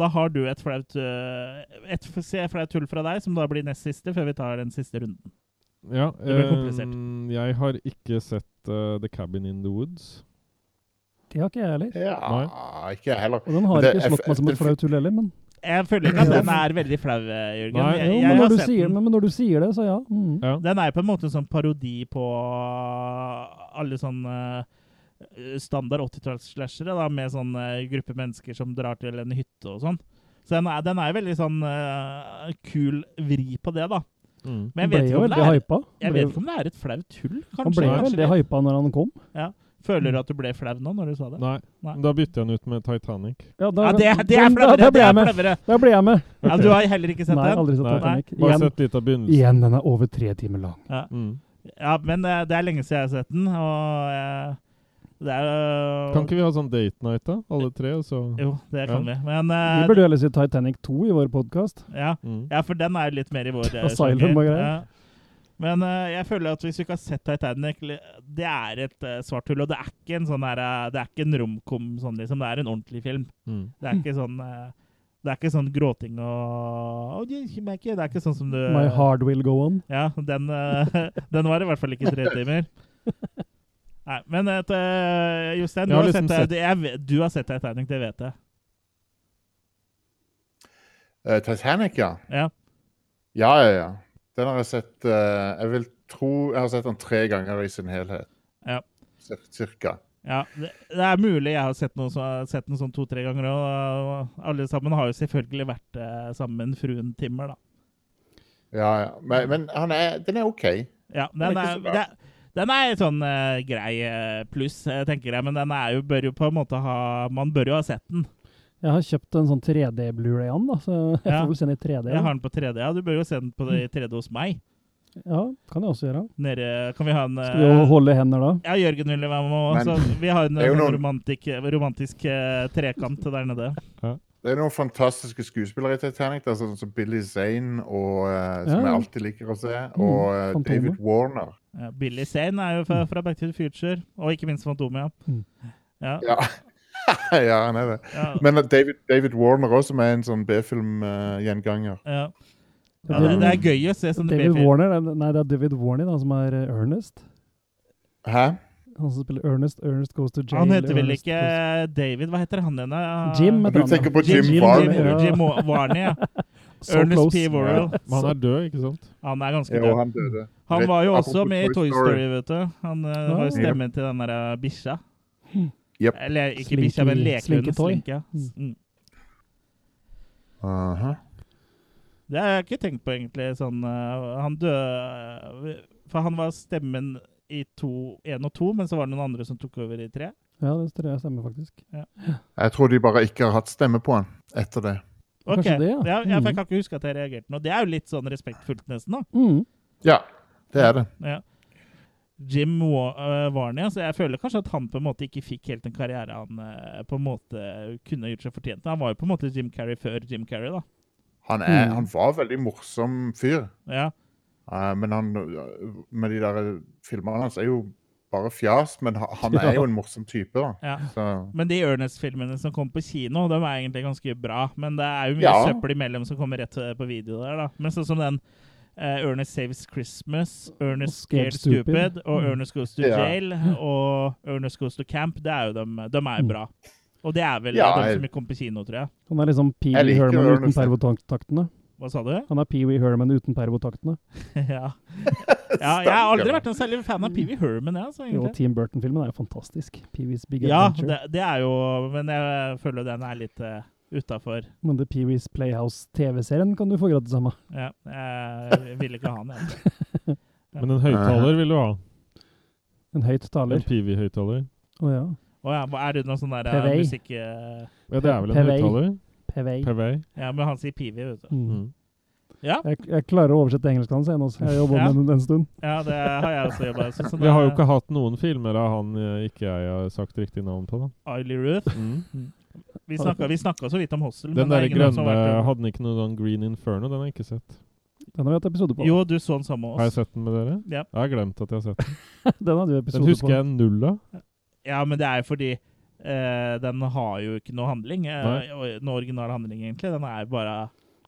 Speaker 1: Da har du et flaut øh, Et f- se flaut hull fra deg, som da blir nest siste, før vi tar den siste runden.
Speaker 2: Ja,
Speaker 1: Det ble komplisert.
Speaker 2: eh, jeg har ikke sett eh, The Cabin in the Woods.
Speaker 4: Det har ikke jeg heller.
Speaker 5: ja ikke jeg heller.
Speaker 4: Og den har
Speaker 5: Men det
Speaker 4: ikke
Speaker 5: er
Speaker 4: slått
Speaker 5: f-
Speaker 4: meg som et
Speaker 5: det er f-
Speaker 4: flaut hull heller, men,
Speaker 1: Jeg føler ikke at den er veldig flau, eh, Jørgen.
Speaker 2: Nei.
Speaker 1: Jeg-
Speaker 4: jo,
Speaker 1: jeg har
Speaker 4: men, når, du
Speaker 1: sett
Speaker 4: sier,
Speaker 1: den.
Speaker 4: men, men når du sier det, så ja. Mm.
Speaker 2: Ja.
Speaker 1: Den er jo på en måte en sånn parodi på uh, alle sånne eh, standard 80-tallsslashere, da, med sånn eh, gruppe mennesker som drar til en hytte og sånn. Så den er, den er jo veldig sånn eh, kul vri på det, da.
Speaker 2: Mm.
Speaker 1: Men jeg
Speaker 4: ble
Speaker 1: vet,
Speaker 4: jo
Speaker 1: ikke om, det
Speaker 4: veldig
Speaker 1: er,
Speaker 4: hypa.
Speaker 1: jeg
Speaker 4: Ble-
Speaker 1: vet ikke om det er et flaut hull, kanskje.
Speaker 4: han ble jo
Speaker 1: kanskje
Speaker 4: veldig
Speaker 1: litt.
Speaker 4: hypa når han kom.
Speaker 1: Føler du at du ble flau nå når du sa det?
Speaker 2: Nei.
Speaker 1: Nei.
Speaker 2: Da bytter jeg den ut med Titanic.
Speaker 4: Ja, da,
Speaker 1: Ja, det, det er
Speaker 4: den- da-
Speaker 1: flauere!
Speaker 4: Da
Speaker 1: Det
Speaker 4: ble
Speaker 1: er
Speaker 4: jeg med!
Speaker 1: flauere.
Speaker 4: Da ble jeg med.
Speaker 1: Ja, du har heller ikke sett
Speaker 4: Nei,
Speaker 1: den?
Speaker 4: aldri sett
Speaker 2: Nei.
Speaker 4: Titanic.
Speaker 2: Bare
Speaker 4: Igjen,
Speaker 2: sett litt av begynnelsen.
Speaker 4: igjen, den er over tre timer lang.
Speaker 2: Mm.
Speaker 1: Ja, men eh, det er lenge siden jeg har sett den, og eh, det er jo-
Speaker 2: Kan ikke vi ha sånn date night, da? Alle tre, og så
Speaker 1: Jo, det kan vi. Men
Speaker 4: Vi
Speaker 1: eh,
Speaker 4: burde jo heller si Titanic 2 i vår podkast.
Speaker 1: ja.
Speaker 2: mm.
Speaker 1: Ja, for den er jo litt mer i vår eh,
Speaker 4: Asylum
Speaker 1: sjanger.
Speaker 4: og greier.
Speaker 1: Ja. Men eh, jeg føler at hvis du ikke har sett Titanic, li- det er et eh, svart hull. Og det er ikke en sånn her, eh, det er ikke en romkom, sånn, liksom. det er en ordentlig film.
Speaker 2: Mm.
Speaker 1: Det er ikke sånn eh, det er ikke sånn gråting og «Å, det kommer jeg ikke». Det er ikke sånn som du
Speaker 4: My hard will go on.
Speaker 1: Ja, den, eh, den var i hvert fall ikke tre timer. Nei, men et, eh, Jostein, du
Speaker 2: Jeg har
Speaker 1: har,
Speaker 2: liksom
Speaker 1: sett,
Speaker 2: sett-
Speaker 1: det- jeg, vet- du har sett Titanic, det vet jeg.
Speaker 5: Eh, Titanic, ja.
Speaker 1: Ja.
Speaker 5: Ja, ja, ja. Den har jeg sett eh, Jeg vil tro jeg har sett den tre ganger i sin helhet.
Speaker 1: Ja.
Speaker 5: Cir cirka.
Speaker 1: Ja, det, det er mulig jeg har sett, noe, så- sett den sånn to-tre ganger òg. Og alle sammen har jo selvfølgelig vært eh, sammen fruen Timmer, da.
Speaker 5: Ja, ja. Men, men han er, den er OK.
Speaker 1: Ja, den
Speaker 5: Den er ikke
Speaker 1: er,
Speaker 5: så bra.
Speaker 1: det, den er sånn eh, grei eh, pluss, eh, tenker jeg, men den er jo, bør jo på en måte ha Man bør jo ha sett den.
Speaker 4: Jeg har kjøpt en sånn 3D Blu-ray an, da, så jeg
Speaker 1: Ja.
Speaker 4: får vel se den i 3D.
Speaker 1: Jeg har den på 3D. Ja, du bør jo se den på 3D hos meg.
Speaker 4: Ja, kan jeg også gjøre.
Speaker 1: Nede Kan vi ha en eh,
Speaker 4: Skal vi jo holde hender da?
Speaker 1: Ja, Jørgen ville være med
Speaker 5: Men-
Speaker 1: også. Vi har en
Speaker 5: Det er jo
Speaker 1: sånn
Speaker 5: noen-
Speaker 1: romantikk, romantisk eh, trekant der nede.
Speaker 5: Det er noen fantastiske skuespillere i Titanic, da, sånn som Billy Zane, og, eh,
Speaker 4: Ja, Mm,
Speaker 5: som
Speaker 4: ja.
Speaker 5: jeg alltid liker å se, og eh,
Speaker 4: Fantomet.
Speaker 5: David Warner.
Speaker 1: Ja, Billy Zane er jo fra, fra Back to the Future, og ikke minst Fantomet.
Speaker 4: Mm.
Speaker 1: Ja.
Speaker 5: Ja. ja, han er det.
Speaker 1: Ja,
Speaker 5: Men at David, David Warner også, som er en sånn B-film-gjenganger.
Speaker 1: ja. Ja,
Speaker 4: Ja,
Speaker 1: det,
Speaker 4: David-
Speaker 1: det er gøy å se sånne
Speaker 4: David
Speaker 1: B-film.
Speaker 4: Warner, er- nei det er David Warney da, som er eh, Ernest.
Speaker 5: Hæ?
Speaker 4: Han som spiller Ernest, Ernest Goes to Jail.
Speaker 1: Han heter vel
Speaker 4: Ernest
Speaker 1: ikke
Speaker 4: goes-
Speaker 1: David, hva heter han igjen? da?
Speaker 4: Jim heter
Speaker 5: Du
Speaker 4: han,
Speaker 5: tenker på
Speaker 4: ja.
Speaker 5: Jim Varney.
Speaker 1: Jim,
Speaker 4: ja.
Speaker 1: Jim Wa- Varney, ja.
Speaker 4: So
Speaker 1: Ernest
Speaker 4: close.
Speaker 1: P. Worrell.
Speaker 2: Men han er død, ikke sant?
Speaker 1: Han er ganske
Speaker 5: Jo,
Speaker 1: død.
Speaker 5: han døde.
Speaker 1: Han
Speaker 5: Rett-
Speaker 1: var jo også
Speaker 5: apropos
Speaker 1: med i Toy Story, vet du. Han eh, var jo
Speaker 4: Ah.
Speaker 1: stemmen til den der eh, bikkja.
Speaker 5: Jep.
Speaker 1: Eller ikke
Speaker 4: Slinky-
Speaker 1: bikkja, men lekehunden
Speaker 4: Slinketoy.
Speaker 1: Slinka. Mm.
Speaker 5: Aha.
Speaker 1: Det har jeg ikke tenkt på, egentlig. Sånn, eh, han døde For han var stemmen i to, én og to, men så var det noen andre som tok over i tre.
Speaker 4: Ja, det tror jeg stemmer faktisk.
Speaker 5: Jeg tror de bare ikke har hatt stemme på han etter det.
Speaker 1: Ok,
Speaker 4: Kanskje det,
Speaker 1: ja.
Speaker 4: ja.
Speaker 1: Ja, for Jeg
Speaker 4: Mhm.
Speaker 1: kan ikke huske at jeg reagerte nå. Det er jo litt sånn respektfullt, nesten. da.
Speaker 4: Mm.
Speaker 5: Ja, det er det.
Speaker 1: Ja. Jim Wa- eh, Varney. Så jeg føler kanskje at han på en måte ikke fikk helt den karriere han eh, på en måte kunne gjort seg fortjent til. Han var jo på en måte Jim Carrey før Jim Carrey, da.
Speaker 5: Han, er,
Speaker 4: Mm.
Speaker 5: han var en veldig morsom fyr,
Speaker 1: Ja,
Speaker 5: eh, men han Med de der filmene hans er jo bare fjas, men ha- han er jo en morsom type, da.
Speaker 1: ja.
Speaker 5: Så
Speaker 1: Men de Ernest-filmene som kom på kino, de er egentlig ganske bra. Men det er jo mye
Speaker 5: Ja.
Speaker 1: søppel imellom som kommer rett eh, på video der, da. Men sånn som den eh, Ernest Saves Christmas, Ernest
Speaker 4: Scared
Speaker 1: Scared Stupid,
Speaker 4: Stupid.
Speaker 1: og
Speaker 4: Mm.
Speaker 1: Ernest Goes to
Speaker 5: Ja.
Speaker 1: Jail og Ernest Goes to Camp, det er jo dem, de er jo bra. Og det er vel
Speaker 5: Ja,
Speaker 1: de
Speaker 5: jeg-
Speaker 1: som kom på kino, tror jeg.
Speaker 4: Han er liksom Pee
Speaker 5: Jeg
Speaker 4: Wee
Speaker 5: liker
Speaker 4: Herman
Speaker 5: Ørnes,
Speaker 4: uten
Speaker 5: jeg.
Speaker 4: pervotaktene.
Speaker 1: Hva sa du?
Speaker 4: Han er Pee Wee Herman uten pervotaktene.
Speaker 1: ja. ja. Jeg har aldri vært noen særlig fan av Pee Wee Herman, jeg, altså,
Speaker 4: Jo,
Speaker 1: egentlig.
Speaker 4: Team Burton-filmen er jo fantastisk. Pee Wees Big
Speaker 1: Ja,
Speaker 4: Adventure.
Speaker 1: det, det er jo Men jeg føler den er litt uh, utafor.
Speaker 4: Men The Pee Wees Playhouse-TV-serien kan du få gratis av meg.
Speaker 1: Ja, jeg vil ikke ha den, jeg.
Speaker 2: Men en høyttaler vil du ha.
Speaker 4: En høyt
Speaker 2: En
Speaker 4: taler.
Speaker 2: Pivi-høyttaler.
Speaker 4: Å ja.
Speaker 1: Å ja, hva er det noe sånn der eh,
Speaker 4: Pevei.
Speaker 1: musikk... eh,
Speaker 2: Ja, det er vel en
Speaker 4: Pevei.
Speaker 2: høyttaler?
Speaker 4: Pevei.
Speaker 2: Pevei.
Speaker 1: Ja, men han sier pivi, vet du.
Speaker 4: Mm.
Speaker 2: Mm.
Speaker 1: Ja,
Speaker 4: Jeg, jeg klarer å oversette engelsken hans, jeg nå. så Jeg har jobba
Speaker 1: Ja.
Speaker 4: med den en stund.
Speaker 1: ja det har jeg også jobba med. Sånn
Speaker 2: Vi har jo ikke hatt noen filmer av han eh, ikke jeg har sagt riktig navn på. da.
Speaker 1: Eiley eh, Ruth. Vi snakka, vi snakka så vidt om Hostel. men
Speaker 2: Den
Speaker 1: det er
Speaker 2: der
Speaker 1: ingen av oss
Speaker 2: grønne
Speaker 1: som har vært-
Speaker 2: Hadde den ikke noe sånn Green Inferno? Den har jeg ikke sett.
Speaker 4: Den har vi hatt episode på.
Speaker 1: Jo, du så den sammen
Speaker 2: Har
Speaker 1: med
Speaker 2: jeg
Speaker 1: oss.
Speaker 2: sett den med dere?
Speaker 1: Ja.
Speaker 2: Jeg har glemt at jeg har sett den.
Speaker 4: Den hadde vi
Speaker 2: Den
Speaker 4: episode på.
Speaker 2: husker jeg null av.
Speaker 1: Ja, men det er jo fordi eh, den har jo ikke noe handling.
Speaker 2: Nei.
Speaker 1: Uh, noe original handling, egentlig. Den er bare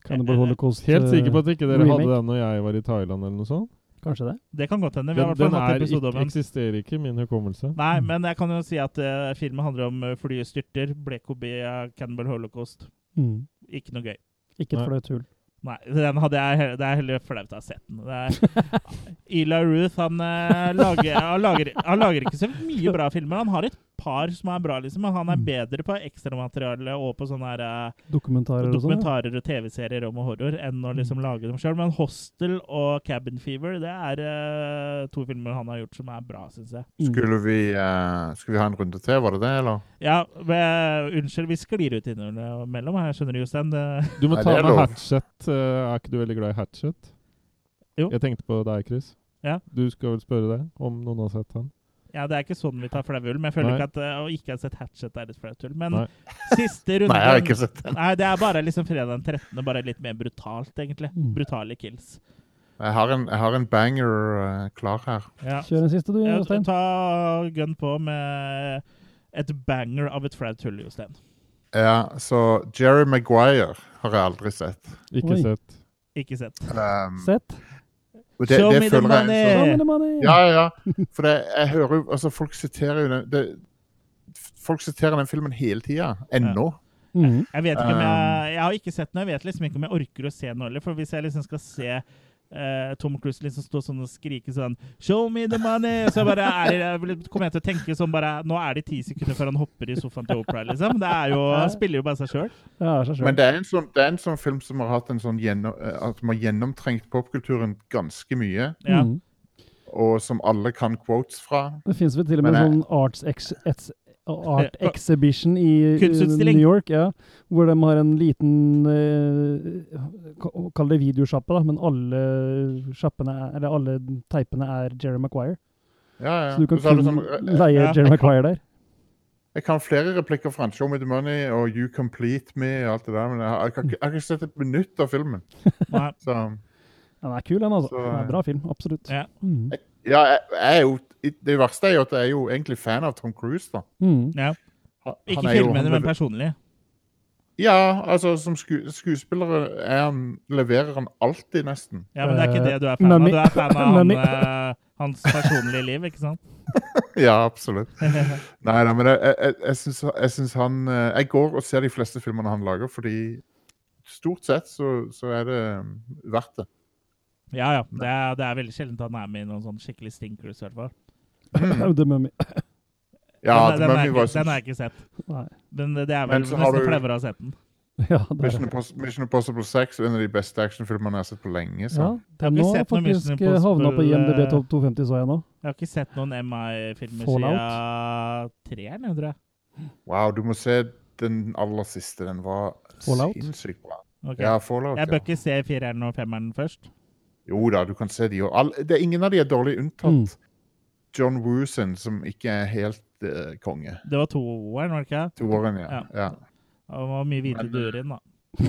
Speaker 4: Cannibal Holocaust.
Speaker 2: Helt sikker på
Speaker 4: eh,
Speaker 2: at ikke dere
Speaker 4: remake.
Speaker 2: hadde den når jeg var i Thailand eller noe sånt.
Speaker 4: Kanskje det.
Speaker 1: Det kan godt hende. Vi har i
Speaker 2: Den,
Speaker 1: hvert
Speaker 2: den
Speaker 1: fall hatt
Speaker 2: er
Speaker 1: episode
Speaker 2: ikke, Mm.
Speaker 1: om den.
Speaker 2: eksisterer ikke i min hukommelse.
Speaker 1: Nei, men jeg kan jo si at eh, filmen handler om eh, flyet styrter, Blekobia, Cannibal Holocaust.
Speaker 4: Mm.
Speaker 1: Ikke noe gøy.
Speaker 4: Ikke et
Speaker 2: Nei.
Speaker 4: flaut hull.
Speaker 1: Nei, den hadde jeg, he- det er heller flaut å ha sett den. Det er, Eli Ruth han, eh, lager, han, lager, han lager ikke så mye bra filmer. Han har et par som er bra, liksom, men han
Speaker 4: Mm.
Speaker 1: er bedre på ekstramateriale og på sånne her, eh,
Speaker 4: Dokumentarer og sånn. ja. Mm.
Speaker 1: dokumentarer og TV-serier om horror enn å liksom lage dem sjøl. Men 'Hostel' og 'Cabin Fever' det er eh, to filmer han har gjort som er bra, syns jeg.
Speaker 4: Mm.
Speaker 5: skulle vi, eh, skulle vi ha en runde til, var det det, eller?
Speaker 1: Ja, men, unnskyld, vi sklir ut innimellom her, skjønner du, Jostein. Det-
Speaker 2: Du må
Speaker 5: Nei,
Speaker 2: ta
Speaker 5: det er
Speaker 2: med
Speaker 5: lov.
Speaker 2: Hatchet. eh, Er ikke du veldig glad i Hatchet?
Speaker 1: Jo.
Speaker 2: Jeg tenkte på deg, Chris.
Speaker 1: Ja.
Speaker 2: Du skal vel spørre deg om noen har sett han?
Speaker 1: Ja, Det er ikke sånn vi tar flauhull, men jeg føler
Speaker 2: Nei.
Speaker 1: ikke at eh, å ikke ha sett Hatchet er et flaut hull. Men
Speaker 2: Nei.
Speaker 1: siste runde
Speaker 5: Nei, jeg har ikke sett den.
Speaker 1: Nei, det er bare liksom fredag den 13., bare litt mer brutalt, egentlig.
Speaker 4: Mm.
Speaker 1: Brutale kills.
Speaker 5: Jeg har en, jeg har en banger eh, klar her.
Speaker 1: Ja.
Speaker 4: Kjør en siste, du,
Speaker 1: Ja,
Speaker 4: Jostein.
Speaker 1: Ta gun på med et banger av et flaut hull, Jostein.
Speaker 5: Ja, så Jerry Maguire har jeg aldri sett.
Speaker 2: Ikke
Speaker 4: Oi.
Speaker 2: sett.
Speaker 1: Ikke sett.
Speaker 5: Um,
Speaker 4: Sett.
Speaker 5: og det-
Speaker 1: Show
Speaker 5: det
Speaker 1: me the
Speaker 5: føler jeg er en
Speaker 1: money!
Speaker 5: sånn-
Speaker 4: Show me the money!
Speaker 5: Ja, ja, ja. For det, jeg hører jo altså, Folk siterer jo den det, Folk siterer den filmen hele tida. Ennå.
Speaker 4: Mhm.
Speaker 1: Jeg vet ikke om jeg
Speaker 5: Um.
Speaker 1: Jeg har ikke sett den, og jeg vet liksom ikke om jeg orker å se den heller. For hvis jeg liksom skal se eh, Tom Cruise liksom stå sånn og skrike sånn 'Show me the money!' Så bare er det, jeg blir- kommer jeg til å tenke sånn bare Nå er det ti sekunder før han hopper i sofaen til Oprah, liksom. Det er jo Han spiller jo bare seg sjøl.
Speaker 4: Ja, er seg selv.
Speaker 5: Men det er, en sånn, det er en sånn film som har hatt en sånn gjennom, eh, at som har gjennomtrengt popkulturen ganske mye,
Speaker 1: Ja.
Speaker 4: Mhm.
Speaker 5: og som alle kan quotes fra.
Speaker 4: Det fins vel til og med
Speaker 5: Men eh, jeg-
Speaker 4: sånn arts ex, ex, art exhibition i eh,
Speaker 1: Kunstutstilling.
Speaker 4: New York, ja, hvor de har en liten eh, ka- Kall det videosjappe, da, men alle sjappene er, eller alle teipene er Jerry Maguire.
Speaker 5: Ja, ja.
Speaker 4: Så du kan
Speaker 5: Og så er det
Speaker 4: kun
Speaker 5: sånn, eh,
Speaker 4: leie
Speaker 1: ja,
Speaker 4: Jerry Maguire der.
Speaker 5: jeg kan flere replikker fra han, Show Me The Money og You Complete Me og alt det der, men jeg har, jeg har, ikke- jeg har ikke sett et minutt av filmen.
Speaker 1: Nei.
Speaker 5: Så
Speaker 4: Den er kul, den, altså.
Speaker 5: Så- eh,
Speaker 4: Den er en bra film, absolutt.
Speaker 1: Ja.
Speaker 4: Mhm.
Speaker 5: ja, jeg, jeg er jo Det verste er jo at jeg er jo egentlig fan av Tom Cruise, da.
Speaker 4: Mhm.
Speaker 1: Ja.
Speaker 5: Han-
Speaker 1: Ikke
Speaker 5: han er jo-
Speaker 1: filmene,
Speaker 5: han
Speaker 1: men
Speaker 5: lever-
Speaker 1: personlig.
Speaker 5: Ja, altså som sku, skuespiller er han, leverer han alltid, nesten.
Speaker 1: Ja, men det er ikke
Speaker 4: Eh,
Speaker 1: det du er fan av.
Speaker 4: Mummy.
Speaker 1: Du er fan av han,
Speaker 4: Mummy.
Speaker 1: eh, hans personlige liv, ikke sant?
Speaker 5: Ja, absolutt. Nei da, men jeg, jeg, jeg- jeg, syns, jeg syns han eh, Jeg går og ser de fleste filmene han lager, fordi stort sett så, så er det um, verdt det.
Speaker 1: Ja, ja. Det er, det er veldig sjeldent han er med i noen sånn skikkelig stinkers, i hvert fall.
Speaker 5: Mm.
Speaker 4: The Mummy.
Speaker 5: Ja,
Speaker 1: den,
Speaker 5: The
Speaker 1: den, er
Speaker 5: Mummy
Speaker 1: ikke, den
Speaker 5: var jo
Speaker 1: har
Speaker 5: sånn-
Speaker 1: jeg ikke sett.
Speaker 4: Nei.
Speaker 1: Den, det er vel
Speaker 5: Men så har
Speaker 1: nesten
Speaker 5: du-
Speaker 1: flauere å ha sett den.
Speaker 4: Ja, der.
Speaker 5: Mission, Impos Mission Impossible 6 er en av de beste actionfilmene jeg har sett på lenge. Så.
Speaker 4: Ja, den
Speaker 1: ikke
Speaker 4: nå
Speaker 1: sett noe Mission
Speaker 4: faktisk eh, havna på
Speaker 1: Impossible,
Speaker 4: IMDb
Speaker 1: eh,
Speaker 4: Topp 250, så jeg nå.
Speaker 1: Jeg har ikke sett noen MI-filmer siden
Speaker 4: Fallout?
Speaker 1: treeren, jeg tror jeg.
Speaker 5: Wow, du må se den aller siste. Den var
Speaker 4: Fallout?
Speaker 5: sinnssykt bra.
Speaker 1: Ok.
Speaker 5: Ja, Fallout.
Speaker 1: jeg bør
Speaker 5: Ja.
Speaker 1: ikke se fireren og femmeren først.
Speaker 5: Jo da, du kan se de òg. Ingen av de er dårlig unntatt. John Woo sin, som ikke er helt eh, konge.
Speaker 1: Det var toeren, var det ikke?
Speaker 5: Toeren, ja.
Speaker 1: Ja.
Speaker 5: ja.
Speaker 1: Det var mye hvite
Speaker 5: Men,
Speaker 1: duer inn, da.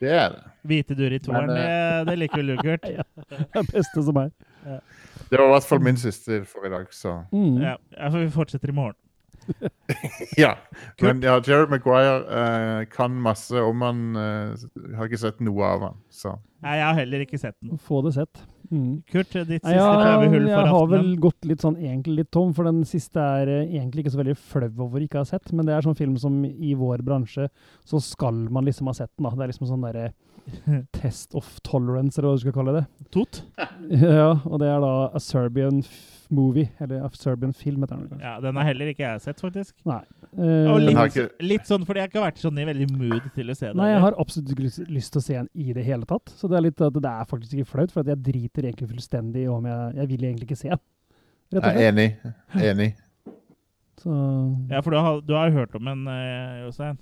Speaker 5: Det er det.
Speaker 1: Hvite duer i toeren,
Speaker 5: Men, eh,
Speaker 1: det, det liker vel du, Kurt?
Speaker 4: Det er det beste som er.
Speaker 5: Det var i hvert fall min siste for i dag, så
Speaker 4: Mm.
Speaker 1: Ja, ja, for vi fortsetter i morgen.
Speaker 5: Ja.
Speaker 1: Kult.
Speaker 5: Men ja, Jared Maguire eh, kan masse om han eh, Har ikke sett noe av han, så
Speaker 1: Nei, jeg har heller ikke sett den.
Speaker 4: Få det sett. Mm.
Speaker 1: Kurt, ditt siste
Speaker 4: Nei, ja,
Speaker 1: flauehull
Speaker 4: jeg
Speaker 1: for
Speaker 4: har vel
Speaker 1: aftenen.
Speaker 4: gått litt sånn egentlig litt tom, for den siste er eh, egentlig ikke så veldig flau over ikke å ha sett, men det er sånn film som i vår bransje så skal man liksom ha sett den, da. Det er liksom sånn derre test of tolerance, eller hva du skal kalle det.
Speaker 1: Tot?
Speaker 4: Ja, og det er da a Serbian f movie, eller a Serbian film, heter den. kanskje.
Speaker 1: Ja, den har heller ikke jeg sett, faktisk.
Speaker 4: Eh,
Speaker 1: Og
Speaker 5: Den har
Speaker 1: litt,
Speaker 5: ikke-
Speaker 1: litt sånn, fordi jeg har ikke vært sånn i veldig mood til å se det.
Speaker 4: Nei, jeg har absolutt ikke lyst- lyst til å se den i det hele tatt. Så det er litt at det er faktisk ikke flaut, for at jeg driter egentlig fullstendig i om jeg Jeg vil egentlig ikke se den, rett og
Speaker 5: jeg
Speaker 4: slett.
Speaker 5: er enig. Enig.
Speaker 4: Så
Speaker 1: Ja, for du har, du har jo hørt om en, eh, Jostein.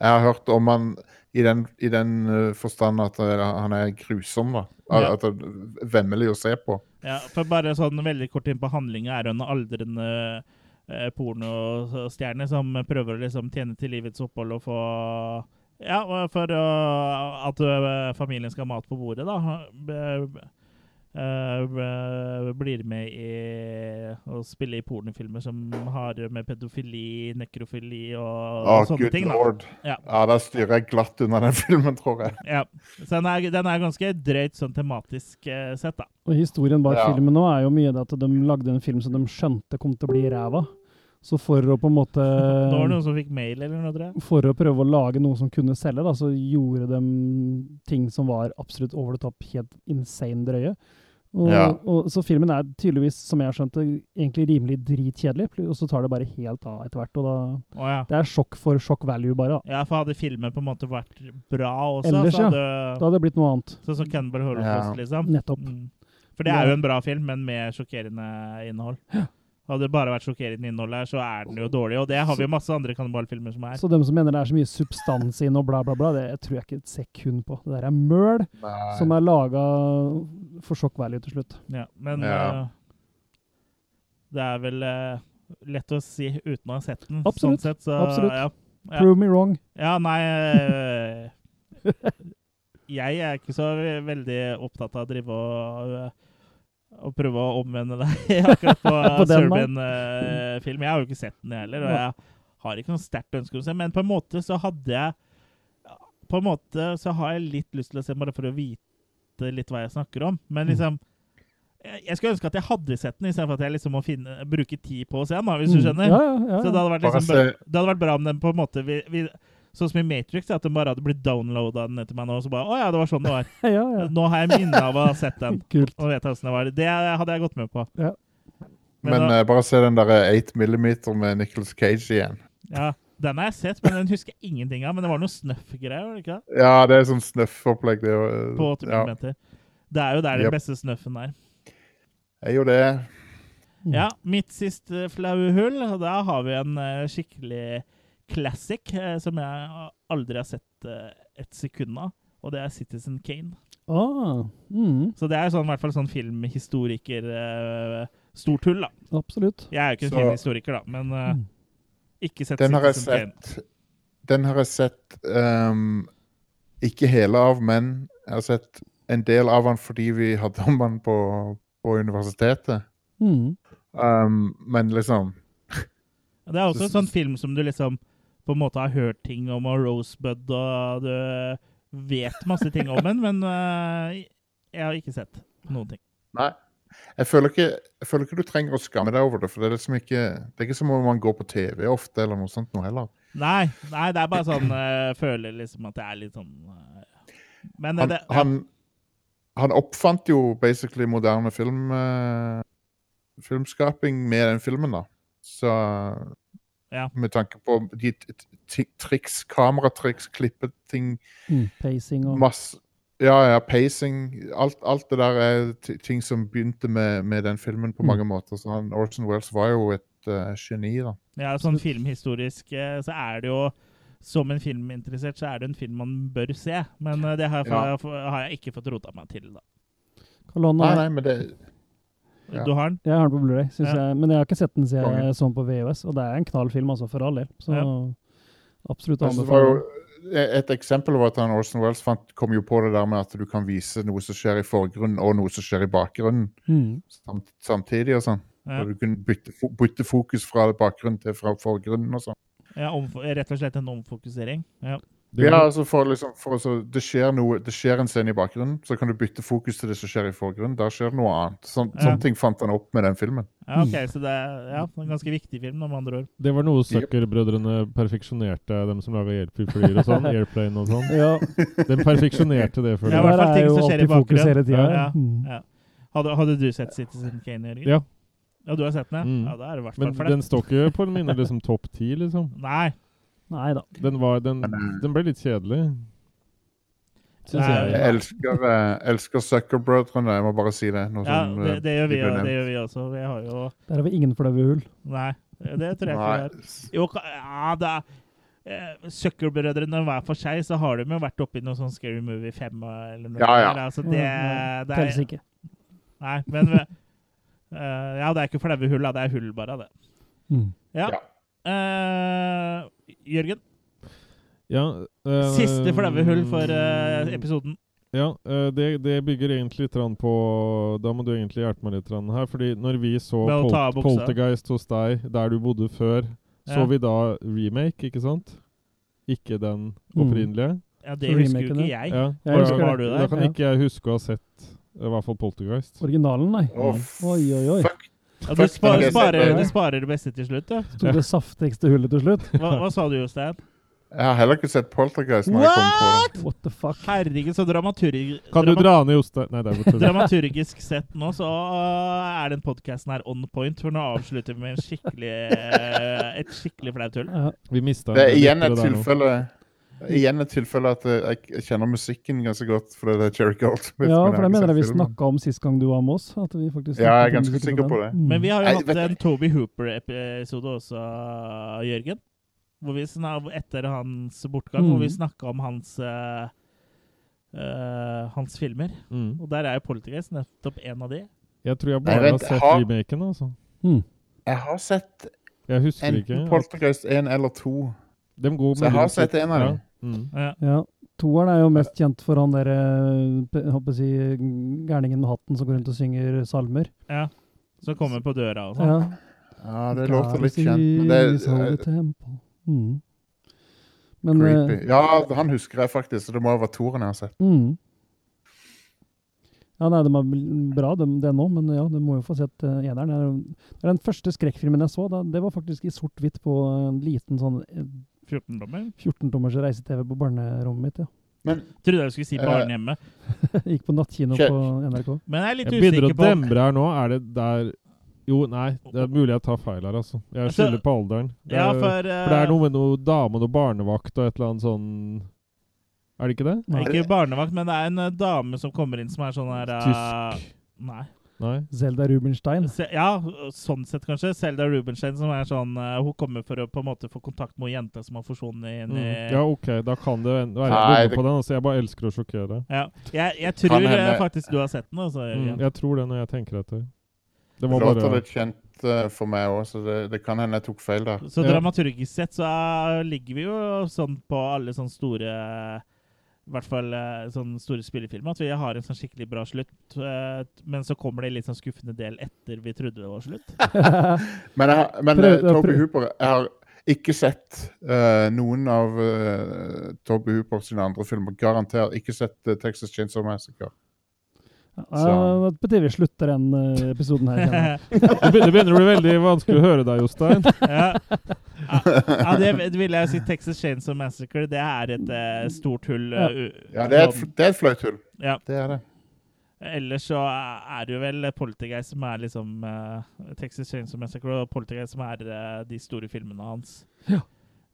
Speaker 5: Jeg har hørt om han i den, i den eh, forstand at eh, han er grusom, da. At,
Speaker 1: Ja.
Speaker 5: at det er vemmelig å se på.
Speaker 1: Ja, for bare sånn veldig kort inn på handlinga er hun en aldrende eh, pornostjerne som prøver å liksom tjene til livets opphold og få Ja, og for å- at eh, familien skal ha mat på bordet, da. Eh, eh, Blir med i å spille i pornofilmer som har med pedofili, nekrofili og,
Speaker 5: Å,
Speaker 1: og sånne
Speaker 5: good
Speaker 1: ting. da.
Speaker 5: Ah, lord.
Speaker 1: Ja.
Speaker 5: Ja, da styrer jeg glatt unna den filmen, tror jeg.
Speaker 1: Ja. Så den er, den er ganske drøyt sånn tematisk eh, sett, da.
Speaker 4: Og historien bak
Speaker 5: Ja.
Speaker 4: filmen nå er jo mye det at de lagde en film som de skjønte kom til å bli ræva. Så for å på en måte
Speaker 1: Nå var det noen som fikk mail eller noe, tror jeg.
Speaker 4: For å prøve å lage noe som kunne selge, da, så gjorde de ting som var absolutt over the top, helt insane drøye. Og,
Speaker 5: Ja.
Speaker 4: og, så filmen er tydeligvis, som jeg skjønte, egentlig rimelig dritkjedelig, og så tar det bare helt av etter hvert. Og da,
Speaker 1: Å, ja.
Speaker 4: det er sjokk for sjokk value, bare. da.
Speaker 1: Ja, for hadde filmen på en måte vært bra også,
Speaker 4: Ellers,
Speaker 1: så
Speaker 4: ja.
Speaker 1: hadde
Speaker 4: Da hadde det blitt noe annet.
Speaker 1: Sånn som Cannibal Holocaust, liksom.
Speaker 4: Nettopp.
Speaker 1: Mm. For det er jo en bra film, men med sjokkerende innhold. Hadde det bare vært sjokkerende innhold her, så er den jo dårlig. Og det har vi jo masse andre kannibalfilmer som er.
Speaker 4: Så dem som mener det er så mye substans inn og bla, bla, bla, det tror jeg ikke et sekund på. Det der er møl som er laga for sjokk value til slutt.
Speaker 1: Ja, men
Speaker 5: Ja.
Speaker 1: øh, det er vel øh, lett å si uten å ha sett den.
Speaker 4: Absolutt.
Speaker 1: Sånn sett, så,
Speaker 4: Absolutt.
Speaker 1: Ja. Ja.
Speaker 4: Prove me wrong.
Speaker 1: ja, nei øh, Jeg er ikke så ve- veldig opptatt av å drive og øh, og prøve å omvende deg akkurat på,
Speaker 4: På den, nei.
Speaker 1: Serbian-film. jeg har jo ikke sett den, jeg heller, og
Speaker 4: Nei.
Speaker 1: jeg har ikke noe sterkt ønske om å se men på en måte så hadde jeg På en måte så har jeg litt lyst til å se, bare for å vite litt hva jeg snakker om. Men
Speaker 4: Mm.
Speaker 1: liksom Jeg jeg skulle ønske at jeg hadde sett den, istedenfor at jeg liksom må finne, bruke tid på å se den, da, hvis du skjønner.
Speaker 4: Mm. Ja, ja, ja.
Speaker 1: Så det hadde vært,
Speaker 5: Bare
Speaker 1: liksom, bra-
Speaker 5: se-
Speaker 1: det hadde vært bra om den på en måte vi, vi, Sånn som i Matrix, at den bare hadde blitt downloada ned til meg nå, og så bare Å ja, det var sånn det var.
Speaker 4: ja, ja, ja.
Speaker 1: Nå har jeg minne av å ha sett den.
Speaker 4: Kult.
Speaker 1: Og vet hvordan det var. Det hadde jeg gått med på.
Speaker 4: Ja.
Speaker 1: Men,
Speaker 5: Men
Speaker 1: da,
Speaker 5: eh, bare se den der 8 millimeter med Nicholas Cage igjen.
Speaker 1: ja, den har jeg sett, men den husker jeg ingenting av. Men det var noe snøff-greier, var det ikke det?
Speaker 5: Ja, det er sånn snøffopplegg. Det, er jo- eh,
Speaker 1: På 80
Speaker 5: ja.
Speaker 1: mm. Det er jo der
Speaker 5: Jep.
Speaker 1: den beste snøffen er.
Speaker 5: Er jo det.
Speaker 4: Mm.
Speaker 1: Ja, mitt siste flaue hull. og Da har vi en eh, skikkelig classic eh, som jeg aldri har sett eh, et sekund av. Og det er Citizen Kane.
Speaker 4: Ah, mm,
Speaker 1: Så det er sånn, i hvert fall sånn filmhistoriker-stort hull, da.
Speaker 4: absolutt.
Speaker 1: Jeg er jo ikke en
Speaker 5: Så-
Speaker 1: filmhistoriker, da, men eh,
Speaker 4: Mm.
Speaker 1: ikke sett
Speaker 5: Den har jeg
Speaker 1: Citizen Kane.
Speaker 5: sett Den har jeg sett ehm, Ikke hele av, men jeg har sett en del av han fordi vi hadde om han på, på universitetet.
Speaker 4: Mm.
Speaker 5: Ehm, men liksom
Speaker 1: Ja, Det er også en
Speaker 5: Så-
Speaker 1: sånn film som du liksom på en måte har hørt ting om, og Rosebud, og du vet masse ting om den, men øh, jeg har ikke sett noen ting.
Speaker 5: Nei. Jeg føler, ikke, jeg føler ikke du trenger å skamme deg over det, for det er liksom ikke Det er ikke som om man går på TV ofte, eller noe sånt noe heller.
Speaker 1: Nei, nei, det er bare sånn øh, føler liksom at det er litt sånn øh, Men
Speaker 5: Han,
Speaker 1: det,
Speaker 5: han, han oppfant jo basically moderne film eh, filmskaping med den filmen, da. Så
Speaker 1: Ja.
Speaker 5: Med tanke på de t- t- triks, kameratriks, klippeting
Speaker 4: Mm. Pacing og
Speaker 5: masse ja, ja, pacing alt, alt det der er ti- ting som begynte med, med den filmen på
Speaker 4: Mm.
Speaker 5: mange måter. Så han, Orson Welles var jo et eh, geni, da.
Speaker 1: ja, sånn filmhistorisk øh, så er det jo som en filminteressert så er det en film man bør se, men øh, det har, jeg-
Speaker 5: Ja.
Speaker 1: har jeg ikke fått rota meg til, da.
Speaker 4: Kalon
Speaker 5: Nei,
Speaker 4: er
Speaker 5: nei, men det Ja.
Speaker 1: Du har den?
Speaker 4: Jeg har den på Blu-ray, synes
Speaker 1: Ja.
Speaker 4: jeg. Men jeg har ikke sett den siden
Speaker 5: Kongen.
Speaker 4: jeg så den på VHS. Og det er en knall film, altså, for all del. Så
Speaker 1: Ja.
Speaker 4: absolutt å
Speaker 5: Altså, det var
Speaker 4: anbefale.
Speaker 5: jo, et eksempel var at han Orson Wells fant, kom jo på det der med at du kan vise noe som skjer i forgrunnen, og noe som skjer i bakgrunnen
Speaker 4: Mm.
Speaker 5: samt, samtidig. og sånn.
Speaker 1: Ja.
Speaker 5: Og du kunne bytte, fo- bytte fokus fra bakgrunnen til fra forgrunnen. og sånn.
Speaker 1: Ja, omfo- rett og slett en omfokusering. Ja.
Speaker 2: Det,
Speaker 5: Ja, altså for liksom, for altså, det, skjer noe, det skjer en scene i bakgrunnen, så kan du bytte fokus til det som skjer i forgrunnen. Der skjer det noe annet. Sånn,
Speaker 1: Ja.
Speaker 5: Sånne ting fant han opp med den filmen.
Speaker 1: Ja, ok, så det er ja, en ganske viktig film, om andre ord.
Speaker 2: det var noe Zucker-brødrene perfeksjonerte, dem som laga Airflyer og sånn. Airplane og sånn.
Speaker 4: Ja,
Speaker 2: De perfeksjonerte
Speaker 1: Ja,
Speaker 2: det, føler
Speaker 1: i
Speaker 2: jeg.
Speaker 1: hvert
Speaker 4: der
Speaker 1: fall ting
Speaker 4: er jo
Speaker 1: som skjer i
Speaker 4: alltid fokus
Speaker 1: bakgrunnen.
Speaker 4: hele tida.
Speaker 1: Ja, ja.
Speaker 4: Mm.
Speaker 1: Hadde, hadde du sett Citizen Kane, Jørgen?
Speaker 2: Ja.
Speaker 1: Ja, du har sett den? ja?
Speaker 2: Mm.
Speaker 1: Ja, da er det i hvert fall
Speaker 2: Men
Speaker 1: for det.
Speaker 2: den står ikke på mine liksom, topp ti, liksom.
Speaker 1: Nei.
Speaker 4: Nei da.
Speaker 2: Den, var, den,
Speaker 5: eh.
Speaker 2: den ble litt kjedelig. Syns
Speaker 1: Nei,
Speaker 2: jeg.
Speaker 5: Jeg elsker, eh, elsker Zucker-brødrene, jeg må bare si det. Noe
Speaker 1: Ja,
Speaker 5: som, eh,
Speaker 1: det, det, gjør vi,
Speaker 5: de
Speaker 1: jo,
Speaker 5: ble
Speaker 1: det
Speaker 5: nevnt.
Speaker 1: gjør vi også. Vi har jo
Speaker 4: Der har vi ingen flaue hull.
Speaker 1: Nei, det tror jeg ikke vi har.
Speaker 5: Nei,
Speaker 1: Jo, ka- ja, det er eh, Zucker-brødrene hver for seg, så har de jo vært oppi noe sånn Scary Movie 5 eh, eller noe.
Speaker 5: Ja, ja.
Speaker 1: der,
Speaker 2: Mm,
Speaker 1: Altså, det,
Speaker 4: Ja,
Speaker 1: det
Speaker 4: Telles
Speaker 1: er,
Speaker 4: ikke.
Speaker 1: nei, men eh, Ja, det er ikke flaue hull, da. Det er hull, bare. det.
Speaker 4: Mm.
Speaker 1: Ja. Eh, Jørgen,
Speaker 2: Ja, eh, mm.
Speaker 1: siste flaue hull for eh, episoden.
Speaker 2: Ja, eh, det, det bygger egentlig litt grann på Da må du egentlig hjelpe meg litt grann her. Fordi når vi så
Speaker 1: Med å
Speaker 2: Pol
Speaker 1: ta av buksa.
Speaker 2: Poltergeist hos deg, der du bodde før, så
Speaker 1: Ja.
Speaker 2: vi da remake, ikke sant? Ikke den
Speaker 4: Mm.
Speaker 2: opprinnelige.
Speaker 1: Ja, det husker jo
Speaker 4: Remaken,
Speaker 1: ikke jeg.
Speaker 2: Ja.
Speaker 4: Jeg
Speaker 2: og da-
Speaker 4: husker
Speaker 1: det. Var du
Speaker 2: Da
Speaker 1: der?
Speaker 2: kan
Speaker 4: Ja.
Speaker 2: ikke jeg huske å ha sett eh, i hvert fall Poltergeist.
Speaker 4: Originalen, nei.
Speaker 5: Å,
Speaker 4: Oi, oi, oi.
Speaker 5: fuck.
Speaker 1: Ja, du,
Speaker 5: Fuck,
Speaker 1: sparer,
Speaker 5: det er-
Speaker 1: sparer, du sparer det beste til slutt, ja.
Speaker 4: Tok det saftigste hullet til slutt.
Speaker 1: Hva, hva sa du, Jostein?
Speaker 5: eh, Jeg har heller ikke sett Poltergeist. Når jeg kom på det.
Speaker 4: What the fuck?
Speaker 1: Herregud, så dramaturg...
Speaker 2: Kan du dra ned Jostein Nei, det er bare tull.
Speaker 1: Dramaturgisk sett nå, så øh, er den podkasten her on point, for nå avslutter vi med en skikkelig, øh, et skikkelig flaut hull.
Speaker 4: Ja.
Speaker 2: Vi mista
Speaker 5: Det er igjen et tilfelle Igjen et tilfelle at eh, jeg, jeg kjenner musikken ganske godt, for det er Cherry Gold.
Speaker 4: ja, for det mener jeg vi
Speaker 5: snakker
Speaker 4: snakka om sist gang du var med oss. At vi faktisk
Speaker 5: Ja,
Speaker 4: snakket om
Speaker 5: jeg er ganske
Speaker 4: musikken
Speaker 5: sikker
Speaker 4: til
Speaker 5: på
Speaker 4: den.
Speaker 5: det.
Speaker 4: Mm.
Speaker 1: Men vi har jo
Speaker 5: Nei,
Speaker 1: hatt
Speaker 5: vet-
Speaker 1: en Toby Hooper-episode også, Jørgen. Hvor vi snak- etter hans bortgang,
Speaker 4: Mm.
Speaker 1: hvor vi snakka om hans øh, øh, hans filmer.
Speaker 2: Mm.
Speaker 1: Og der er jo Poltergeist nettopp en av de.
Speaker 2: Jeg tror jeg
Speaker 5: Nei,
Speaker 2: bare
Speaker 5: vent,
Speaker 2: har sett
Speaker 5: har-
Speaker 2: remaken, altså.
Speaker 4: Mm.
Speaker 5: Jeg har sett
Speaker 2: Jeg husker
Speaker 5: enten
Speaker 2: ikke.
Speaker 5: Poltergeist 1 eller 2.
Speaker 2: Dem går
Speaker 5: Så jeg har
Speaker 2: muligens
Speaker 5: sett
Speaker 2: litt-
Speaker 5: en av
Speaker 2: ja.
Speaker 5: dem.
Speaker 2: Mm.
Speaker 1: Ja.
Speaker 4: Ja. Toeren er jo mest kjent for han eh, derre Jeg håper å si gærningen med hatten som går rundt og synger salmer.
Speaker 1: ja. Som kommer på døra og sånn.
Speaker 4: Ja.
Speaker 5: Ja, det låter litt kjent, men det
Speaker 4: Jesus, holy
Speaker 5: er eh,
Speaker 4: temple. Mm. Men eh,
Speaker 5: creepy. Ja, han husker jeg faktisk, så det må ha vært Toren jeg har sett.
Speaker 4: Mm. Ja, nei, de er bl- bra, de, den òg, men ja, du må jo få sett eh, eneren. Det er jo- Det er den første skrekkfilmen jeg så. Da, det var faktisk i sort-hvitt på en liten sånn eh,
Speaker 1: 14-dommer.
Speaker 4: 14-tommers reise-TV på barnerommet mitt. ja.
Speaker 5: Men
Speaker 1: Trodde jeg du skulle si
Speaker 5: Eh,
Speaker 1: barnehjemmet.
Speaker 4: Gikk på nattkino
Speaker 5: Kjør.
Speaker 4: på NRK.
Speaker 1: Men jeg er litt
Speaker 2: Jeg begynner å
Speaker 1: usikker på
Speaker 2: demre her nå. Er det der Jo, nei, det er mulig jeg tar feil her, altså. Jeg
Speaker 1: Altså,
Speaker 2: skylder på alderen. Det
Speaker 1: Ja,
Speaker 2: er-
Speaker 1: for, eh,
Speaker 2: for det er noe med noe dame og noe barnevakt og et eller annet sånn Er det ikke det?
Speaker 1: eh, Ikke barnevakt, men det er en eh, dame som kommer inn som er sånn her eh,
Speaker 2: Tysk
Speaker 1: Nei.
Speaker 2: Nei.
Speaker 4: Zelda Rubinstein.
Speaker 1: Se, ja, sånn sett kanskje. Selda Rubenstein som er sånn eh, Hun kommer for å på en måte få kontakt med ei jente som har forsvunnet inn i
Speaker 2: Mm. Ja, OK, da kan det en- være
Speaker 5: Nei,
Speaker 2: jeg bommer
Speaker 5: det-
Speaker 2: på den. Altså, jeg bare elsker å sjokkere.
Speaker 1: Ja. Jeg, jeg
Speaker 5: Kan
Speaker 1: tror eh,
Speaker 5: hende-
Speaker 1: faktisk du har sett den. Altså,
Speaker 2: Mm.
Speaker 1: Jørgen.
Speaker 2: Jeg tror det når jeg tenker etter. Det
Speaker 5: det
Speaker 2: var
Speaker 5: låter
Speaker 2: bare
Speaker 5: litt kjent eh, for meg òg, så det, det kan hende jeg tok feil der.
Speaker 1: Så
Speaker 2: Ja.
Speaker 1: dramaturgisk sett så eh, ligger vi jo sånn på alle sånne store i hvert fall eh, sånne store spillefilmer, at vi har en sånn skikkelig bra slutt. eh, Men så kommer det en litt sånn skuffende del etter vi trodde det var slutt.
Speaker 5: Men, jeg, har- men
Speaker 4: Prøv-
Speaker 5: eh, Toby
Speaker 4: prøv.
Speaker 5: Hooper Jeg har ikke sett eh, noen av eh, Toby Hooper sine andre filmer. Garantert ikke sett eh, Texas Chainsaw Massacre.
Speaker 4: Ja, på TV slutter den eh, episoden her. kjenner jeg.
Speaker 2: Det begynner, det begynner å bli veldig vanskelig å høre deg, Jostein.
Speaker 1: ja. ja, det det vil jeg si. Texas Chainsaw Massacre, det er et eh, stort hull. eh, u-
Speaker 5: Ja, det er et,
Speaker 1: sånn.
Speaker 5: fl- det er et flaut hull.
Speaker 1: Ja.
Speaker 5: Det er det.
Speaker 1: Ellers så er det jo vel Poltergeist som er liksom eh, Texas Chainsaw Massacre og Poltergeist som er eh, de store filmene hans. Eh,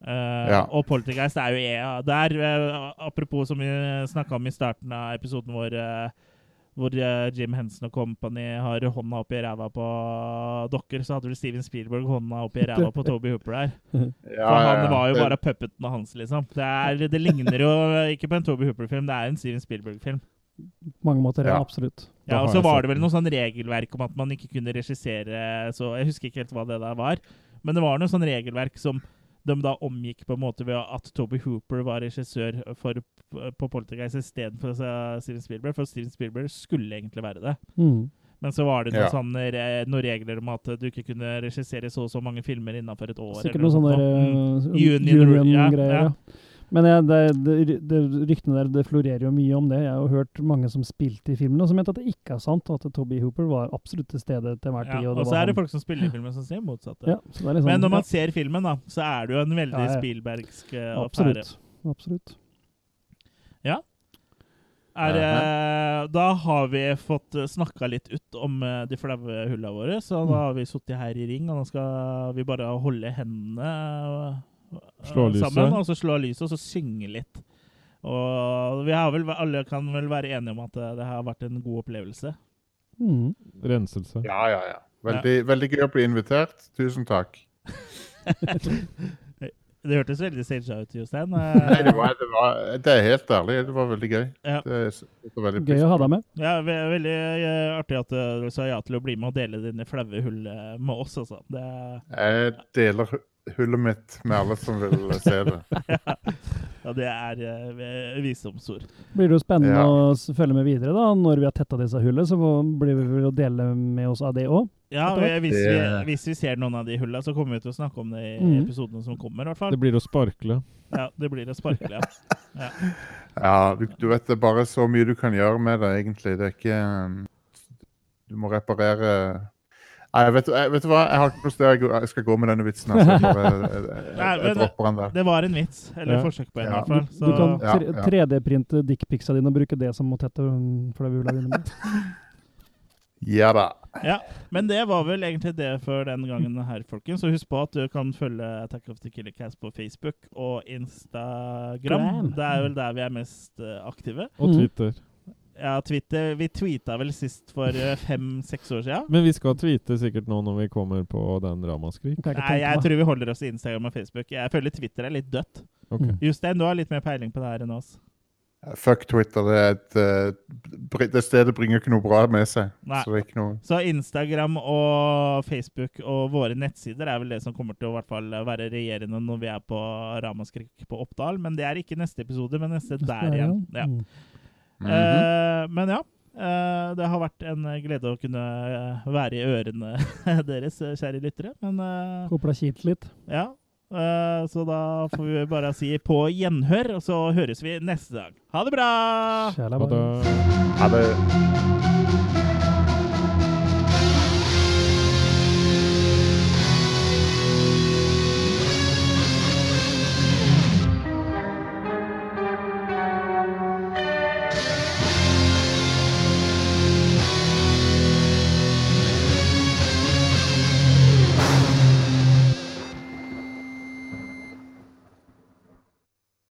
Speaker 5: Ja.
Speaker 1: Og Poltergeist er jo EA. Der, eh, apropos som vi snakka om i starten av episoden vår, eh, hvor eh, Jim Henson og Company har hånda oppi ræva på dokker, så hadde vel Steven Spielberg hånda oppi ræva på Toby Hooper der.
Speaker 5: Ja,
Speaker 1: For han
Speaker 5: ja, ja.
Speaker 1: var jo
Speaker 5: Det-
Speaker 1: bare puppeten hans, liksom. Det, er, det ligner jo ikke på en Toby Hooper-film, det er en Steven Spielberg-film.
Speaker 4: På mange måter, ja.
Speaker 5: Ja.
Speaker 4: absolutt.
Speaker 2: Da
Speaker 1: Ja, og
Speaker 2: har
Speaker 1: så
Speaker 2: jeg
Speaker 1: var
Speaker 2: sett
Speaker 1: det vel
Speaker 2: den.
Speaker 1: noe sånn regelverk om at man ikke kunne regissere så Jeg husker ikke helt hva det der var, men det var noe sånn regelverk som de da omgikk på en måte ved at Toby Hooper var regissør for, på Poltergeist istedenfor altså, Steven Spielberg, for Steven Spielberg skulle egentlig være det.
Speaker 4: Mm.
Speaker 1: Men så var det noen,
Speaker 5: Ja.
Speaker 1: sånne, re- noen regler om at du ikke kunne regissere så og så mange filmer innenfor et år.
Speaker 4: Sikkert
Speaker 1: eller
Speaker 4: noen sånne
Speaker 1: sånt nå. Mm.
Speaker 4: eh,
Speaker 1: Union- ja,
Speaker 4: union-greier.
Speaker 1: ja.
Speaker 4: ja. Men jeg, det, det, det, ryktene der det florerer jo mye om det. Jeg har jo hørt mange som spilte i filmen, og som mente at det ikke er sant, og at Toby Hooper var absolutt til stede til hver
Speaker 1: Ja,
Speaker 4: tid. og
Speaker 1: og
Speaker 4: det
Speaker 1: så
Speaker 4: var
Speaker 1: er det
Speaker 4: han.
Speaker 1: folk som spiller i filmen som sier motsatte.
Speaker 4: ja, så det er liksom,
Speaker 1: Men når man
Speaker 4: ja,
Speaker 1: ser filmen, da, så er det jo en veldig
Speaker 4: Ja, ja.
Speaker 1: Spielbergsk eh, affære.
Speaker 4: Absolutt. Absolutt.
Speaker 1: Er,
Speaker 5: Aha.
Speaker 1: eh, da har vi fått snakka litt ut om eh, de flaue hulla våre,
Speaker 4: Mm.
Speaker 1: så da har vi sittet her i ring, og nå skal vi bare holde hendene eh,
Speaker 2: Slå lyset.
Speaker 1: sammen, og så slå lyset, og så synge litt. Og vi har vel, alle kan vel være enige om at eh, det har vært en god opplevelse.
Speaker 4: Mm.
Speaker 2: Renselse.
Speaker 5: Ja, ja, ja. Veldig, veldig gøy å bli invitert. Tusen takk.
Speaker 1: Det hørtes veldig staged ut, Jostein.
Speaker 5: Nei, det,
Speaker 1: Eh,
Speaker 5: var, det, var, det er helt ærlig. Det var veldig gøy.
Speaker 1: Ja.
Speaker 5: Det er, s- det er veldig
Speaker 4: Gøy å ha deg med.
Speaker 1: Ja, ve veldig eh, artig at eh, du sa ja til å bli med og dele dine flaue hull eh, med oss, altså. Det er
Speaker 5: Jeg deler hu- hullet mitt med alle som vil se det.
Speaker 1: Ja, det er eh, visdomsord.
Speaker 4: Blir det jo spennende
Speaker 5: Ja.
Speaker 4: å s- følge med videre da, når vi har tetta disse hullene, så får- blir vi vel å dele med oss av det òg.
Speaker 1: Ja,
Speaker 4: Dette
Speaker 1: vi- hvis vi,
Speaker 5: Det-
Speaker 1: hvis vi ser noen av de hulla, så kommer vi til å snakke om det i
Speaker 4: Mhm.
Speaker 1: episodene som kommer. i hvert fall.
Speaker 2: Det blir å sparkle.
Speaker 1: Ja, det blir å sparkle.
Speaker 5: Ja, du, du vet det er bare så mye du kan gjøre med det, egentlig. Det er ikke um, Du må reparere Nei, vet, du- jeg, vet du hva? Jeg har ikke noe sted jeg, går- jeg skal gå med denne vitsen. Altså. Jeg, bare, jeg, jeg,
Speaker 1: Nei,
Speaker 5: jeg,
Speaker 1: men-
Speaker 5: dropper den der.
Speaker 1: Det var en vits, eller
Speaker 2: Ja.
Speaker 1: forsøk på en, i
Speaker 5: Ja.
Speaker 1: hvert fall.
Speaker 4: Du kan
Speaker 1: Så
Speaker 5: Ja,
Speaker 4: tre-
Speaker 5: ja.
Speaker 4: 3D-printe dickpicsa dine og bruke det som å tette mm, flaue hulla dine med.
Speaker 5: Ja da.
Speaker 1: Men det var vel egentlig det for den gangen her, folkens. Så husk på at du kan følge Attack of the Killer Cast på Facebook og Instagram.
Speaker 4: Gram.
Speaker 1: Det er vel der vi er mest eh, aktive.
Speaker 2: Og
Speaker 4: Mhm.
Speaker 2: Twitter.
Speaker 1: Ja, Twitter, Vi tweeta vel sist for fem-seks år sia.
Speaker 2: Men vi skal tweete sikkert nå når vi kommer på den Ramaskrik.
Speaker 4: Kan jeg ikke
Speaker 1: Nei, jeg
Speaker 4: tenke meg.
Speaker 1: tror vi holder oss i Instagram og Facebook. Jeg føler Twitter er litt dødt.
Speaker 2: Ok.
Speaker 4: Mm.
Speaker 1: Jostein, du har litt mer peiling på det her enn oss.
Speaker 5: Fuck Twitter. Det er et eh, br- det stedet bringer ikke noe bra med seg.
Speaker 1: Nei.
Speaker 5: Så det er ikke noe
Speaker 1: Så Instagram og Facebook og våre nettsider er vel det som kommer til å i hvert fall være regjerende når vi er på Ramaskrik på Oppdal. Men det er ikke neste episode, men neste der igjen. Ja.
Speaker 4: Mm.
Speaker 5: Mhm.
Speaker 1: Eh, men ja. eh, det har vært en glede å kunne eh, være i ørene deres, eh, kjære lyttere. Men eh,
Speaker 4: Håper det har kilt litt.
Speaker 1: ja. eh, så da får vi bare si på gjenhør, og så høres vi neste dag. Ha det bra!
Speaker 4: Kjæla
Speaker 2: Ha
Speaker 4: barn.
Speaker 2: det.
Speaker 5: Ha det.